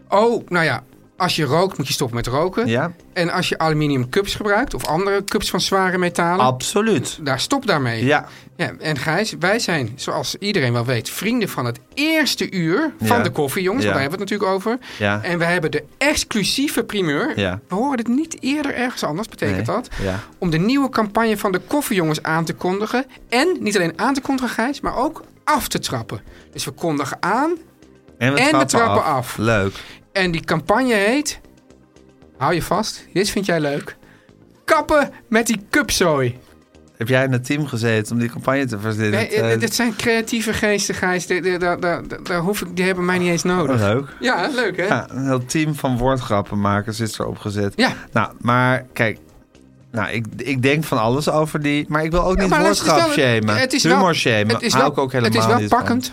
Speaker 3: Oh, nou ja. Als je rookt, moet je stoppen met roken.
Speaker 2: Ja,
Speaker 3: En als je aluminium cups gebruikt, of andere cups van zware metalen,
Speaker 2: absoluut.
Speaker 3: daar stop daarmee.
Speaker 2: Ja,
Speaker 3: Ja, en Gijs, wij zijn, zoals iedereen wel weet, vrienden van het eerste uur van
Speaker 2: Ja.
Speaker 3: de koffie, jongens. want
Speaker 2: Ja.
Speaker 3: daar hebben we het natuurlijk over.
Speaker 2: Ja.
Speaker 3: En wij hebben de exclusieve primeur.
Speaker 2: Ja.
Speaker 3: We horen het niet eerder ergens anders, betekent
Speaker 2: Nee.
Speaker 3: dat.
Speaker 2: Ja.
Speaker 3: Om de nieuwe campagne van de koffiejongens aan te kondigen. En niet alleen aan te kondigen, Gijs, maar ook af te trappen. Dus we kondigen aan.
Speaker 2: en we,
Speaker 3: En we
Speaker 2: trappen,
Speaker 3: trappen
Speaker 2: af.
Speaker 3: af.
Speaker 2: Leuk.
Speaker 3: En die campagne heet... Hou je vast, dit vind jij leuk. kappen met die cupzooi.
Speaker 2: Heb jij in het team gezeten om die campagne te verzinnen?
Speaker 3: Nee, eh, dit zijn creatieve geesten, Gijs. Die, die, daar- daar- daar- daar hoef ik, die hebben mij niet eens nodig.
Speaker 2: leuk.
Speaker 3: Ja, leuk hè?
Speaker 2: Oh, Ja, een heel team van woordgrappenmakers is erop gezet.
Speaker 3: Ja.
Speaker 2: Nou, maar kijk. Nou, ik, ik denk van alles over die... Maar ik wil ook
Speaker 3: Ja,
Speaker 2: niet
Speaker 3: maar luister,
Speaker 2: woordgrap
Speaker 3: het is wel-
Speaker 2: shamen.
Speaker 3: het is wel-
Speaker 2: humor shamen.
Speaker 3: het is
Speaker 2: hou
Speaker 3: wel-
Speaker 2: ik ook helemaal
Speaker 3: Het is wel
Speaker 2: niet van.
Speaker 3: pakkend.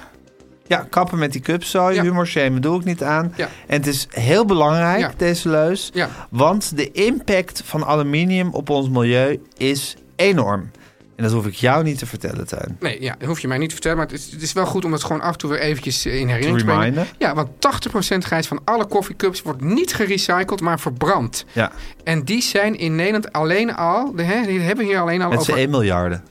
Speaker 2: Ja, kappen met die cupzooi.
Speaker 3: Ja.
Speaker 2: Humor shamen doe ik niet aan.
Speaker 3: Ja.
Speaker 2: En het is heel belangrijk,
Speaker 3: Ja.
Speaker 2: deze leus.
Speaker 3: Ja.
Speaker 2: Want de impact van aluminium op ons milieu is enorm. En dat hoef ik jou niet te vertellen, Tuin.
Speaker 3: Nee, ja, dat hoef je mij niet te vertellen. Maar het is, het is wel goed om dat gewoon af en toe weer eventjes eh, in herinnering te,
Speaker 2: Te
Speaker 3: brengen.
Speaker 2: reminden.
Speaker 3: Ja, want 80% grijs van alle koffiecups wordt niet gerecycled, maar verbrand.
Speaker 2: Ja,
Speaker 3: En die zijn in Nederland alleen al... De, hè, die hebben we hier alleen al
Speaker 2: met z'n e-
Speaker 3: over...
Speaker 2: 1 miljarden.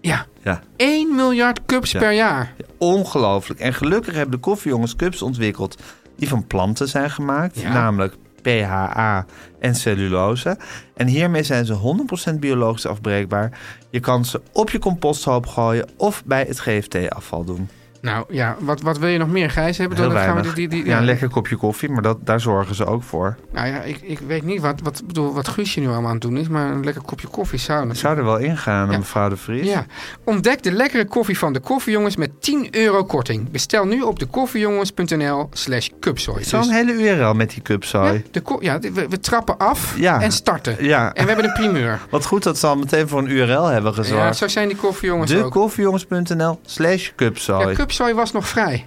Speaker 3: Ja,
Speaker 2: Ja.
Speaker 3: 1 miljard cups
Speaker 2: Ja.
Speaker 3: per jaar.
Speaker 2: Ongelooflijk. En gelukkig hebben de koffiejongens cups ontwikkeld die van planten zijn gemaakt.
Speaker 3: Ja.
Speaker 2: Namelijk PHA en cellulose. En hiermee zijn ze 100% biologisch afbreekbaar. Je kan ze op je composthoop gooien of bij het GFT-afval doen.
Speaker 3: Nou ja, wat, wat wil je nog meer, Gijs? Hebben?
Speaker 2: Heel
Speaker 3: Dan gaan we
Speaker 2: weinig.
Speaker 3: die, die, die,
Speaker 2: ja, een lekker kopje koffie, maar dat, daar zorgen ze ook voor.
Speaker 3: Nou ja, ik, ik weet niet wat, wat, bedoel, wat Guusje nu allemaal aan het doen is, maar een lekker kopje koffie zou
Speaker 2: Ik
Speaker 3: natuurlijk-
Speaker 2: zou er wel ingaan,
Speaker 3: Ja.
Speaker 2: mevrouw de Vries.
Speaker 3: Ja, ontdek de lekkere koffie van de koffiejongens met 10 euro korting. Bestel nu op dekoffiejongens.nl slash cupsoy.
Speaker 2: Zo'n
Speaker 3: Dus-
Speaker 2: hele URL met die
Speaker 3: ja,
Speaker 2: cupzooi.
Speaker 3: de ko- ja, de- we, we trappen af
Speaker 2: Ja.
Speaker 3: en starten.
Speaker 2: Ja.
Speaker 3: En we hebben een primeur.
Speaker 2: Wat goed dat ze al meteen voor een URL hebben
Speaker 3: Ja,
Speaker 2: gezorgd.
Speaker 3: zo zijn die koffiejongens ook.
Speaker 2: Dekoffiejongens.nl slash
Speaker 3: ja,
Speaker 2: cupzooi.
Speaker 3: cupsooi was nog vrij.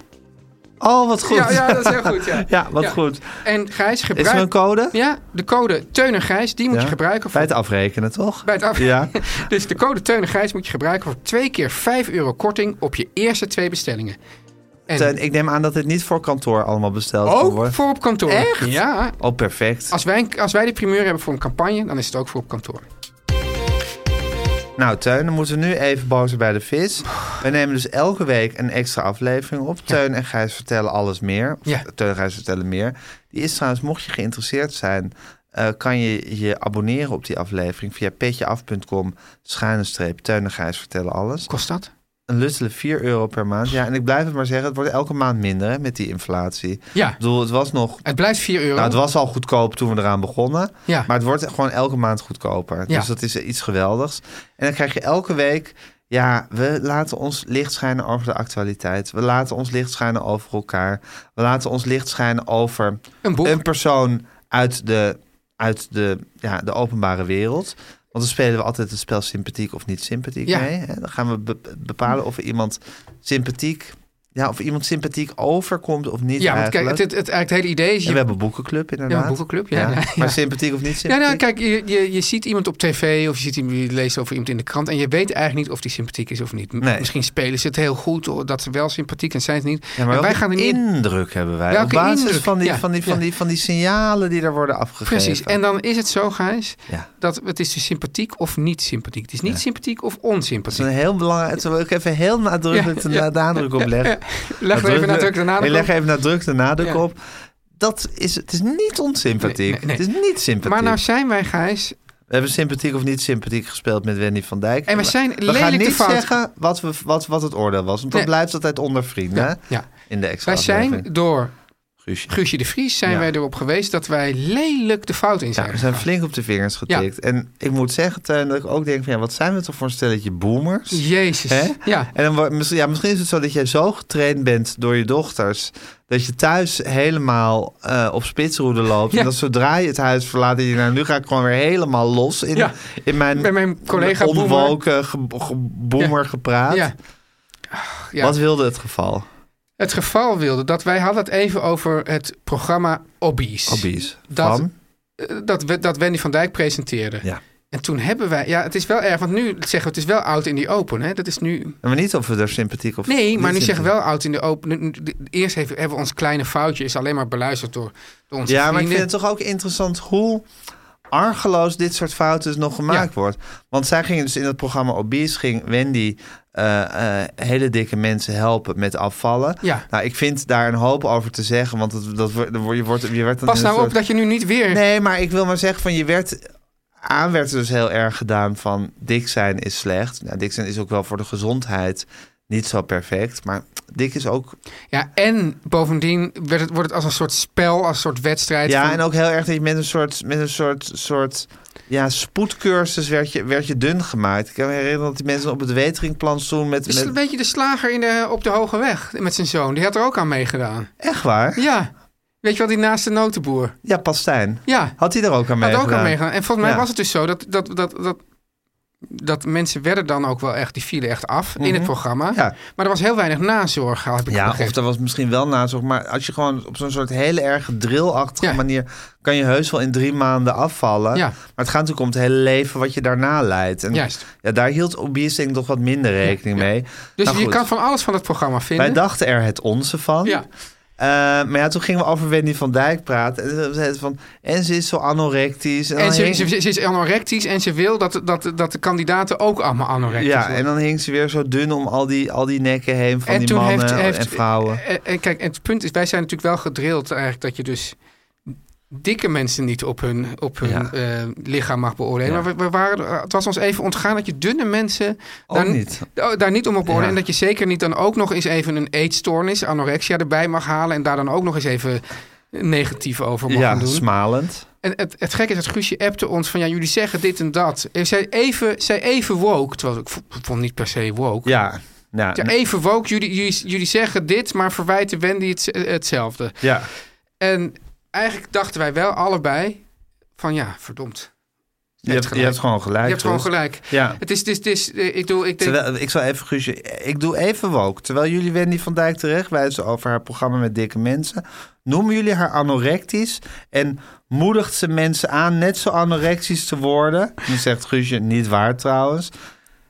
Speaker 2: Oh, wat goed.
Speaker 3: Ja, ja, dat is heel goed, ja.
Speaker 2: Ja, wat
Speaker 3: Ja.
Speaker 2: goed.
Speaker 3: En Gijs,
Speaker 2: Is er een
Speaker 3: gebruik...
Speaker 2: code?
Speaker 3: Ja, de code Teun en Gijs, die moet
Speaker 2: Ja.
Speaker 3: je gebruiken voor
Speaker 2: Bij het afrekenen, toch?
Speaker 3: Bij het af.
Speaker 2: Ja.
Speaker 3: dus de code Teun en Gijs moet je gebruiken voor twee keer 5 euro korting op je eerste twee bestellingen. En
Speaker 2: Teun, ik neem aan dat dit niet voor kantoor allemaal besteld kan
Speaker 3: ook
Speaker 2: worden.
Speaker 3: voor op kantoor. Echt? Ja.
Speaker 2: Oh, perfect.
Speaker 3: Als wij, als wij de primeur hebben voor een campagne, dan is het ook voor op kantoor.
Speaker 2: Nou, Teun, dan moeten we nu even boter bij de vis. We nemen dus elke week een extra aflevering op. Teun en Gijs vertellen alles meer. Of
Speaker 3: Ja.
Speaker 2: Teun en Gijs vertellen meer. Die is trouwens, mocht je geïnteresseerd zijn... eh, kan je je abonneren op die aflevering via petjeaf.com... schuine streep Teun en Gijs vertellen alles.
Speaker 3: Kost dat?
Speaker 2: Een luttele 4 euro per maand. Ja, en ik blijf het maar zeggen, het wordt elke maand minder hè, met die inflatie.
Speaker 3: Ja.
Speaker 2: Ik bedoel, het was nog...
Speaker 3: Het blijft 4 euro.
Speaker 2: Nou, het was al goedkoop toen we eraan begonnen.
Speaker 3: Ja.
Speaker 2: Maar het wordt gewoon elke maand goedkoper.
Speaker 3: Ja.
Speaker 2: Dus dat is iets geweldigs. En dan krijg je elke week... Ja, we laten ons licht schijnen over de actualiteit. We laten ons licht schijnen over elkaar. We laten ons licht schijnen over
Speaker 3: Een boek.
Speaker 2: een persoon uit de, uit de, ja, de openbare wereld. Want dan spelen we altijd het spel sympathiek of niet sympathiek
Speaker 3: Ja.
Speaker 2: mee. Hè? Dan gaan we be- bepalen of we iemand sympathiek... Ja, of iemand sympathiek overkomt of niet
Speaker 3: ja, want
Speaker 2: eigenlijk.
Speaker 3: kijk, het, het, het, eigenlijk het hele idee is...
Speaker 2: En we
Speaker 3: Je,
Speaker 2: hebben een boekenclub inderdaad.
Speaker 3: Ja, een boekenclub, ja, ja, ja.
Speaker 2: Maar sympathiek of niet
Speaker 3: ja,
Speaker 2: sympathiek?
Speaker 3: nou, kijk, je, je, je ziet iemand op tv of je, ziet, iemand- je leest over iemand in de krant... en je weet eigenlijk niet of die sympathiek is of niet. M-
Speaker 2: Nee.
Speaker 3: Misschien spelen ze het heel goed, hoor, dat ze wel sympathiek en zijn ze niet.
Speaker 2: Ja, maar
Speaker 3: en wij
Speaker 2: welke
Speaker 3: gaan er niet...
Speaker 2: indruk hebben wij?
Speaker 3: Welke
Speaker 2: op basis
Speaker 3: indruk?
Speaker 2: Van, die,
Speaker 3: Ja,
Speaker 2: van, die, van,
Speaker 3: ja.
Speaker 2: die, van die signalen die er worden afgegeven.
Speaker 3: Precies, en dan is het zo, Gijs,
Speaker 2: Ja.
Speaker 3: dat het is dus sympathiek of niet sympathiek. Het is niet sympathiek of
Speaker 2: Dat is
Speaker 3: onsympathiek.
Speaker 2: een heel belangrijk... Daar wil ik even heel nadrukkelijk
Speaker 3: Ja,
Speaker 2: de
Speaker 3: ja.
Speaker 2: nadruk op leggen.
Speaker 3: Leg er even nadruk daarna
Speaker 2: Ik leg even nadruk de nadruk
Speaker 3: Ja.
Speaker 2: op. Dat is, het is niet onsympathiek.
Speaker 3: Nee, nee, nee.
Speaker 2: Het is niet sympathiek.
Speaker 3: Maar nou zijn wij, Gijs,
Speaker 2: We hebben sympathiek of niet sympathiek gespeeld met Wendy van Dijk.
Speaker 3: En we zijn
Speaker 2: We gaan
Speaker 3: lelijk te
Speaker 2: niet
Speaker 3: fout.
Speaker 2: zeggen wat, we, wat, wat het oordeel was. Want
Speaker 3: Nee.
Speaker 2: dat blijft altijd onder vrienden. hè?
Speaker 3: ja.
Speaker 2: In de extra
Speaker 3: wij zijn
Speaker 2: aflevering.
Speaker 3: door
Speaker 2: Guusje.
Speaker 3: Guusje de Vries zijn
Speaker 2: Ja.
Speaker 3: wij erop geweest dat wij lelijk de fout in zijn.
Speaker 2: Ja, we zijn
Speaker 3: gegaan.
Speaker 2: flink op de vingers getikt. En ik moet zeggen, Teun, dat ik ook denk van... Ja, wat zijn we toch voor een stelletje boomers?
Speaker 3: Jezus.
Speaker 2: Hè?
Speaker 3: Ja.
Speaker 2: En dan, wordt- misschien- ja, misschien is het zo dat jij zo getraind bent door je dochters... dat je thuis helemaal eh, op spitsroede loopt.
Speaker 3: Ja.
Speaker 2: En dat zodra je het huis verlaat... dat je nou, nu ga ik gewoon weer helemaal los in,
Speaker 3: Ja.
Speaker 2: in mijn,
Speaker 3: Bij mijn collega boomer.
Speaker 2: onwoken ge, ge- boomer gepraat.
Speaker 3: Ja. ja.
Speaker 2: Wat wilde het geval?
Speaker 3: Het geval wilde dat wij hadden het even over het programma Obbies.
Speaker 2: Hobby's.
Speaker 3: Dat-
Speaker 2: Van?
Speaker 3: Eh, Dat, we- dat Wendy van Dijk presenteerde.
Speaker 2: Ja.
Speaker 3: En toen hebben wij... Ja, het is wel erg, want nu zeggen we het is wel oud in die open. Hè? Dat is nu...
Speaker 2: Maar niet of we er sympathiek of
Speaker 3: Nee, maar nu
Speaker 2: niet
Speaker 3: zeggen we
Speaker 2: sympathiek-
Speaker 3: wel oud in de open. Nu- nu- Eerst heeft- hebben we ons kleine foutje. Is alleen maar beluisterd door, door onze
Speaker 2: Ja, maar ik
Speaker 3: vrienden.
Speaker 2: vind het toch ook interessant hoe argeloos dit soort fouten dus nog gemaakt
Speaker 3: Ja.
Speaker 2: wordt. Want zij ging dus in dat programma Obese, ging Wendy eh, eh, hele dikke mensen helpen met afvallen.
Speaker 3: Ja.
Speaker 2: Nou, ik vind daar een hoop over te zeggen, want dat, dat, wordt- je wordt... Je werd dan
Speaker 3: Pas
Speaker 2: in een
Speaker 3: nou
Speaker 2: soort-
Speaker 3: op dat je nu niet weer...
Speaker 2: Nee, maar ik wil maar zeggen van je werd... Aan werd er dus heel erg gedaan van dik zijn is slecht. Nou, dik zijn is ook wel voor de gezondheid niet zo perfect. Maar dik is ook...
Speaker 3: Ja, en bovendien werd het, wordt het als een soort spel, als een soort wedstrijd.
Speaker 2: ja,
Speaker 3: van-
Speaker 2: en ook heel erg dat je met een soort, met een soort, soort Ja, spoedcursus werd je, werd je dun gemaakt. Ik kan me herinneren dat die mensen op het weteringplan stonden met...
Speaker 3: Het is een
Speaker 2: met...
Speaker 3: beetje de slager in de, op de Hoge Weg met zijn zoon. Die had er ook aan meegedaan.
Speaker 2: Echt waar?
Speaker 3: Ja. Weet je wel, die naast de notenboer.
Speaker 2: Ja, Pastijn.
Speaker 3: Ja.
Speaker 2: Had hij er ook aan
Speaker 3: Had
Speaker 2: meegedaan?
Speaker 3: ook aan meegedaan. En volgens mij
Speaker 2: Ja.
Speaker 3: was het dus zo dat, dat, dat, dat, dat mensen werden dan ook wel echt, die vielen echt af in het programma.
Speaker 2: Mhm. Ja.
Speaker 3: Maar er was heel weinig nazorg, heb ik
Speaker 2: Ja,
Speaker 3: begrepen.
Speaker 2: of er was misschien wel nazorg. Maar als je gewoon op zo'n soort hele erg drillachtige
Speaker 3: Ja.
Speaker 2: manier... kan je heus wel in drie maanden afvallen.
Speaker 3: Ja.
Speaker 2: Maar het gaat natuurlijk om het hele leven wat je daarna leidt. En
Speaker 3: Juist.
Speaker 2: Ja, daar hield Obiesting toch wat minder rekening mee.
Speaker 3: Dus
Speaker 2: Nou
Speaker 3: je
Speaker 2: goed,
Speaker 3: kan van alles van het programma vinden.
Speaker 2: Wij dachten er het onze van.
Speaker 3: Ja.
Speaker 2: Eh, maar ja, toen gingen we over Wendy van Dijk praten. En toen zei ze van, en ze is zo anorectisch. dan
Speaker 3: en ze,
Speaker 2: hing-
Speaker 3: ze, ze is anorectisch en ze wil dat, dat, dat de kandidaten ook allemaal anorectisch
Speaker 2: Ja,
Speaker 3: worden.
Speaker 2: en dan hing ze weer zo dun om al die, al die nekken heen van die mannen en vrouwen.
Speaker 3: En, en kijk, en het punt is, wij zijn natuurlijk wel gedrild eigenlijk dat je dus dikke mensen niet op hun, op hun
Speaker 2: Ja.
Speaker 3: eh, lichaam mag beoordelen.
Speaker 2: Ja.
Speaker 3: Maar we, we waren, het was ons even ontgaan dat je dunne mensen
Speaker 2: Ook niet.
Speaker 3: oh, daar niet om op beoordelen.
Speaker 2: Ja.
Speaker 3: En dat je zeker niet dan ook nog eens even een eetstoornis, anorexia erbij mag halen en daar dan ook nog eens even negatief over mag gaan
Speaker 2: Ja,
Speaker 3: doen.
Speaker 2: smalend.
Speaker 3: En het, het gekke is dat Guusje appte ons van... ja, jullie zeggen dit en dat. En zij even, zij even woke, terwijl ik v- vond het niet per se woke.
Speaker 2: Ja, ja,
Speaker 3: Ja, even woke, jullie, jullie, jullie zeggen dit... maar verwijten Wendy het, hetzelfde.
Speaker 2: ja.
Speaker 3: En eigenlijk dachten wij wel allebei van... ja, verdomd.
Speaker 2: Je, hebt, je
Speaker 3: gelijk.
Speaker 2: hebt gewoon gelijk.
Speaker 3: Je hebt gewoon
Speaker 2: Roel.
Speaker 3: gelijk.
Speaker 2: Ja.
Speaker 3: Het is, het is, het is, eh, ik doe, ik denk...
Speaker 2: Terwijl, ik zal even, Guusje, ik doe even woke. Terwijl jullie Wendy van Dijk terecht wijzen over haar programma met dikke mensen, noemen jullie haar anorectisch en moedigt ze mensen aan net zo anorectisch te worden. Dan zegt Guusje, niet waar trouwens.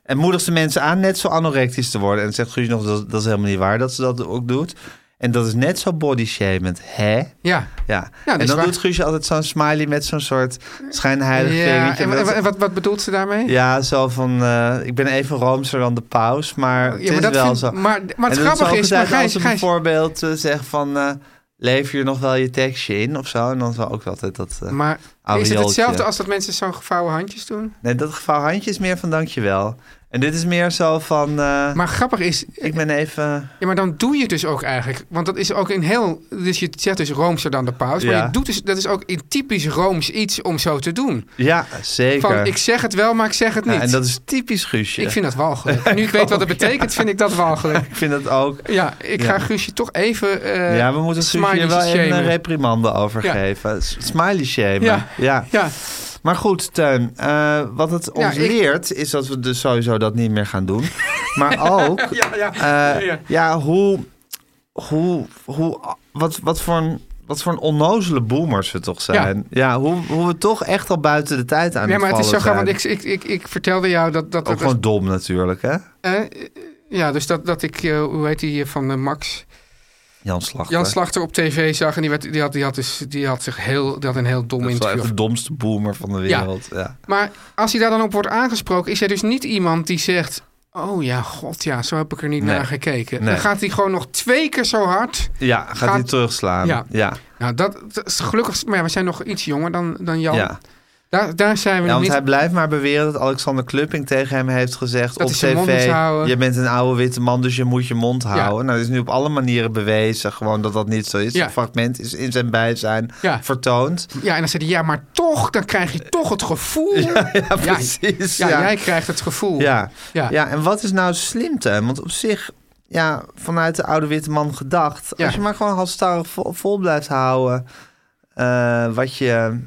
Speaker 2: En moedigt ze mensen aan net zo anorectisch te worden. En dan zegt Guusje nog, dat, dat is helemaal niet waar dat ze dat ook doet. En dat is net zo bodyshamend, hè?
Speaker 3: ja.
Speaker 2: Ja.
Speaker 3: dat
Speaker 2: en
Speaker 3: is
Speaker 2: dan
Speaker 3: waar.
Speaker 2: doet Guusje altijd zo'n smiley met zo'n soort schijnheilig
Speaker 3: ja.
Speaker 2: vingertje.
Speaker 3: En,
Speaker 2: Dat-
Speaker 3: wa- en wat, wat bedoelt ze daarmee?
Speaker 2: ja, zo van, eh, ik ben even roomser dan de paus, maar het
Speaker 3: Ja, maar
Speaker 2: is
Speaker 3: dat
Speaker 2: wel
Speaker 3: vind-
Speaker 2: zo.
Speaker 3: maar- maar het
Speaker 2: En dan
Speaker 3: grappige
Speaker 2: zou ik
Speaker 3: is,
Speaker 2: zeggen,
Speaker 3: maar Gijs-
Speaker 2: als ze
Speaker 3: Gijs-
Speaker 2: bijvoorbeeld eh, zegt van, eh, lever je nog wel je tekstje in of zo, en dan zal ook altijd dat... eh,
Speaker 3: Maar is het
Speaker 2: Arieltje.
Speaker 3: hetzelfde als dat mensen zo'n gevouwen handjes doen?
Speaker 2: Nee, dat geval handje is meer van dankjewel. En dit is meer zo van, eh,
Speaker 3: Maar grappig is,
Speaker 2: ik ben even...
Speaker 3: Ja, maar dan doe je het dus ook eigenlijk. Want dat is ook een heel. Dus je zegt dus roomser dan de paus. Maar
Speaker 2: Ja.
Speaker 3: je doet dus, dat is ook in typisch rooms iets om zo te doen.
Speaker 2: Ja, zeker.
Speaker 3: Van ik zeg het wel, maar ik zeg het niet.
Speaker 2: Ja, en dat is typisch Guusje.
Speaker 3: Ik vind dat walgelijk. Nu ik weet wat het betekent, vind ik dat walgelijk.
Speaker 2: ik vind dat ook...
Speaker 3: Ja, ik ga
Speaker 2: Ja.
Speaker 3: Guusje toch even. eh,
Speaker 2: Ja, we moeten Guusje hier
Speaker 3: smileys
Speaker 2: wel een
Speaker 3: shamen.
Speaker 2: eh, reprimande over
Speaker 3: Ja.
Speaker 2: geven. S- Smiley shamen.
Speaker 3: Ja.
Speaker 2: ja.
Speaker 3: Ja,
Speaker 2: Maar goed, Teun, eh, wat het
Speaker 3: Ja,
Speaker 2: ons
Speaker 3: ik-
Speaker 2: leert is dat we dus sowieso dat niet meer gaan doen. Maar ook,
Speaker 3: ja, ja.
Speaker 2: eh,
Speaker 3: ja.
Speaker 2: ja, hoe, hoe, hoe wat, wat, voor een, wat voor een onnozele boomers we toch zijn. Ja, hoe, hoe we toch echt al buiten de tijd aan
Speaker 3: Ja, maar het is zo
Speaker 2: gaan,
Speaker 3: grappig. Want ik, ik, ik, ik vertelde jou dat. dat,
Speaker 2: Ook
Speaker 3: dat
Speaker 2: gewoon dom natuurlijk, hè?
Speaker 3: eh, eh, ja, dus dat, dat ik. eh, hoe heet die eh, van eh, Max?
Speaker 2: Jan Slachter.
Speaker 3: Jan Slachter op tv zag en die, werd, die, had, die, had, dus, die had zich heel, die had een heel dom
Speaker 2: Dat is wel
Speaker 3: interview.
Speaker 2: echt de domste boomer van de wereld. Ja.
Speaker 3: Maar als hij daar dan op wordt aangesproken, is hij dus niet iemand die zegt: Oh ja, god ja, zo heb ik er niet
Speaker 2: Nee.
Speaker 3: naar gekeken.
Speaker 2: Nee.
Speaker 3: Dan gaat hij gewoon nog twee keer zo hard.
Speaker 2: Ja, gaat
Speaker 3: Gaat-
Speaker 2: hij terugslaan.
Speaker 3: Ja.
Speaker 2: Ja. Ja.
Speaker 3: Nou, dat, dat is gelukkig, maar ja, we zijn nog iets jonger dan, dan Jan.
Speaker 2: ja.
Speaker 3: Daar, daar zijn we nog
Speaker 2: want
Speaker 3: niet.
Speaker 2: hij blijft maar beweren dat Alexander Klupping tegen hem heeft gezegd
Speaker 3: Dat
Speaker 2: op
Speaker 3: hij zijn mond
Speaker 2: tv...
Speaker 3: moet houden.
Speaker 2: Je bent een oude witte man, dus je moet je mond houden. Nou, dat is nu op alle manieren bewezen gewoon dat dat niet zo is.
Speaker 3: Ja.
Speaker 2: Het fragment is in zijn bijzijn
Speaker 3: Ja.
Speaker 2: vertoond.
Speaker 3: Ja, en dan zei hij: Ja, maar toch, dan krijg je toch het gevoel. Ja,
Speaker 2: Ja, precies.
Speaker 3: ja,
Speaker 2: Ja, ja.
Speaker 3: jij krijgt het gevoel.
Speaker 2: Ja.
Speaker 3: Ja.
Speaker 2: en wat is nou slim, Teun? Want op zich, ja, vanuit de oude witte man gedacht...
Speaker 3: Ja.
Speaker 2: als je maar gewoon halstarrig vol, vol blijft houden... eh, wat je...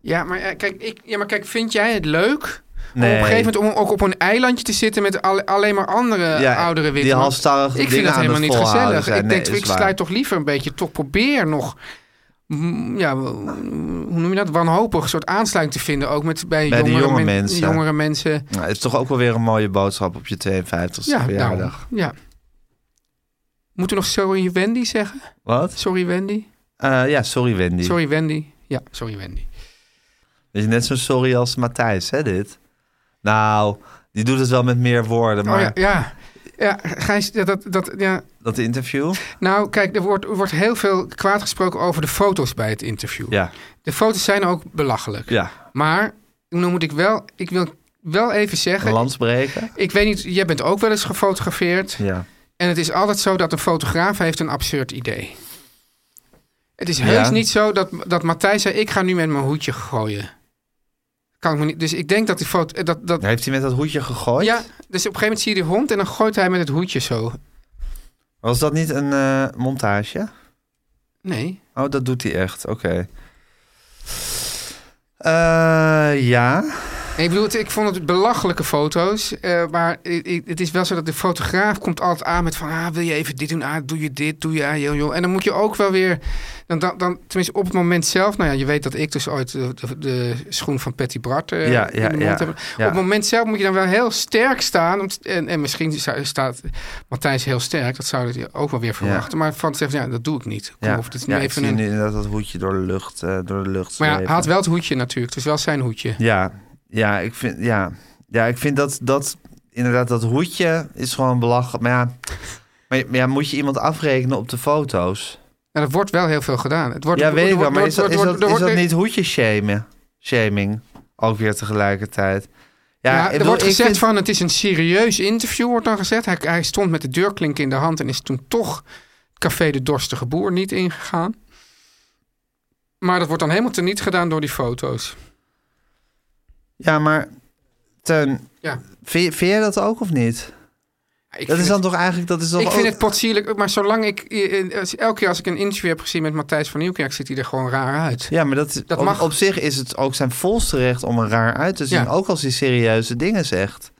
Speaker 3: Ja, maar, eh, kijk, ik, ja, maar kijk, vind jij het leuk? Om
Speaker 2: Nee.
Speaker 3: op een gegeven moment om ook op een eilandje te zitten met alle- alleen maar andere
Speaker 2: Ja,
Speaker 3: oudere
Speaker 2: die
Speaker 3: witte mannen.
Speaker 2: halstarrige
Speaker 3: Ik vind
Speaker 2: dingen
Speaker 3: dat
Speaker 2: aan
Speaker 3: helemaal
Speaker 2: het
Speaker 3: niet
Speaker 2: volhouden
Speaker 3: gezellig.
Speaker 2: zijn.
Speaker 3: Ik
Speaker 2: Nee,
Speaker 3: denk,
Speaker 2: is
Speaker 3: ik
Speaker 2: waar.
Speaker 3: sluit toch liever een beetje, toch probeer nog, mm, ja, w- hoe noem je dat, wanhopig soort aansluiting te vinden. Ook met, bij,
Speaker 2: Bij de
Speaker 3: jongere,
Speaker 2: jonge
Speaker 3: men-
Speaker 2: mensen.
Speaker 3: jongere mensen.
Speaker 2: Nou, het is toch ook wel weer een mooie boodschap op je 52e
Speaker 3: Ja,
Speaker 2: verjaardag.
Speaker 3: daarom. ja. Moeten we nog sorry Wendy zeggen?
Speaker 2: Wat?
Speaker 3: Sorry Wendy?
Speaker 2: Eh, ja, sorry Wendy.
Speaker 3: Sorry Wendy? Ja, sorry Wendy.
Speaker 2: Is net zo sorry als Matthijs, hè, dit? Nou, die doet het wel met meer woorden, maar
Speaker 3: Oh ja, ja. Ja, Gijs, ja, dat, dat, ja,
Speaker 2: dat interview...
Speaker 3: Nou, kijk, er wordt, er wordt heel veel kwaad gesproken over de foto's bij het interview.
Speaker 2: Ja,
Speaker 3: De foto's zijn ook belachelijk.
Speaker 2: ja.
Speaker 3: Maar dan moet ik wel, ik wil wel even
Speaker 2: Een
Speaker 3: zeggen.
Speaker 2: landsbreken.
Speaker 3: Ik weet niet, jij bent ook wel eens gefotografeerd.
Speaker 2: Ja.
Speaker 3: En het is altijd zo dat een fotograaf heeft een absurd idee. Het is heus
Speaker 2: Ja.
Speaker 3: niet zo dat, dat Matthijs zei: Ik ga nu met mijn hoedje gooien. Kan ik me niet, dus ik denk dat die foto... eh, Dat, dat,
Speaker 2: Daar heeft hij met dat hoedje gegooid.
Speaker 3: ja, dus op een gegeven moment zie je die hond en dan gooit hij met het hoedje zo.
Speaker 2: Was dat niet een eh, montage?
Speaker 3: Nee.
Speaker 2: Oh, dat doet hij echt. Oké. Eh, ja.
Speaker 3: Nee, Ik bedoel, het- ik vond het belachelijke foto's. eh, maar i- i- het is wel zo dat de fotograaf komt altijd aan met van... Ah, wil je even dit doen? Ah, doe je dit? Doe je... Ah, joh, joh. En dan moet je ook wel weer... Dan, dan, dan, tenminste, op het moment zelf... Nou ja, je weet dat ik dus ooit de, de, de schoen van Patty Bart eh,
Speaker 2: Ja, ja,
Speaker 3: in de mond
Speaker 2: ja.
Speaker 3: heb.
Speaker 2: Ja.
Speaker 3: Op het moment zelf moet je dan wel heel sterk staan. om t- En, en misschien zou- staat Matthijs heel sterk. Dat zou je ook wel weer verwachten. Maar van te zeggen, ja, dat doe ik niet. Kom,
Speaker 2: Ja,
Speaker 3: of dit is
Speaker 2: ja
Speaker 3: nu
Speaker 2: ik
Speaker 3: even
Speaker 2: zie
Speaker 3: een-
Speaker 2: nu inderdaad dat hoedje door de lucht, eh, door de lucht
Speaker 3: Maar ja, hij
Speaker 2: zweven.
Speaker 3: had wel het hoedje natuurlijk. Het is wel zijn hoedje.
Speaker 2: Ja, ja, ik vind, ja. ja, ik vind dat, dat inderdaad dat hoedje is gewoon belachelijk. Maar ja, maar, maar ja, moet je iemand afrekenen op de foto's?
Speaker 3: Nou, dat wordt wel heel veel gedaan. Het wordt,
Speaker 2: ja, weet
Speaker 3: er
Speaker 2: ik wel,
Speaker 3: wordt-
Speaker 2: maar is dat,
Speaker 3: wordt-
Speaker 2: is
Speaker 3: wordt-
Speaker 2: dat,
Speaker 3: er
Speaker 2: is
Speaker 3: wordt-
Speaker 2: dat niet hoedje shamen? shaming? Ook weer tegelijkertijd. Ja,
Speaker 3: Ja,
Speaker 2: ik
Speaker 3: er
Speaker 2: bedoel,
Speaker 3: wordt
Speaker 2: ik
Speaker 3: gezegd
Speaker 2: vind-
Speaker 3: van het is een serieus interview, wordt dan gezegd. Hij, hij stond met de deurklink in de hand en is toen toch Café de Dorstige Boer niet ingegaan. Maar dat wordt dan helemaal teniet gedaan door die foto's.
Speaker 2: Ja, maar Teun,
Speaker 3: Ja,
Speaker 2: vind, je- vind jij dat ook of niet? dat
Speaker 3: ik vind
Speaker 2: is dan
Speaker 3: het,
Speaker 2: toch eigenlijk... Dat is dan
Speaker 3: ik vind
Speaker 2: ook-
Speaker 3: het potsierlijk, maar zolang ik... eh, eh, als- Elke keer als ik een interview heb gezien met Matthijs van Nieuwkerk, ziet hij er gewoon raar uit.
Speaker 2: Ja, maar dat, is-
Speaker 3: Dat
Speaker 2: op,
Speaker 3: mag.
Speaker 2: op zich is het ook zijn volste recht om er raar uit te zien.
Speaker 3: Ja.
Speaker 2: Ook als hij serieuze dingen zegt.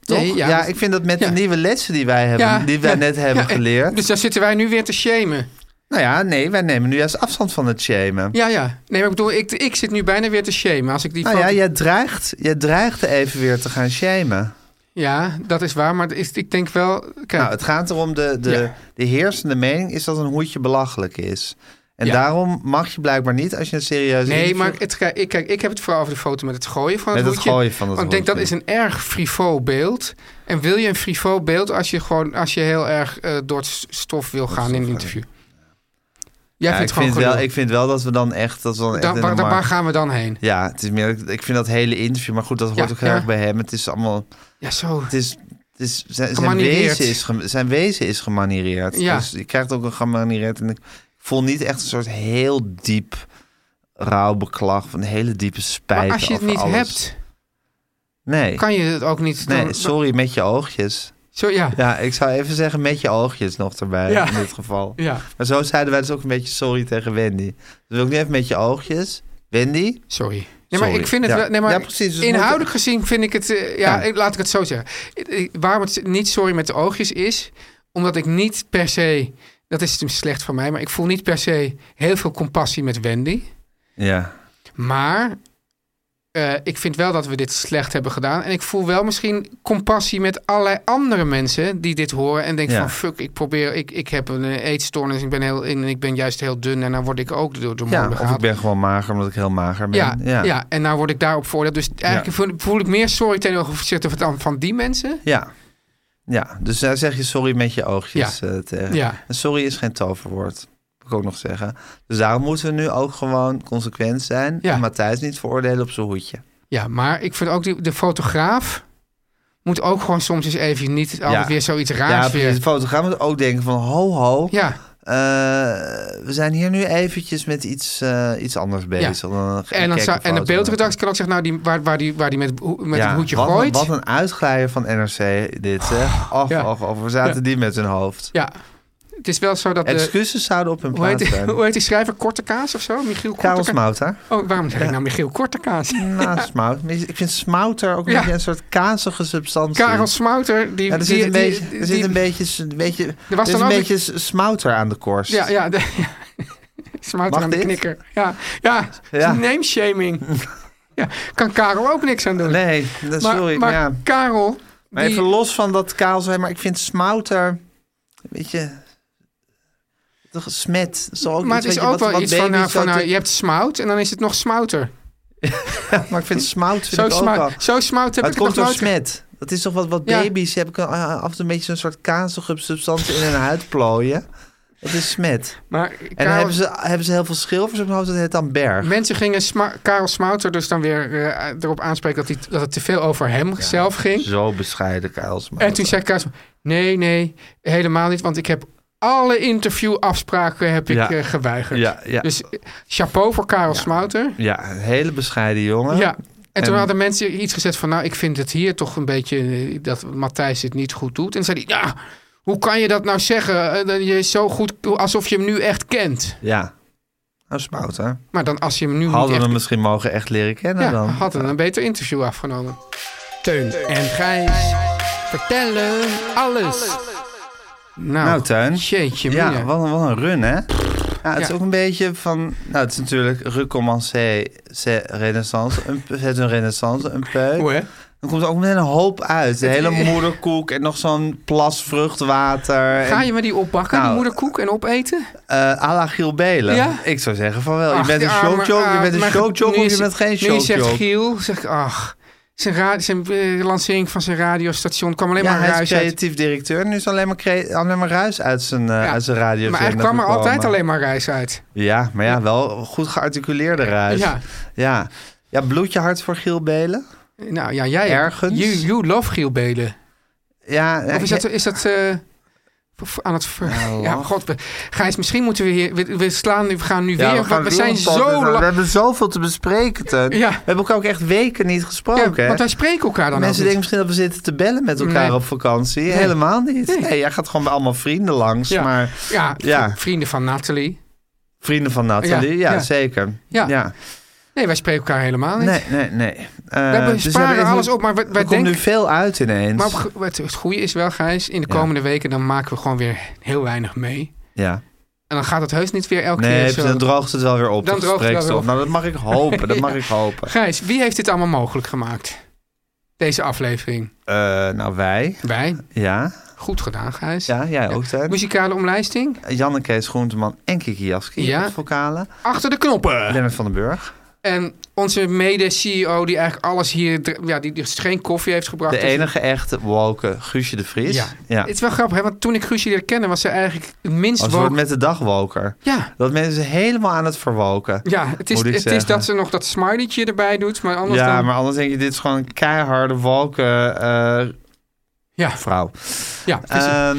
Speaker 2: Toch?
Speaker 3: Nee,
Speaker 2: ja,
Speaker 3: ja, dat-
Speaker 2: ik vind dat met
Speaker 3: ja.
Speaker 2: de nieuwe lessen die wij, hebben,
Speaker 3: Ja,
Speaker 2: die wij
Speaker 3: ja,
Speaker 2: net hebben
Speaker 3: ja, eh,
Speaker 2: geleerd.
Speaker 3: Dus daar zitten wij nu weer te shamen.
Speaker 2: Nou ja, nee, wij nemen nu juist afstand van het shamen.
Speaker 3: Ja, ja. Nee, maar ik bedoel, ik, ik zit nu bijna weer te shamen. Als ik die
Speaker 2: nou
Speaker 3: foto-
Speaker 2: ja, jij dreigt, jij dreigt even weer te gaan shamen.
Speaker 3: Ja, dat is waar, maar het is, ik denk wel... Kijk,
Speaker 2: Nou, het gaat erom, de, de,
Speaker 3: Ja.
Speaker 2: de heersende mening is dat een hoedje belachelijk is. En
Speaker 3: Ja.
Speaker 2: daarom mag je blijkbaar niet als je een serieuze
Speaker 3: Nee,
Speaker 2: interview-
Speaker 3: maar het, kijk, ik, kijk, ik heb het vooral over de foto met het gooien van
Speaker 2: Met het
Speaker 3: het hoedje.
Speaker 2: gooien van het
Speaker 3: Want ik denk dat is
Speaker 2: hoedje.
Speaker 3: een erg frivol beeld. En wil je een frivol beeld als je, gewoon, als je heel erg eh, door het s- stof wil gaan in een interview? Jij
Speaker 2: Ja,
Speaker 3: vindt
Speaker 2: ik,
Speaker 3: gewoon
Speaker 2: vind wel,
Speaker 3: gelul.
Speaker 2: ik vind wel dat we dan echt... Dat we dan echt
Speaker 3: Daar-
Speaker 2: in de
Speaker 3: waar, daar- waar
Speaker 2: markt-
Speaker 3: gaan we dan heen?
Speaker 2: Ja, het is meer, ik vind dat hele interview, maar goed, dat hoort
Speaker 3: Ja,
Speaker 2: ook heel
Speaker 3: ja.
Speaker 2: erg bij hem. Het is allemaal,
Speaker 3: Ja, zo.
Speaker 2: het is, het is zijn, zijn,
Speaker 3: Gemanireerd.
Speaker 2: wezen is gem- zijn wezen is gemanireerd.
Speaker 3: Ja.
Speaker 2: Dus je krijgt ook een gemanireerd en ik voel niet echt een soort heel diep rouwbeklag van een hele diepe spijt
Speaker 3: Maar als je het
Speaker 2: over
Speaker 3: niet
Speaker 2: alles.
Speaker 3: hebt,
Speaker 2: Nee,
Speaker 3: kan je het ook niet.
Speaker 2: nee,
Speaker 3: dan-
Speaker 2: sorry met je oogjes.
Speaker 3: Zo, ja.
Speaker 2: Ja, ik zou even zeggen met je oogjes nog erbij
Speaker 3: Ja.
Speaker 2: in dit geval.
Speaker 3: ja.
Speaker 2: Maar zo zeiden wij dus ook een beetje sorry tegen Wendy. Dus ook nu even met je oogjes. Wendy,
Speaker 3: Sorry. Nee, maar
Speaker 2: Sorry.
Speaker 3: ik vind het
Speaker 2: Ja.
Speaker 3: wel. Nee, maar
Speaker 2: Ja, precies. Dus
Speaker 3: inhoudelijk
Speaker 2: moet-
Speaker 3: gezien vind ik het. eh, ja,
Speaker 2: Ja.
Speaker 3: ik- laat ik het zo zeggen. Ik- ik- Waarom het niet sorry met de oogjes is, omdat ik niet per se. Dat is dus slecht van mij, maar ik voel niet per se heel veel compassie met Wendy.
Speaker 2: ja.
Speaker 3: Maar eh, ik vind wel dat we dit slecht hebben gedaan. En ik voel wel misschien compassie met allerlei andere mensen die dit horen. En denken
Speaker 2: Ja.
Speaker 3: van fuck, ik probeer, ik, ik heb een eh, eetstoornis. Ik ben, heel, en ik ben juist heel dun en dan word ik ook door de
Speaker 2: Ja,
Speaker 3: molen
Speaker 2: of ik
Speaker 3: gehaald.
Speaker 2: ben gewoon mager omdat ik heel mager ben.
Speaker 3: Ja, ja. en nou word ik daarop veroordeeld. Dus eigenlijk voel, voel ik meer sorry ten opzichte van, van die mensen.
Speaker 2: Ja. Ja, dus daar zeg je sorry met je oogjes eh, tegen.
Speaker 3: Ja.
Speaker 2: En sorry is geen toverwoord, moet ik ook nog zeggen. Dus daarom moeten we nu ook gewoon consequent zijn...
Speaker 3: Ja.
Speaker 2: en Matthijs niet veroordelen op zijn hoedje.
Speaker 3: Ja, maar ik vind ook die, de fotograaf moet ook gewoon soms eens even niet altijd weer zoiets raars
Speaker 2: Ja, precies. de
Speaker 3: weer.
Speaker 2: fotograaf moet ook denken van ho ho...
Speaker 3: Ja,
Speaker 2: eh, we zijn hier nu eventjes met iets, eh, iets anders bezig. Dan een
Speaker 3: en, dan
Speaker 2: gekke
Speaker 3: zou, en de
Speaker 2: foto.
Speaker 3: beeldredactie kan ook zeggen, nou, die, waar, waar, die, waar die met, hoe- met
Speaker 2: Ja,
Speaker 3: het hoedje
Speaker 2: wat, een-
Speaker 3: gooit.
Speaker 2: Wat een uitglijer van NRC dit, zeg. Och,
Speaker 3: Ja.
Speaker 2: och, och, we zaten
Speaker 3: Ja.
Speaker 2: die met hun hoofd.
Speaker 3: Ja, het is wel zo dat... de-
Speaker 2: Excuses zouden op hun
Speaker 3: hoe, heet
Speaker 2: plaats
Speaker 3: die,
Speaker 2: zijn.
Speaker 3: hoe heet die schrijver? Kortekaas of zo? Michiel
Speaker 2: Karel
Speaker 3: Kortekaas?
Speaker 2: Smouter.
Speaker 3: Oh, waarom zeg ik nou Michiel Kortekaas?
Speaker 2: Nou, smout. Ik vind smouter ook een
Speaker 3: Ja.
Speaker 2: beetje een soort kazige substantie.
Speaker 3: Karel Smouter, die...
Speaker 2: ja, er zit
Speaker 3: die-
Speaker 2: een
Speaker 3: die-
Speaker 2: beetje, er zit
Speaker 3: die-
Speaker 2: een beetje, een beetje,
Speaker 3: Er
Speaker 2: er
Speaker 3: was
Speaker 2: is
Speaker 3: dan
Speaker 2: een
Speaker 3: ook
Speaker 2: beetje s- smouter aan de korst.
Speaker 3: Ja, ja. De, ja. Smouter
Speaker 2: Mag
Speaker 3: aan de
Speaker 2: dit?
Speaker 3: knikker. Ja, ja.
Speaker 2: Ja.
Speaker 3: name shaming. ja, kan Karel ook niks aan doen.
Speaker 2: Nee, dat,
Speaker 3: maar,
Speaker 2: sorry.
Speaker 3: maar
Speaker 2: Maar, ja.
Speaker 3: Karel...
Speaker 2: maar
Speaker 3: die-
Speaker 2: even los van dat kaal zijn, maar ik vind smouter een beetje toch smet. Dat is toch ook
Speaker 3: maar
Speaker 2: iets, weet
Speaker 3: het is
Speaker 2: je,
Speaker 3: ook
Speaker 2: wat-
Speaker 3: wel
Speaker 2: wat
Speaker 3: iets van,
Speaker 2: baby's
Speaker 3: nou, van
Speaker 2: zo
Speaker 3: nou,
Speaker 2: te-
Speaker 3: je hebt smout en dan is het nog smouter.
Speaker 2: Maar ik vind smout vind
Speaker 3: Zo
Speaker 2: ik ook wel.
Speaker 3: smout, zo smout heb
Speaker 2: Maar
Speaker 3: ik
Speaker 2: het komt
Speaker 3: nog
Speaker 2: door
Speaker 3: nooit...
Speaker 2: smet. Dat is toch wat, wat
Speaker 3: Ja.
Speaker 2: baby's hebben kunnen eh, af en toe een beetje zo'n soort kazige substantie in hun huid plooien. Dat is smet.
Speaker 3: Maar
Speaker 2: En
Speaker 3: Karel-
Speaker 2: hebben ze, hebben ze heel veel schilfers op hun hoofd, dat heet dan berg.
Speaker 3: Mensen gingen Sma- Karel Smouter dus dan weer eh, erop aanspreken dat, hij, dat het te veel over hem zelf ging.
Speaker 2: Zo bescheiden, Kaalsma.
Speaker 3: En toen zei Karel Smouter, nee, nee, helemaal niet. Want ik heb alle interviewafspraken heb ik
Speaker 2: Ja.
Speaker 3: eh, geweigerd.
Speaker 2: Ja, ja.
Speaker 3: Dus eh, chapeau voor Karel Smouter.
Speaker 2: Ja, een hele bescheiden jongen.
Speaker 3: Ja. En toen
Speaker 2: En-
Speaker 3: hadden mensen iets gezegd van, nou, ik vind het hier toch een beetje eh, dat Matthijs het niet goed doet. En zei hij, ja, hoe kan je dat nou zeggen? Eh, Dat je zo goed, alsof je hem nu echt kent.
Speaker 2: Ja. Nou, Spouter.
Speaker 3: Maar dan als je hem nu niet
Speaker 2: Hadden we
Speaker 3: echt
Speaker 2: hem misschien mogen echt leren kennen
Speaker 3: ja,
Speaker 2: dan.
Speaker 3: hadden een beter interview afgenomen. Teun en Gijs vertellen alles. Nou,
Speaker 2: Nou, Teun.
Speaker 3: Jeetje,
Speaker 2: Ja,
Speaker 3: mina.
Speaker 2: wat een, wat een run, hè? Ja, het is
Speaker 3: Ja.
Speaker 2: ook een beetje van... Nou, het is natuurlijk recommencer, c'est renaissance. Een, het een renaissance, een peu.
Speaker 3: Hoe, hè?
Speaker 2: Dan komt er ook meteen een hoop uit. De hele moederkoek en nog zo'n plas vruchtwater.
Speaker 3: Ga
Speaker 2: en,
Speaker 3: je me die opbakken,
Speaker 2: Nou,
Speaker 3: die moederkoek, en opeten?
Speaker 2: eh, à la Giel Belen.
Speaker 3: Ja?
Speaker 2: Ik zou zeggen van wel. je
Speaker 3: Ach,
Speaker 2: bent een
Speaker 3: die arme,
Speaker 2: showjock, je
Speaker 3: ah,
Speaker 2: bent een
Speaker 3: maar
Speaker 2: showjock
Speaker 3: nu
Speaker 2: of je
Speaker 3: is-
Speaker 2: bent geen
Speaker 3: Nu zegt
Speaker 2: showjock.
Speaker 3: Giel, zeg, ach, zijn, ra- zijn eh, lancering van zijn radiostation kwam alleen
Speaker 2: Ja,
Speaker 3: maar
Speaker 2: hij is
Speaker 3: ruis uit.
Speaker 2: creatief directeur. Nu is alleen maar, crea- alleen maar ruis uit zijn, eh,
Speaker 3: Ja,
Speaker 2: uit zijn radio.
Speaker 3: Maar hij kwam er altijd alleen maar ruis uit.
Speaker 2: Ja, maar ja, wel goed gearticuleerde ruis.
Speaker 3: Ja.
Speaker 2: Ja. Ja, bloed je hart voor Giel Belen?
Speaker 3: Nou ja, jij...
Speaker 2: Ergens.
Speaker 3: You, you love Giel Belen.
Speaker 2: Ja, Nou,
Speaker 3: Of
Speaker 2: eh,
Speaker 3: is dat, is dat eh, v- aan het... ver-
Speaker 2: Ja,
Speaker 3: ja,
Speaker 2: lach.
Speaker 3: god. we- Gijs, misschien moeten we hier... We, we slaan, nu- we gaan
Speaker 2: ja,
Speaker 3: nu weer...
Speaker 2: gaan
Speaker 3: want we
Speaker 2: weer
Speaker 3: zijn
Speaker 2: een pad in.
Speaker 3: zo
Speaker 2: We
Speaker 3: lang...
Speaker 2: hebben zoveel te bespreken, Teun.
Speaker 3: Ja.
Speaker 2: We hebben elkaar ook echt weken niet gesproken.
Speaker 3: Ja,
Speaker 2: hè?
Speaker 3: want wij spreken elkaar dan ook
Speaker 2: Mensen
Speaker 3: niet.
Speaker 2: denken misschien dat we zitten te bellen met elkaar
Speaker 3: Nee.
Speaker 2: op vakantie. Helemaal niet. Nee.
Speaker 3: Nee.
Speaker 2: jij gaat gewoon bij allemaal vrienden langs.
Speaker 3: Ja.
Speaker 2: Maar
Speaker 3: Ja,
Speaker 2: Ja.
Speaker 3: v- vrienden van Nathalie.
Speaker 2: vrienden van Nathalie, ja,
Speaker 3: Ja, ja.
Speaker 2: zeker.
Speaker 3: Ja. Oh, Nee, wij spreken elkaar helemaal niet.
Speaker 2: Nee, nee, nee. Eh,
Speaker 3: hebben-
Speaker 2: dus
Speaker 3: sparen
Speaker 2: echt
Speaker 3: alles
Speaker 2: niet-
Speaker 3: op, maar wij- wij
Speaker 2: er komt nu
Speaker 3: denken-
Speaker 2: veel uit ineens.
Speaker 3: Maar op ge- het, het goede is wel, Gijs, in de
Speaker 2: Ja.
Speaker 3: komende weken dan maken we gewoon weer heel weinig mee.
Speaker 2: ja.
Speaker 3: En dan gaat het heus niet weer elke
Speaker 2: Nee,
Speaker 3: keer zo.
Speaker 2: dan droogt het wel weer op.
Speaker 3: Dan
Speaker 2: de
Speaker 3: droogt het wel weer
Speaker 2: gesprekstof.
Speaker 3: op.
Speaker 2: Nou, dat mag ik hopen. Dat mag ik hopen.
Speaker 3: Gijs, wie heeft dit allemaal mogelijk gemaakt? Deze aflevering.
Speaker 2: Eh, nou, wij.
Speaker 3: Wij.
Speaker 2: Ja.
Speaker 3: Goed gedaan, Gijs.
Speaker 2: Ja, jij ook, Teun.
Speaker 3: Muzikale omlijsting.
Speaker 2: Janneke Groenteman en Kiki Jaski
Speaker 3: Ja.
Speaker 2: op het vocale.
Speaker 3: Achter de knoppen.
Speaker 2: Lennart van den Burg.
Speaker 3: En onze mede-CEO die eigenlijk alles hier... dr- Ja, die dus geen koffie heeft gebracht.
Speaker 2: De
Speaker 3: Dus-
Speaker 2: enige echte wolken, Guusje de Vries.
Speaker 3: Ja. Het is wel grappig, hè? want toen ik Guusje leerde kennen was ze eigenlijk het minst...
Speaker 2: Als
Speaker 3: woke-
Speaker 2: wordt met de dagwalker.
Speaker 3: Ja.
Speaker 2: Dat mensen helemaal aan het verwalken.
Speaker 3: Ja, het is,
Speaker 2: Moet ik
Speaker 3: het is
Speaker 2: zeggen.
Speaker 3: dat ze nog dat smileytje erbij doet, maar anders
Speaker 2: Ja,
Speaker 3: dan...
Speaker 2: maar anders denk je, dit is gewoon een keiharde walken eh,
Speaker 3: Ja,
Speaker 2: vrouw.
Speaker 3: ja. het is-
Speaker 2: Ehm,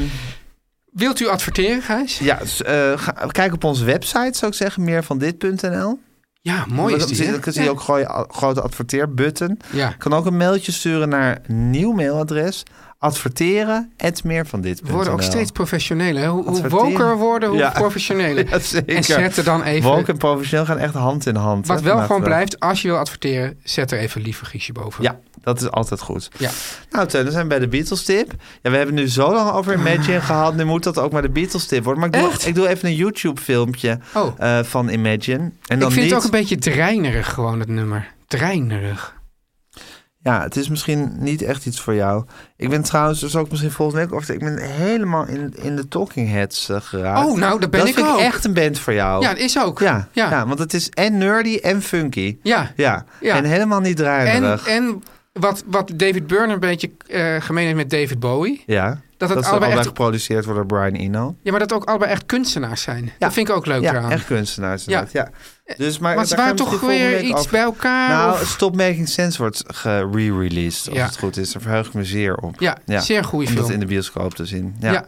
Speaker 3: Wilt u adverteren, Gijs?
Speaker 2: ja, s- eh, ga- kijk op onze website, zou ik zeggen, meer van dit.nl.
Speaker 3: Ja, mooi is
Speaker 2: Dan
Speaker 3: die,
Speaker 2: zie-
Speaker 3: hè?
Speaker 2: Dan zie je ook gooi- a- grote adverteerbutton.
Speaker 3: Ja.
Speaker 2: Kan ook een mailtje sturen naar een nieuw mailadres. Adverteren, het meer van dit.
Speaker 3: We worden ook steeds professioneler. hè? Hoe, hoe
Speaker 2: Adverteren.
Speaker 3: woker we worden, hoe
Speaker 2: Ja.
Speaker 3: professioneler.
Speaker 2: Ja, zeker.
Speaker 3: En zet er dan even...
Speaker 2: Wolk en professioneel gaan echt hand in hand.
Speaker 3: wat
Speaker 2: hè,
Speaker 3: wel
Speaker 2: vandaag
Speaker 3: gewoon
Speaker 2: de dag.
Speaker 3: blijft, als je wil adverteren, zet er even lieve Giesje boven.
Speaker 2: Ja, dat is altijd goed.
Speaker 3: Ja.
Speaker 2: Nou, Teun, dan zijn we bij de Beatles tip. Ja, we hebben nu zo lang over Imagine gehad. Nu moet dat ook maar de Beatles tip worden. Maar ik
Speaker 3: Ah. Echt?
Speaker 2: doe, ik doe even een YouTube filmpje
Speaker 3: Oh.
Speaker 2: eh, van Imagine. En dan
Speaker 3: Ik vind
Speaker 2: niet,
Speaker 3: het ook een beetje dreinerig gewoon, het nummer. Dreinerig.
Speaker 2: Ja, het is misschien niet echt iets voor jou. Ik ben trouwens, dus ook misschien volgens mij, of ik ben helemaal in, in de Talking Heads eh, geraakt.
Speaker 3: Oh, nou, daar ben
Speaker 2: dat
Speaker 3: ik
Speaker 2: vind
Speaker 3: ook.
Speaker 2: ik echt een band voor jou.
Speaker 3: Ja, dat is ook.
Speaker 2: ja, ja.
Speaker 3: ja.
Speaker 2: want het is en nerdy en funky.
Speaker 3: Ja.
Speaker 2: Ja,
Speaker 3: Ja.
Speaker 2: en helemaal niet
Speaker 3: En,
Speaker 2: draaierig.
Speaker 3: en wat, wat David Byrne een beetje eh, gemeen heeft met David Bowie.
Speaker 2: ja,
Speaker 3: dat
Speaker 2: dat,
Speaker 3: het
Speaker 2: is
Speaker 3: allebei
Speaker 2: allebei
Speaker 3: echt-
Speaker 2: geproduceerd wordt door Brian Eno.
Speaker 3: Ja, maar dat ook allebei echt kunstenaars zijn. Dat vind ik ook leuk
Speaker 2: ja,
Speaker 3: eraan. Eh,
Speaker 2: echt kunstenaars inderdaad. Ja. Dus, maar
Speaker 3: Maar ze
Speaker 2: daar gaan
Speaker 3: waren
Speaker 2: we
Speaker 3: toch
Speaker 2: misschien volgende
Speaker 3: weer
Speaker 2: week
Speaker 3: iets
Speaker 2: over-
Speaker 3: bij elkaar?
Speaker 2: Nou,
Speaker 3: of-
Speaker 2: Stop Making Sense wordt gere-released, als
Speaker 3: Ja.
Speaker 2: het goed is. Daar verheug ik me zeer op.
Speaker 3: Ja, zeer goede
Speaker 2: Om dat
Speaker 3: film.
Speaker 2: in de bioscoop te zien. Ja.
Speaker 3: Ja.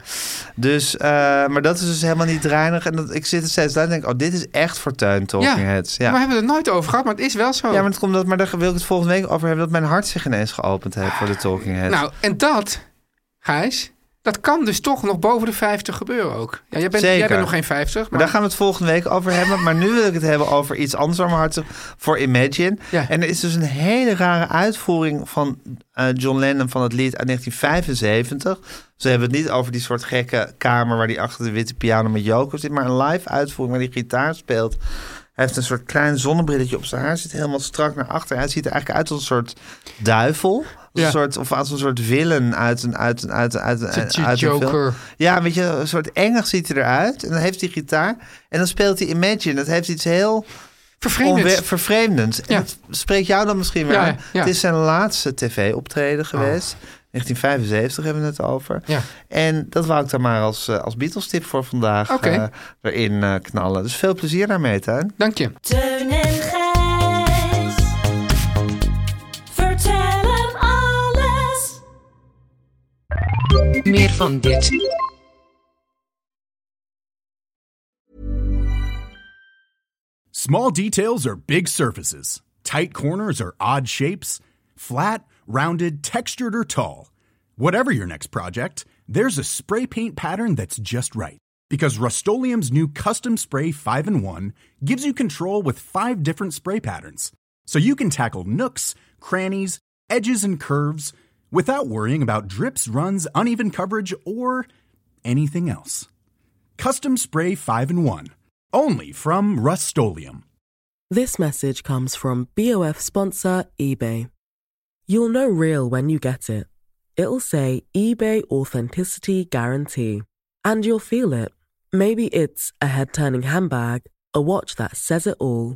Speaker 2: Dus, eh, maar dat is dus helemaal niet reinig. En dat, ik zit er steeds aan en denk, oh, dit is echt voor Tuin Talking Heads. Ja.
Speaker 3: Maar we
Speaker 2: ja,
Speaker 3: hebben het nooit over gehad, maar het is wel zo.
Speaker 2: maar, het komt dat, maar daar wil ik het volgende week over hebben... dat mijn hart zich ineens geopend heeft voor de Talking Heads.
Speaker 3: Nou, en dat, Gijs, dat kan dus toch nog boven de 50 gebeuren ook. Ja, jij, bent,
Speaker 2: Zeker.
Speaker 3: jij bent nog geen 50, maar,
Speaker 2: Maar daar gaan we het volgende week over hebben. Maar nu wil ik het hebben over iets anders waar mijn hart zo- voor Imagine.
Speaker 3: Ja.
Speaker 2: En er is dus een hele rare uitvoering van eh, John Lennon van het lied uit 1975. Ze hebben het niet over die soort gekke kamer waar hij achter de witte piano met Joko zit. Maar een live uitvoering waar hij gitaar speelt. Hij heeft een soort klein zonnebrilletje op zijn haar. Zit helemaal strak naar achter. Hij ziet er eigenlijk uit als een soort duivel. Als
Speaker 3: Ja.
Speaker 2: een soort, of als een soort villain uit een, uit een, uit een, uit een, uit
Speaker 3: Een
Speaker 2: een film.
Speaker 3: Joker.
Speaker 2: Ja, weet je, een soort engig ziet hij eruit. En dan heeft hij gitaar. En dan speelt hij Imagine. Dat heeft iets heel
Speaker 3: vervreemdend.
Speaker 2: onwe- vervreemdends. En
Speaker 3: Ja.
Speaker 2: dat spreekt jou dan misschien weer
Speaker 3: Ja,
Speaker 2: aan.
Speaker 3: ja. Oh.
Speaker 2: Het is zijn laatste tv-optreden geweest. 1975 hebben we het over.
Speaker 3: Ja.
Speaker 2: En dat wou ik dan maar als, eh, als Beatles-tip voor vandaag
Speaker 3: Oké.
Speaker 2: eh, erin eh, knallen. Dus veel plezier daarmee, Tuin.
Speaker 3: Dank je.
Speaker 6: Teun en Gijs. Vertel hem alles.
Speaker 8: Meer van dit.
Speaker 1: Small details are big surfaces. Tight corners are odd shapes. Flat, rounded, textured, or tall. Whatever your next project, there's a spray paint pattern that's just right. Because Rust new Custom Spray 5 in 1 gives you control with five different spray patterns. So you can tackle nooks, crannies, edges, and curves without worrying about drips, runs, uneven coverage, or anything else. Custom Spray 5 in 1. Only from Rust
Speaker 8: This message comes from BOF sponsor eBay. You'll know real when you get it. It'll say eBay Authenticity Guarantee. And you'll feel it. Maybe it's a head turning handbag, a watch that says it all,